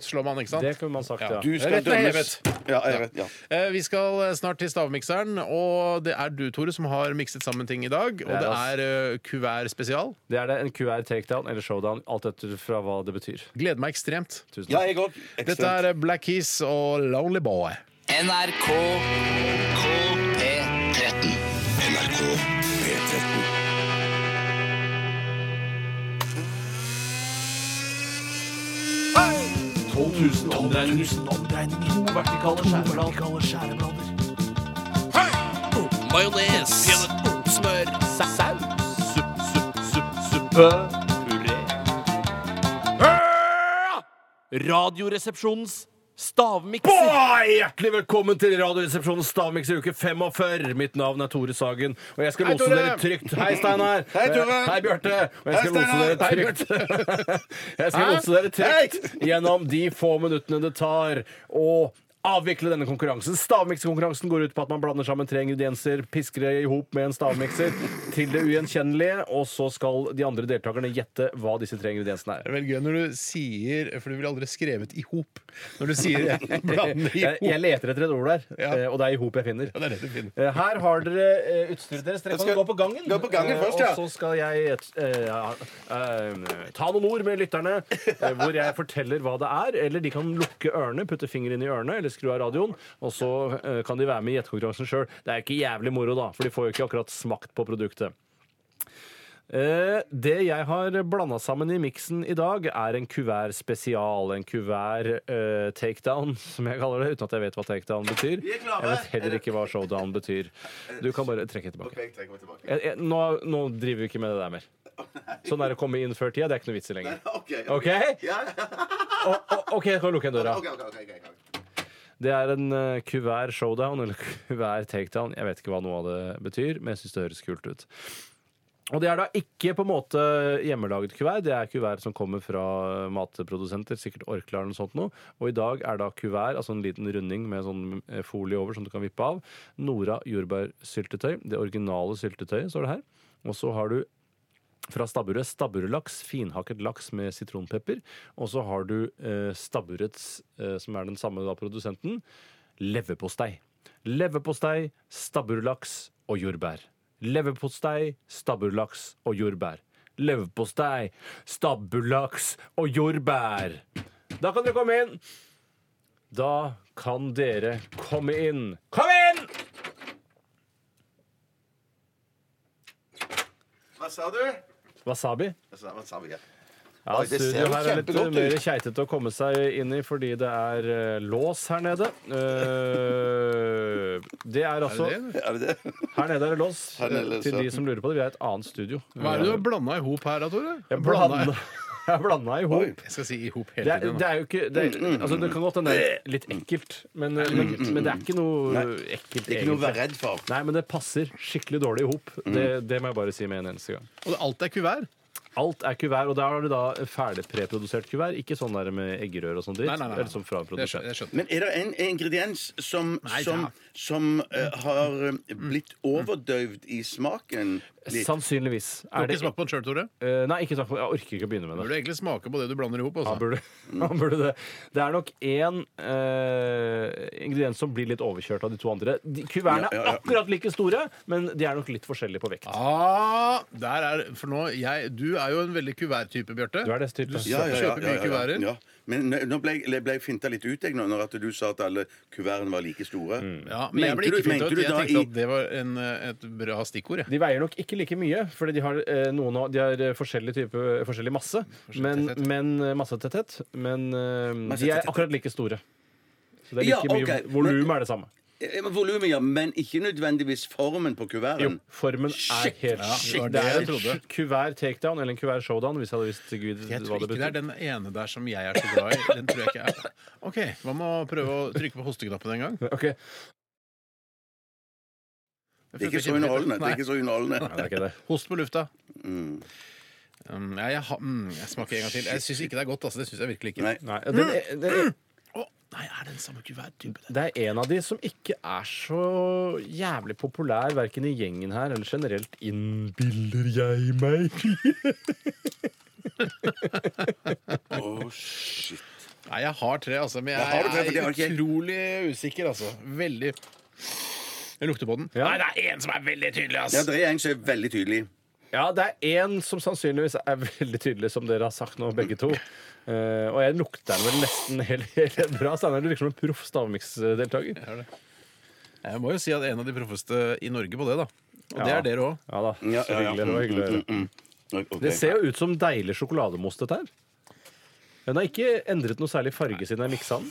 F: slår man, ikke sant?
D: Det kunne man sagt, ja.
G: Du skal
F: Retten er
G: dømmes.
F: hevet.
G: Ja, jeg vet, ja.
F: Eh, Vi skal eh, snart til stavmikseren, og det er du, Tore, som har mikset sammen ting i dag. Og
D: Det
F: det
D: er
F: er eh, kuvert spesial.
D: Det er det en QR takedown eller showdown, alt etter fra hva det betyr.
F: Gleder meg ekstremt.
D: Tusen
G: ja,
D: takk.
G: jeg òg.
F: Dette er eh, Black Keys og Lonely Boy.
C: NRK P13.
B: NRK P13.
D: Hjertelig velkommen til Radioresepsjonens stavmiks i uke 45. Mitt navn er Tore Sagen, og jeg skal
F: Hei,
D: lose
F: Tore!
D: dere trygt. Hei, Steinar.
G: Hei, Tore!
D: Hei, Bjarte. Og jeg skal
G: Hei,
D: lose dere
G: Steinar!
D: trygt. Jeg skal lose dere trygt gjennom de få minuttene det tar å Avvikle denne konkurransen. Stavmikskonkurransen går ut på at man blander sammen tre ingredienser, pisker det i hop med en stavmikser til det ugjenkjennelige, og så skal de andre deltakerne gjette hva disse tre ingrediensene er.
F: Det er veldig gøy når du sier For du ville aldri skrevet i hop. Når du sier eh, blande i
D: jeg, jeg
F: hop.
D: leter etter et ord der,
F: Ja.
D: eh, og det er i hop jeg finner.
F: Ja, det er det du finner.
D: Eh, Her har dere eh, utstyret deres. Dere kan
G: skal-
D: gå på gangen.
G: gå på gangen
D: eh,
G: først, ja.
D: Og så skal jeg et- eh, ja, eh, ta noen ord med lytterne eh, hvor jeg forteller hva det er. Eller de kan lukke ørene, putte fingeren inn i ørene eller skru av radioen. Og så eh, kan de være med i gjettekonkurransen sjøl. Det er ikke jævlig moro, da, for de får jo ikke akkurat smakt på produktet. Eh, Det jeg har blanda sammen i miksen i dag, er en kuvert spesial. En kuvert eh, takedown, som jeg kaller det, uten at jeg vet hva takedown betyr.
G: er klare.
D: Jeg vet heller ikke hva showdown betyr. Du kan bare trekke tilbake.
G: Jeg trekker meg tilbake.
D: Jeg, jeg, nå, nå driver vi ikke med det der mer. Sånn er det å komme inn før tida. Det er ikke noe vits i lenger.
G: OK.
D: OK? Å, å, OK, jeg kan lukke igjen døra. Det er en eh, kuvert showdown eller kuvert takedown. Jeg vet ikke hva noe av det betyr, men jeg syns det høres kult ut. Og det er da ikke på en måte hjemmelaget kuvert. Det er kuvert som kommer fra matprodusenter, sikkert Orkla eller noe sånt noe. Og i dag er da kuvert, altså en liten runding med sånn eh, folie over som du kan vippe av. Nora jordbærsyltetøy. Det originale syltetøyet, står det her. Og så har du fra stabburet stabburlaks, finhakket laks med sitronpepper. Og så har du eh, stabburets, eh, som er den samme da produsenten, leverpostei. Leverpostei, stabburlaks og jordbær. Leverpostei, stabburlaks og jordbær. Leverpostei, stabburlaks og jordbær. Da kan dere komme inn. Da kan dere komme inn. Kom inn!
G: Hva sa du?
D: Wasabi.
G: Hva sa- Hva sa vi? Ja.
D: Ja,
G: Oi, det ser
D: studio
G: jo
D: her er litt
G: kjempegodt ut.
D: mer keitete å komme seg inn i fordi det er eh, lås her nede. Eh, det er altså
G: Er det det?
D: Her nede er det lås. eh,
G: Her nede er det
D: Til de
G: lås, ja.
D: som lurer på det, vi er et annet studio.
F: Hva er det du har blanda i hop her da, Tore?
D: Jeg blanda, jeg blanda i hop.
F: Jeg skal si i hop
D: Det
F: hele
D: er,
F: tiden.
D: det er jo ikke det, er,
G: Mm,
D: altså, det kan godt hende det er litt ekkelt, men, men, men
G: mm.
D: det er ikke noe ekkelt,
G: Ikke noe å være
D: egentlig.
G: redd for.
D: Nei, men det passer skikkelig dårlig i hop. Det,
G: Mm.
D: det må jeg bare si med en eneste gang.
F: Og alt er kuvert.
D: Alt er kuvert, og der har du da ferdig preprodusert kuvert. Ikke sånn der med eggerør og sånn dritt.
F: Nei, nei, nei, nei.
D: Eller som fra
F: Det
D: en
F: skjø-
D: produsent.
F: jeg skjønner.
G: Men er det en ingrediens som,
F: Nei,
G: som,
F: da.
G: som eh, har eh, blitt overdøvd i smaken? Litt?
D: Sannsynligvis.
F: Du
D: Er
F: har
D: det,
F: ikke smakt på den sjøl, Tore?
D: Eh, nei, ikke snakk om Jeg orker ikke å begynne med det.
F: Burde egentlig smake på det du blander i hop. altså.
D: Han burde, han burde det. Det er nok én eh, ingrediens som blir litt overkjørt av de to andre. De, kuvertene
G: Ja, ja, ja.
D: er akkurat like store, men de er nok litt forskjellige på vekt.
F: Ah, der er, for nå, jeg, du er jo en veldig kuvert-type, Bjarte.
D: Du er det type.
F: Du kjøper mye kuverter.
G: ja. Men nå- nå ble jeg, ble jeg finta litt ut jeg, nå, når at du sa at alle kuvertene var like store.
D: Mm,
F: Ja, men jeg
G: Mente
F: ble ikke
G: du-
F: fint
G: mente
F: ut.
G: du
F: Jeg
G: da
F: tenkte
G: i-
F: at det var en, eh, et bra stikkord. Jeg.
D: De veier nok ikke like mye, fordi de har, eh, noen av, de har eh, forskjellig, type, forskjellig masse. Men,
F: tetthet.
D: men eh, massetetthet. Men eh, de er
G: Massetetthet.
D: akkurat like store. Så det er
G: Ja,
D: like mye
G: ok, men-
D: volum er det samme.
G: Ja, men Volumet, ja, men ikke nødvendigvis formen på
D: Jo,
G: kuverten.
D: formen er
G: Shit!
F: Ja,
D: helt
F: det var
D: shit.
F: det
D: Det
F: jeg
D: er
F: trodde.
D: en kuvert takedown eller en kuvert showdown, hvis jeg hadde visst
F: Jeg
D: gud hva
F: tror ikke det
D: det
F: er
D: betyr.
F: den ene der som jeg er så glad i. Den tror jeg ikke er OK, hva med å prøve å trykke på hosteknappen en gang?
D: Ok.
G: Det er ikke så underholdende. Det er ikke så underholdende. Mm.
D: er ikke det.
F: Host på lufta. Um, ja, jeg, har- mm, jeg smaker en gang til. Jeg syns ikke det er godt. Altså. Det syns jeg virkelig ikke.
G: Nei.
D: Nei, den, er- den, er-
F: Å, nei, er det den samme kuverttype? der?
D: det er en av de som ikke er så jævlig populær, verken i gjengen her eller generelt innbiller jeg meg.
G: Å, shit.
F: Nei, jeg har tre, altså. Men
G: har
F: jeg,
G: du tre, for det har
F: er
G: ikke jeg.
F: utrolig usikker, altså. Veldig Jeg lukter på den.
D: Ja.
F: Nei, det er en som er veldig tydelig,
G: Ja,
F: altså.
G: det er en som er veldig tydelig.
D: Ja, det er én som sannsynligvis er veldig tydelig, som dere har sagt nå, begge to. Eh, og jeg lukter den vel nesten helt, helt bra. Steinar, du virker som en proff stavmiksdeltaker.
F: Jeg må jo si at en av de proffeste i Norge på det, da. Og det
D: Ja.
F: er dere òg.
D: Ja da,
G: Ja, ja,
D: så
G: ja.
D: hyggelig. Det var hyggelig å høre.
G: Ok.
D: Det ser jo ut som deilig sjokolademousse, dette her. Den har ikke endret noe særlig farge siden jeg miksa den.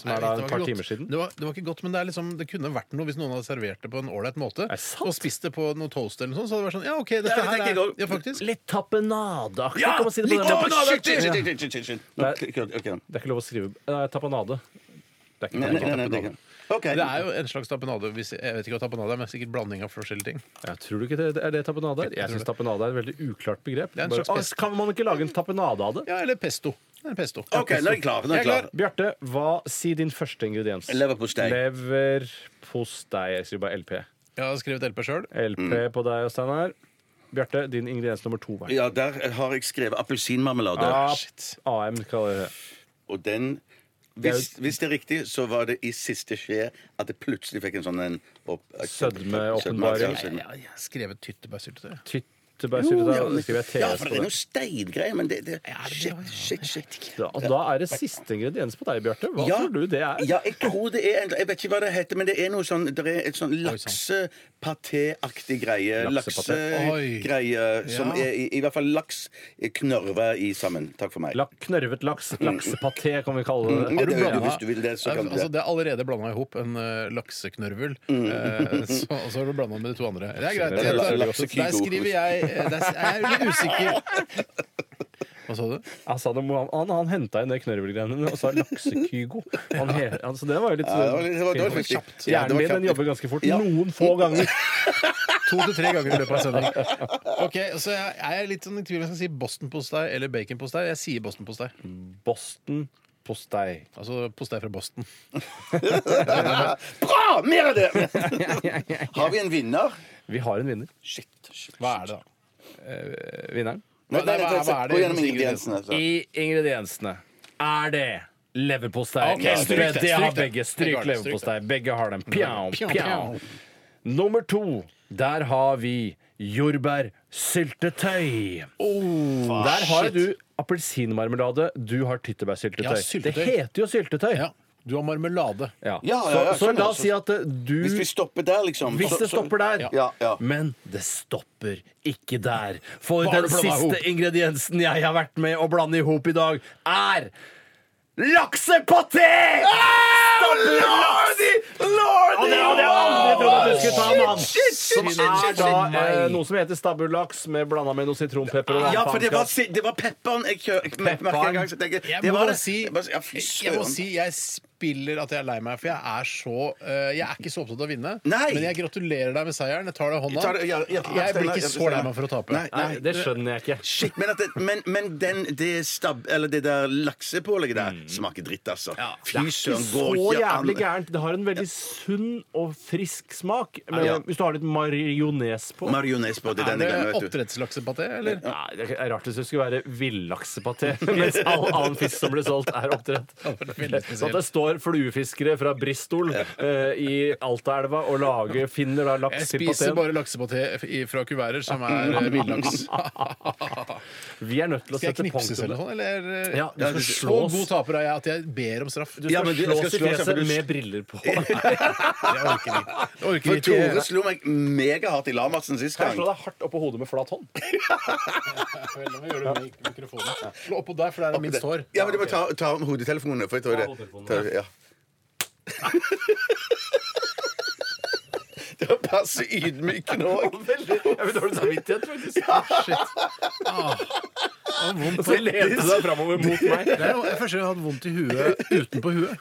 D: Som er da et par timer siden.
F: Det var, det var ikke godt, men det, er liksom, det kunne vært noe hvis noen hadde servert det på en ålreit måte.
D: det sant?
F: Og spist det på noe toast eller noe sånt. Så hadde det vært sånn, ja, OK, dette
G: det tenker jeg
F: her er
G: også.
F: ja, faktisk.
D: Litt tapenadeaktig,
G: Ja!
D: kan man si det på
G: Litt
D: den
G: opp
D: måten.
G: og ned! Shit, shit, shit, shit, shit, shit.
D: Nei.
G: Ok, ok.
D: Det er ikke lov å skrive Nei, tapenade. Det er ikke
G: Nei, nei, nei, nei, det er ikke- Ok.
F: Det er jo en slags tapenade. hvis- Jeg vet ikke hva tapenade er, men sikkert blanding av forskjellige ting.
D: Jeg tror du ikke det, det er det tapenade er? Jeg syns tapenade er et veldig uklart begrep.
F: Det er en
D: Bare,
F: slags pest.
D: «Å, kan man ikke lage en tapenade av det?
F: Ja, eller pesto. Det er en pesto.
G: Ok, nå er jeg klar. Nå er jeg klar.
D: Bjarte, hva si din første ingrediens?
G: Leverpostei.
D: Leverpostei. Jeg skriver bare LP.
F: Jeg har skrevet LP sjøl.
D: LP på deg, Steinar. Bjarte, din ingrediens nummer to. Vær.
G: Mm. Ja, der har jeg skrevet appelsinmarmelade.
D: Ah, AM kaller jeg det.
G: Og den hvis, hvis det er riktig, så var det i siste skje at jeg plutselig fikk en sånn en opp,
D: Sødmeåpenbaring.
G: Sødme-
F: Jeg har skrevet tyttebærsyltetøy.
D: Tyttebærsyltetøy.
G: Ja, men-
D: Da skriver jeg
G: Ja, for det er
D: TS
G: noe steingreier, men det, det
F: det det?
G: Shit, shit, shit.
D: på det. Og da er det siste ingrediens på deg, Bjarte. Hva
G: Ja.
D: tror du det er?
G: Ja, jeg tror det er en, Jeg vet ikke hva det heter, men det er noe sånn Det er et sånn laksepaté-aktig greie.
D: Laksepaté.
F: Oi.
G: Laksegreie som
F: Ja.
G: er i, i hvert fall laks knørva i sammen. Takk for meg.
D: Lak, knørvet laks. Laksepaté, kan vi kalle
G: Mm,
D: det.
G: det,
F: blandet?
G: det, hvis du vil det, så kan du det.
F: Altså,
G: Mm.
F: det er allerede blanda i hop en eh, lakseknørvel. Eh, så, og så har du blanda med de to andre. Det er greit.
G: Det er la- laksekygo.
F: Der skriver jeg eh, Der s- jeg er litt usikker. Hva sa du?
D: Altså, han han, han henta inn det knørvelgreiene og sa laksekygo. Han he, altså, det var jo litt
G: Ja, det var litt- det var- det var
D: Hjernen
G: riktig. Ja, det var
D: min den
G: kjapt.
D: jobber ganske fort.
G: Ja.
D: Noen få ganger.
F: To til tre ganger i løpet av en sending. Ok, så jeg jeg er litt sånn i tvil om jeg skal si Boston-postei eller baconpostei. Jeg sier Boston-postei.
D: Boston postei.
F: Altså postei fra Boston.
G: Bra! Mer av det! Har vi en vinner?
D: Vi har en vinner.
G: Shit. shit.
F: Hva er det, da?
D: Eh, Vinneren.
G: Nei, nei, nei,
F: Hva er- hva er det
G: Gå gjennom
F: i
G: ingrediensene. så.
D: I ingrediensene er det leverpostei.
F: Ok, stryk det,
D: det, har
F: stryk det.
D: begge.
F: Stryk det,
D: Stryk
F: stryk
D: leverpostei. Begge har den. Pjau,
F: Pjau,
D: pjau. Nummer to, der har vi jordbærsyltetøy.
F: Oh,
D: der har du appelsinmarmelade, du har tyttebærsyltetøy.
F: Ja, syltetøy.
D: Det heter jo syltetøy.
F: Ja. Du har marmelade.
D: Ja.
G: Ja, ja,
D: så,
G: ja,
D: så
G: skjønner.
D: la oss si at eh, du
G: Hvis vi stopper der, liksom
D: hvis
G: så-
D: det
G: så-
D: stopper der.
G: Ja, ja.
D: Men det stopper ikke der. For
F: Bare
D: den
F: blanda
D: siste
F: ihop.
D: ingrediensen jeg har vært med å blande i hop i dag, er laksepaté!
G: Ah,
D: Stabler laks! Og det hadde jeg aldri trodd at du skulle ta, mann. Som er da eh, noe som heter stabbulaks, med blanda med noe sitronpepper. og
G: Ja, for det var,
D: vannfangskap.
G: si- det var pepperen jeg kjørte.
F: Jeg må,
G: det.
F: si,
G: Jeg bare- Ja, fy
F: jeg må
G: søren.
F: si jeg spiller at jeg er lei meg, for jeg er så eh, Jeg er ikke så opptatt av å vinne.
G: Nei.
F: Men jeg gratulerer deg med seieren. Jeg tar deg i hånda.
G: Jeg tar det- ja, ja, ja,
F: jeg blir
G: Steinar,
F: ikke
G: ja,
F: så lei
G: Steinar.
F: meg for å tape.
G: Nei,
D: Nei, det skjønner jeg ikke.
G: Shit, men, at det, men, men den, det, stab, eller det der laksepålegget der
F: Mm.
G: smaker dritt, altså. Fy søren, går
D: Så
G: ikke an.
D: jævlig gærent. Det har en veldig sunn og frisk smak. Men
G: Ja.
D: hvis du har litt mariones på
G: Mariones på det,
F: Er
G: denne
F: det
G: gangen, vet du.
F: oppdrettslaksepaté, eller?
D: Nei, det er Rart hvis det skulle være villaksepaté, mens all annen fisk som blir solgt, er oppdrett.
F: hadde vært veldig spesielt.
D: Så at det står fluefiskere fra Bristol eh, i Altaelva og lager, finner da
F: Jeg
D: laks til
F: spiser
D: pateen.
F: bare laksepaté i- fra kuverter som er eh, villaks.
D: Vi er nødt til å
F: Skal jeg
D: sette
F: knipses eller
D: punktum.
F: noe sånt? Eller? eh,
D: Ja, du
F: så
D: skal slås.
F: god taper er jeg at jeg ber om straff.
D: Du
F: jeg
G: Ja,
D: skal
G: men du- jeg skal
D: slås i
G: slås, ja, for
D: fjeset
G: du-
D: med briller på.
F: orker ikke. Jeg orker
G: For Tore
F: ikke.
G: slo meg megahardt i Lamarsen sist
D: Kan jeg
G: gang.
D: slå deg hardt oppå hodet med flat hånd?
F: Vel, nå må jeg gjøre det med mikrofonen. Slå oppå der, for der er minst hår.
G: Ja, men Du må ta, ta om hodetelefonene. For jeg tror det, ta, ja. det var passe ydmykende òg.
D: Jeg vil dårlig samvittighet, faktisk.
F: Shit. Ah.
D: Og så lente du deg framover mot meg.
F: Det er jo første gang jeg har hatt vondt i huet utenpå huet.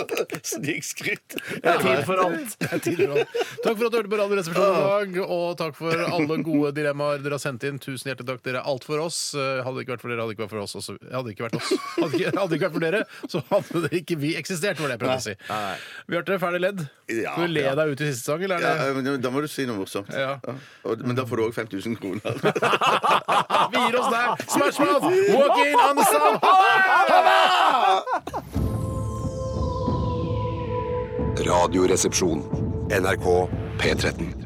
G: Snikskryt.
D: Det er tid for alt.
F: Det er tidligere også. Takk for at du hørte på Radioresepsjonen i dag, og takk for alle gode dilemmaer dere har sendt inn. Tusen hjertelig takk. Dere er alt for oss. Eh, Hadde det ikke vært for dere, hadde det ikke vært for oss. og så- Hadde det ikke vært oss. Hadde ikke, hadde det ikke vært for dere, så hadde det ikke vi eksistert, var det jeg prøvde å si. Bjarte, ferdig ledd.
G: Ja,
F: Skal du le
G: ja.
F: deg ut i siste sang, eller er det
G: Ja, men da må du si noe morsomt.
F: Ja.
G: Og- Men da får du òg 5000 kroner.
F: Vi gir oss der. Smash mouth! Walk in on the sun!
B: Radioresepsjon. NRK P13.